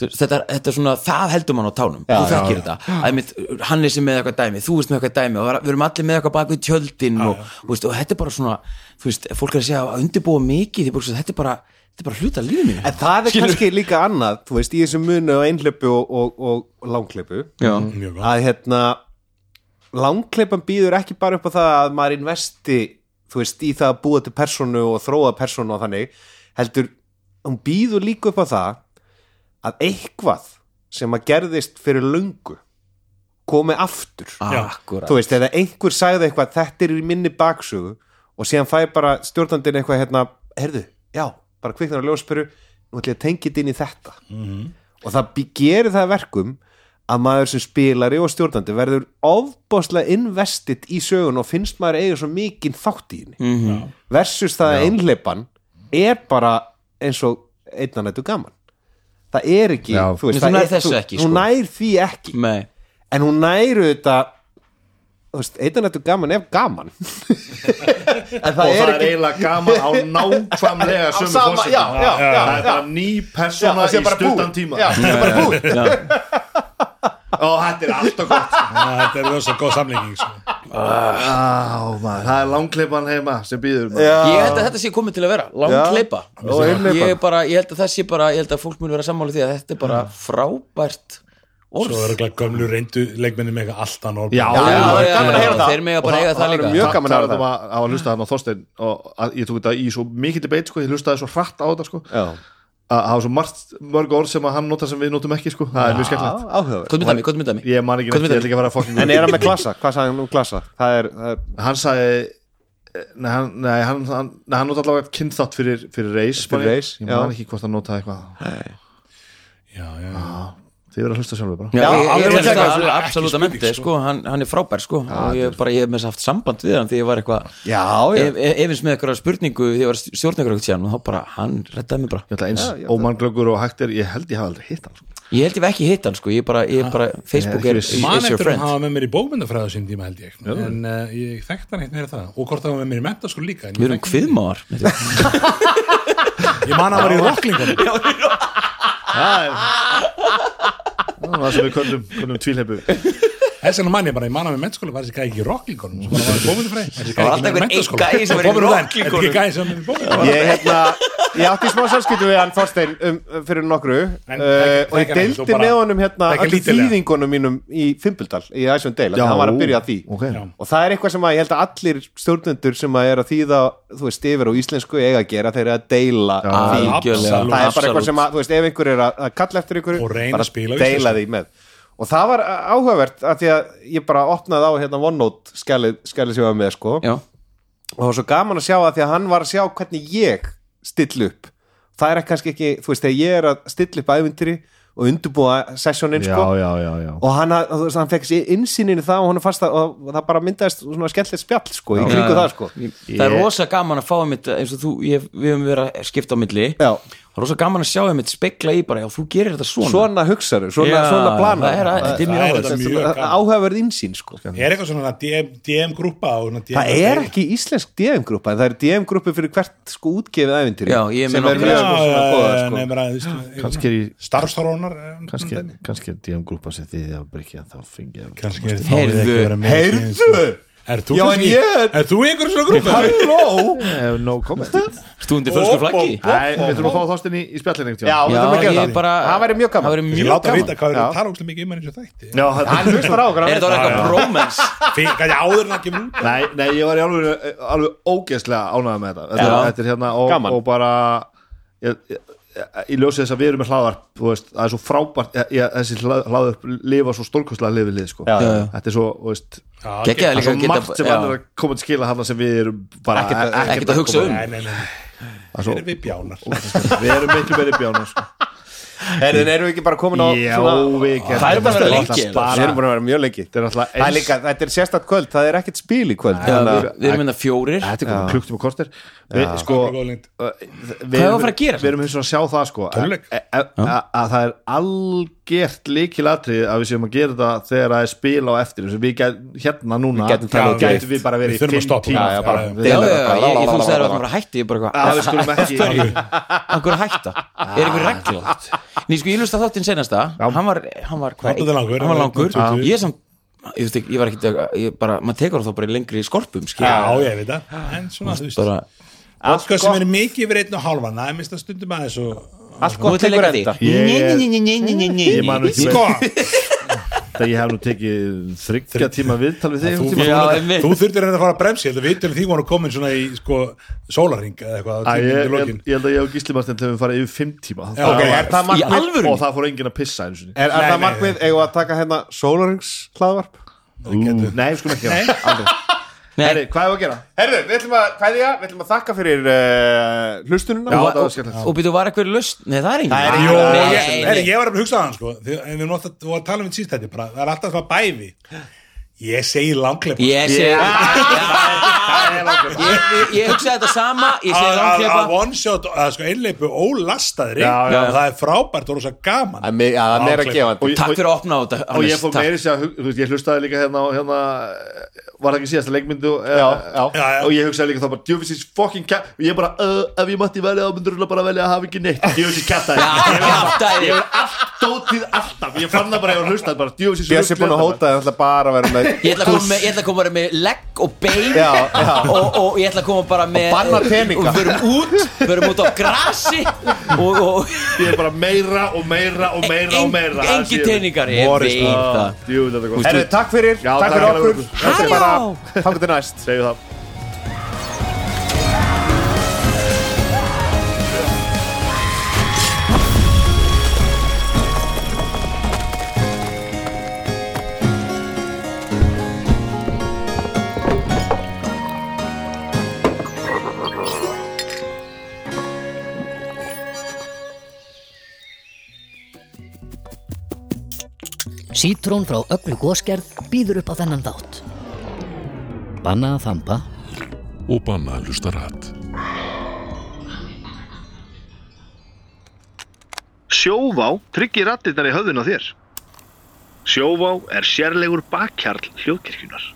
D: þetta, er- þetta er svona það heldur mann á tánum, þú þekkir þetta að einmitt, hann er sem með eitthvað dæmi, þú veist með eitthvað dæmi og var- við erum allir með eitthvað bak við tjöldin og, og, veist, og þetta er bara svona þú veist, fólk er að segja að undirbúa mikið ég bara, hugsa, þetta er bara, þetta er bara hluta lífið mínu
E: en það er kannski líka annað þú veist, í þessum munu á einhleipu og, og, og langleipu
D: Já,
F: mjög gott
E: að hérna langleipan býður ekki bara upp á það að maður investi þú veist, í það að búa til personu og þróa personu og þannig heldur, hún býður líka upp á það að eitthvað sem að gerðist fyrir löngu komi aftur
D: akkurat
E: þú veist, eða einhver sagði eitthvað þetta er í minni baksögu og síðan fæ bara stjórnandinn eitthvað hérna herðu, já, bara kviknar á ljósperu nú ætla ég að tengja þetta inn í þetta og það bý- gerir það að verkum að maður sem spilari og stjórnandi verður ofbáslega investið í sögun og finnst maður eiga svo mikinn þátt í henni
D: Mhm.
E: -hmm. versus það að einleipan er bara eins og einnan þetta gaman það er ekki,
G: Já.
E: þú veist,
D: Þú
E: það
D: nærð
E: er,
D: þessu ekki, sko.
E: hún nær því ekki
D: Nei,
E: en hún næru þetta þú veist, eitthvað nættu gaman ef gaman
G: og
E: en það
G: það
E: er
G: er
E: ekki
G: eiginlega gaman á nákvæmlega
E: Á
G: sömu
E: sama-
G: fósitum
E: já, já, já,
G: það er
E: já.
G: bara ný persóna
E: Já, það sé
G: í
E: bara
G: stuttan
E: búið.
G: tíma
E: Já, það er bara búið
G: og þetta er alltaf gott sko.
F: Já, þetta er rosa góð samlíking sko.
G: Á, maður, það er langkleipan heima sem býður maður.
D: ég held að þetta sé komið til að vera langkleipa
E: og einhleypa.
D: ég, er bara, ég held að það sé bara, ég held að fólk mun vera sammála því að þetta er bara frábært orð
F: svo er ekki gömlu reyndu leikmenni með eitthvað allt annað orð.
G: Já,
E: já,
D: já,
E: það
D: já,
E: er gaman að
D: já,
E: heyra það.
D: þeir mega bara
E: Og
D: eiga það
E: verður
D: líka.
E: mjög
G: Takk
E: gaman að
G: fyrir
E: heyra
G: að
E: það
G: það að hlusta hann á Þorstein og að, ég tók þetta í svo mikil debate sko, ég hlustaði svo hratt á þetta sko,
E: Já.
G: að hafa svo margt mörg orð sem að hann nota sem við notum ekki sko, það er mjög skemmtilegt
E: áhugaverð
D: hvað myndaði mig, hvað myndaði mig
G: ég man ekki
D: Hvað
G: neitt, ég
D: myndir-
G: ætla ekki að fara að fokkin
E: En er hann með klassa? Hvað sagði hann um klassa? Það er, það er
G: hann sagði nei, hann, nei, hann, hann, nei, hann nota allavega kynþátt fyrir, fyrir reis
E: Fyrir reis,
G: ég
E: já.
G: man ekki hvort hann notaði eitthvað
F: já, já,
G: þið verða að hlusta sjálfur bara
D: Já, ég, ég,
F: alveg
D: ég,
F: að
D: ég,
F: taka þessu,
D: alveg
F: ekki
D: absolutt að
F: spurning,
D: menti
F: sko.
D: sko, hann, hann er frábær sko og ég bara, ég hef með þess haft samband við hann því ég var eitthvað,
E: Já, já
D: ef- ef- efins með eitthvað spurningu því ég var stjórn eitthvað síðan og þá bara, hann rettaði mig bara
G: ég ætla eins
E: já, það-
G: ómanglöggur og hægt er ég held ég hafa aldrei hitt hann sko.
D: ég held ég hef ekki hitt hann sko, ég bara, ég bara Facebook
G: Ég er
D: er,
G: ekki viss.
D: is
F: Man
D: your
F: eftir að
D: friend
F: hafa með mér í bókmyndafræðu sín tíma held ég en uh, ég þekkt hann eitt meira það og hvort það var með mér í mentaskóla líka en ég
D: við erum
F: þekkti hann
D: kviðmáðar
F: ekki. Ég man að hann var í rocklingunum
G: það er það var það sem við köllum, köllum tvílheipu
F: Þess vegna man ég bara, ég man að með mentaskóla var þessi gæði ekki í rocklingunum sem bara var í bókmyndafræði var þessi
D: Það var
F: gæði ekki
D: alltaf
F: með
D: einhver
F: mentaskóla
D: einn gæi sem var í
F: Komum við það,
D: rocklingunum.
F: þetta er ekki gæði sem var með bókmyndafræði
E: Ég, hérna, ég átti smá samskiptum við hann Þorstein um, um, fyrir nokkru uh,
F: En þekkir-
E: og ég
F: þekkir hann, þú
E: deildi
F: bara-
E: með honum hérna
F: þekkir
E: allir
F: lítillega.
E: þýðingunum mínum í Fimbildal í þessum deil,
G: Já,
E: þannig hann var að byrja að því
G: ok. Já.
E: og það er eitthvað sem að ég held að allir stjórnendur sem að er að þýða þú veist, yfir á íslensku eiga að gera þeir eru að deila
G: Já,
E: því
D: algjörlega,
E: það er bara eitthvað
D: absolutt.
E: sem að, þú veist, ef einhver er að, að kalla eftir ykkur,
F: Og reyna
E: bara
F: að spila á
E: deila
F: íslensku.
E: því með og það var uh, áhugavert að því að ég bara opnaði á hérna OneNote skjalið, skjalið sem ég var með sko
D: já,
E: og það var svo gaman að sjá að því að hann var að sjá hvernig ég still upp það er kannski ekki, þú veist, þegar ég er að still upp ævindri og undurbúa sessjónin
G: já,
E: sko,
G: já, já, já
E: og hann, að- þú veist, hann fekk sér innsýnin í það og hann fannst að og það bara myndaðist svona skemmtilegt spjall sko, í kringu það sko
D: það er rosa gaman að fá einmitt eh, eins og þú, ég, við höfum verið að skipta á milli
E: Já.
D: það er rosa gaman að sjá einmitt spekla í bara, já, þú gerir þetta svona
E: svona hugsaður, svona,
D: Já,
E: svona plana
D: það er að- þetta er mjög
F: Það er
D: áhugavert.
F: þetta mjög gaman.
E: áhugaverð innsýn sko
F: Er eitthvað svona DM, DM grúpa og svona DM
E: það er ekki íslensk DM-grúpa en það er DM-grúpa fyrir hvert sko útgefið ævindri
D: Já, ég er með
E: sem er
D: nokkra.
F: Já,
E: mjög sko, svona góða
F: já,
E: sko.
F: já,
G: kannski er í-
F: starfsþróunar eh,
G: kannski, kannski er DM-grúpa sem þið að breyka þá fengið að-
F: kannski er
D: Heyrðu,
E: heyrðu
F: Er þú
E: Já, en
F: kannski,
E: ég-
F: er þú í einhverjum svona grúpa?
E: halló
G: Eh, no comment
D: stúndi fölsku flaggi
G: Nei, við þurfum að fá þástinn í, í spjallin einhvern tímann.
E: Já, við
D: já,
E: þurfum að gera
D: ég
E: það
D: bara
E: Það væri mjög
D: það
E: gaman
D: væri
F: Ég
D: mjög
F: láta
D: gaman
F: vita hvað er
E: Já.
F: að tala óslega mikið um hann eins og þætti
G: Já, það-
E: Hann hlustar á okkur hann
D: er þetta
E: veit
D: orðið eitthvað bromance
F: Fyrir, kannski áður en það kemur út
G: Nei, nei, ég var í alveg, alveg ógeðslega ánægð með þetta Þetta,
D: Já.
G: þetta er hérna og,
E: Gaman.
G: og bara ég, ég, ég ljósi þess að við erum með hlaðarp þú veist, það er svo frábært ég, ég, þessi hlað- hlaðarp lifa svo stórkostlega lifið lið sko.
E: Já, já,
D: já.
G: þetta er svo, þú veist
F: Já,
D: Gekkjaði
G: það
D: líka
G: er
D: að
G: svo margt sem hann
D: já.
G: er að koma til skila hann sem við erum bara
D: Ekkert að- ekkert að hugsa
G: koma-
D: um.
F: Nei, nei, nei, nei,
G: Það er
F: það er
G: svo-
F: við bjánar
G: Sko- Við erum miklu meiri bjána sko.
E: En erum við ekki bara komin á
G: Já, við getum
D: Það er bara að vera
G: alltaf
D: lengi,
G: bara-
E: Við erum búin að vera mjög lengi
G: Þetta er alltaf
E: Það er
G: eins
E: líka, þetta er sérstætt kvöld, það er ekkert spil í kvöld
D: Já,
E: þannig
D: við,
E: að-
D: við erum enda fjórir
G: Þetta er komið klukkt um að kortir Við, sko,
F: Bara góð lengd.
G: uh, við,
D: Hvað er að fara að gera?
G: Við erum hins vegar að sjá það sko, að,
F: Tónleik.
G: að, að, að það er algjört líkilatrið að við séum að gera þetta þegar það er spil á eftir eins og við gæt, hérna núna
E: Við gætum talað um
G: gætum
F: hitt.
G: við bara
F: Við
G: verið
F: þurfum að stoppa.
E: Já, já, bara-
D: Já, já, já, ég,
E: Bara-
D: ég fannst að það er að bara hætti ég bara
G: að við
D: eitthvað,
G: skulum ekki
D: af hverju hætta er einhver regla Ný, sko, ég hlusta þáttinn senasta hann var, hann var, hvað,
F: Hann var langur.
D: hann var langur
F: Já.
D: ég er samt, ég veist ekki, ég var ekki ég bara, maður tekur þá bara í lengri skorpum skil.
F: Já, ég veit það En svona, þú veist
D: bara,
F: Alltaf
E: Sko-
F: sem er mikið yfir einn og hálfan Það er minnst að stundum aðeins og
E: Allt
D: nú
E: gott
D: er til
E: tekur
D: ekki
E: enda
D: því Ný, ný, ný, ný, ný, ný,
G: Ég man
D: ný.
G: ekki
F: Sko,
G: Þegar ég hef nú tekið þryggja tíma viðtal við þig
F: þú,
G: einhvern tímann.
D: Já,
F: þú,
D: einmitt.
F: þú þurftir hérna að fara að bremsi Þetta við til því voru komin svona í sko, sólarring eða eitthvað á
G: Æ,
F: tíminn
G: Ég
F: undir
G: ég-
F: lokin.
G: ég held að ég og Gísli Martin þegar við farið yfir fimm tíma
F: Já, ok,
E: Er það
D: í
E: markmið,
D: alvöru
G: og það fór enginn að pissa eins og
E: er, er
F: Nei,
E: það
F: nei,
E: markmið eigum við að taka hérna Sólarings hlaðvarp?
G: niður. Nei, við skulum ekki gera það. Aldrei. Herri, Hvað er að gera?
E: Herru, við ætlum að, hvað ég, við ætlum að þakka fyrir uh, hlustununa
G: Já,
E: Og-
G: það var skemmtilegt
D: og býtu, var eitthvað löst nei, það er engin
E: er engin-
F: Jó,
D: Nei,
F: ég,
D: nei,
F: herri,
D: nei.
F: ég var að hugsa hann sko, því- en við erum alltaf að tala um þetta síst þetta bara, það er alltaf svona bæði ég segi langklepp
D: ég sé Ég- ég- ég hugsaði þetta sama ég segi langklepa
F: að one shot, að sko einleipu ólastaðri
G: Já,
D: já.
F: það er frábært og rosa gaman
E: Það er mi- já, það er meira
F: Áklippa.
E: gefandi
D: takk fyrir að opna á þetta
G: og
D: Hannes,
G: ég fór
D: takk.
G: meiri sér að hug- þú veist, ég hlustaði líka hérna, á- hérna eh, var það ekki síðasta leikmyndu eh,
E: Já, já.
F: Já, já.
G: og ég hugsaði líka þá bara djöfisins fokkin kæft og ég bara uh, ef ég mætti velja þá myndur þú bara velja að hafa ekki neitt djöfisins kæft að
D: Já, kjaftaði.
G: ég var allt dótið alltaf ég fann það bara ég var hlustað bara djöfisins
E: Bjössi er búin að hóta, ég ætla bara að vera með
D: Ég ætla að koma, með, ég ætla að koma bara með legg og bein
E: Já, já.
D: Og, og ég ætla að koma bara með
E: Og banna teninga.
D: Og förum út, förum út á grasi Og, og
G: ég er bara meira og meira og meira og meira
D: engin teningar Ég veit það
G: djöfisins þetta er gott
E: Herru, takk fyrir,
G: Já,
E: takk
G: takk
E: fyrir
G: alveg
E: okkur
G: fyrir okkur.
E: Þetta er bara,
D: Halló.
E: takk til næst
G: segju það
B: Sítrón frá öllu góskerð býður upp á þennan þátt. Banna að þamba
C: og banna að hlusta rætt.
G: Sjóvá tryggir rattirnar í höfðun á þér. Sjóvá er sérlegur bakkjarl hljóðkirkjunar.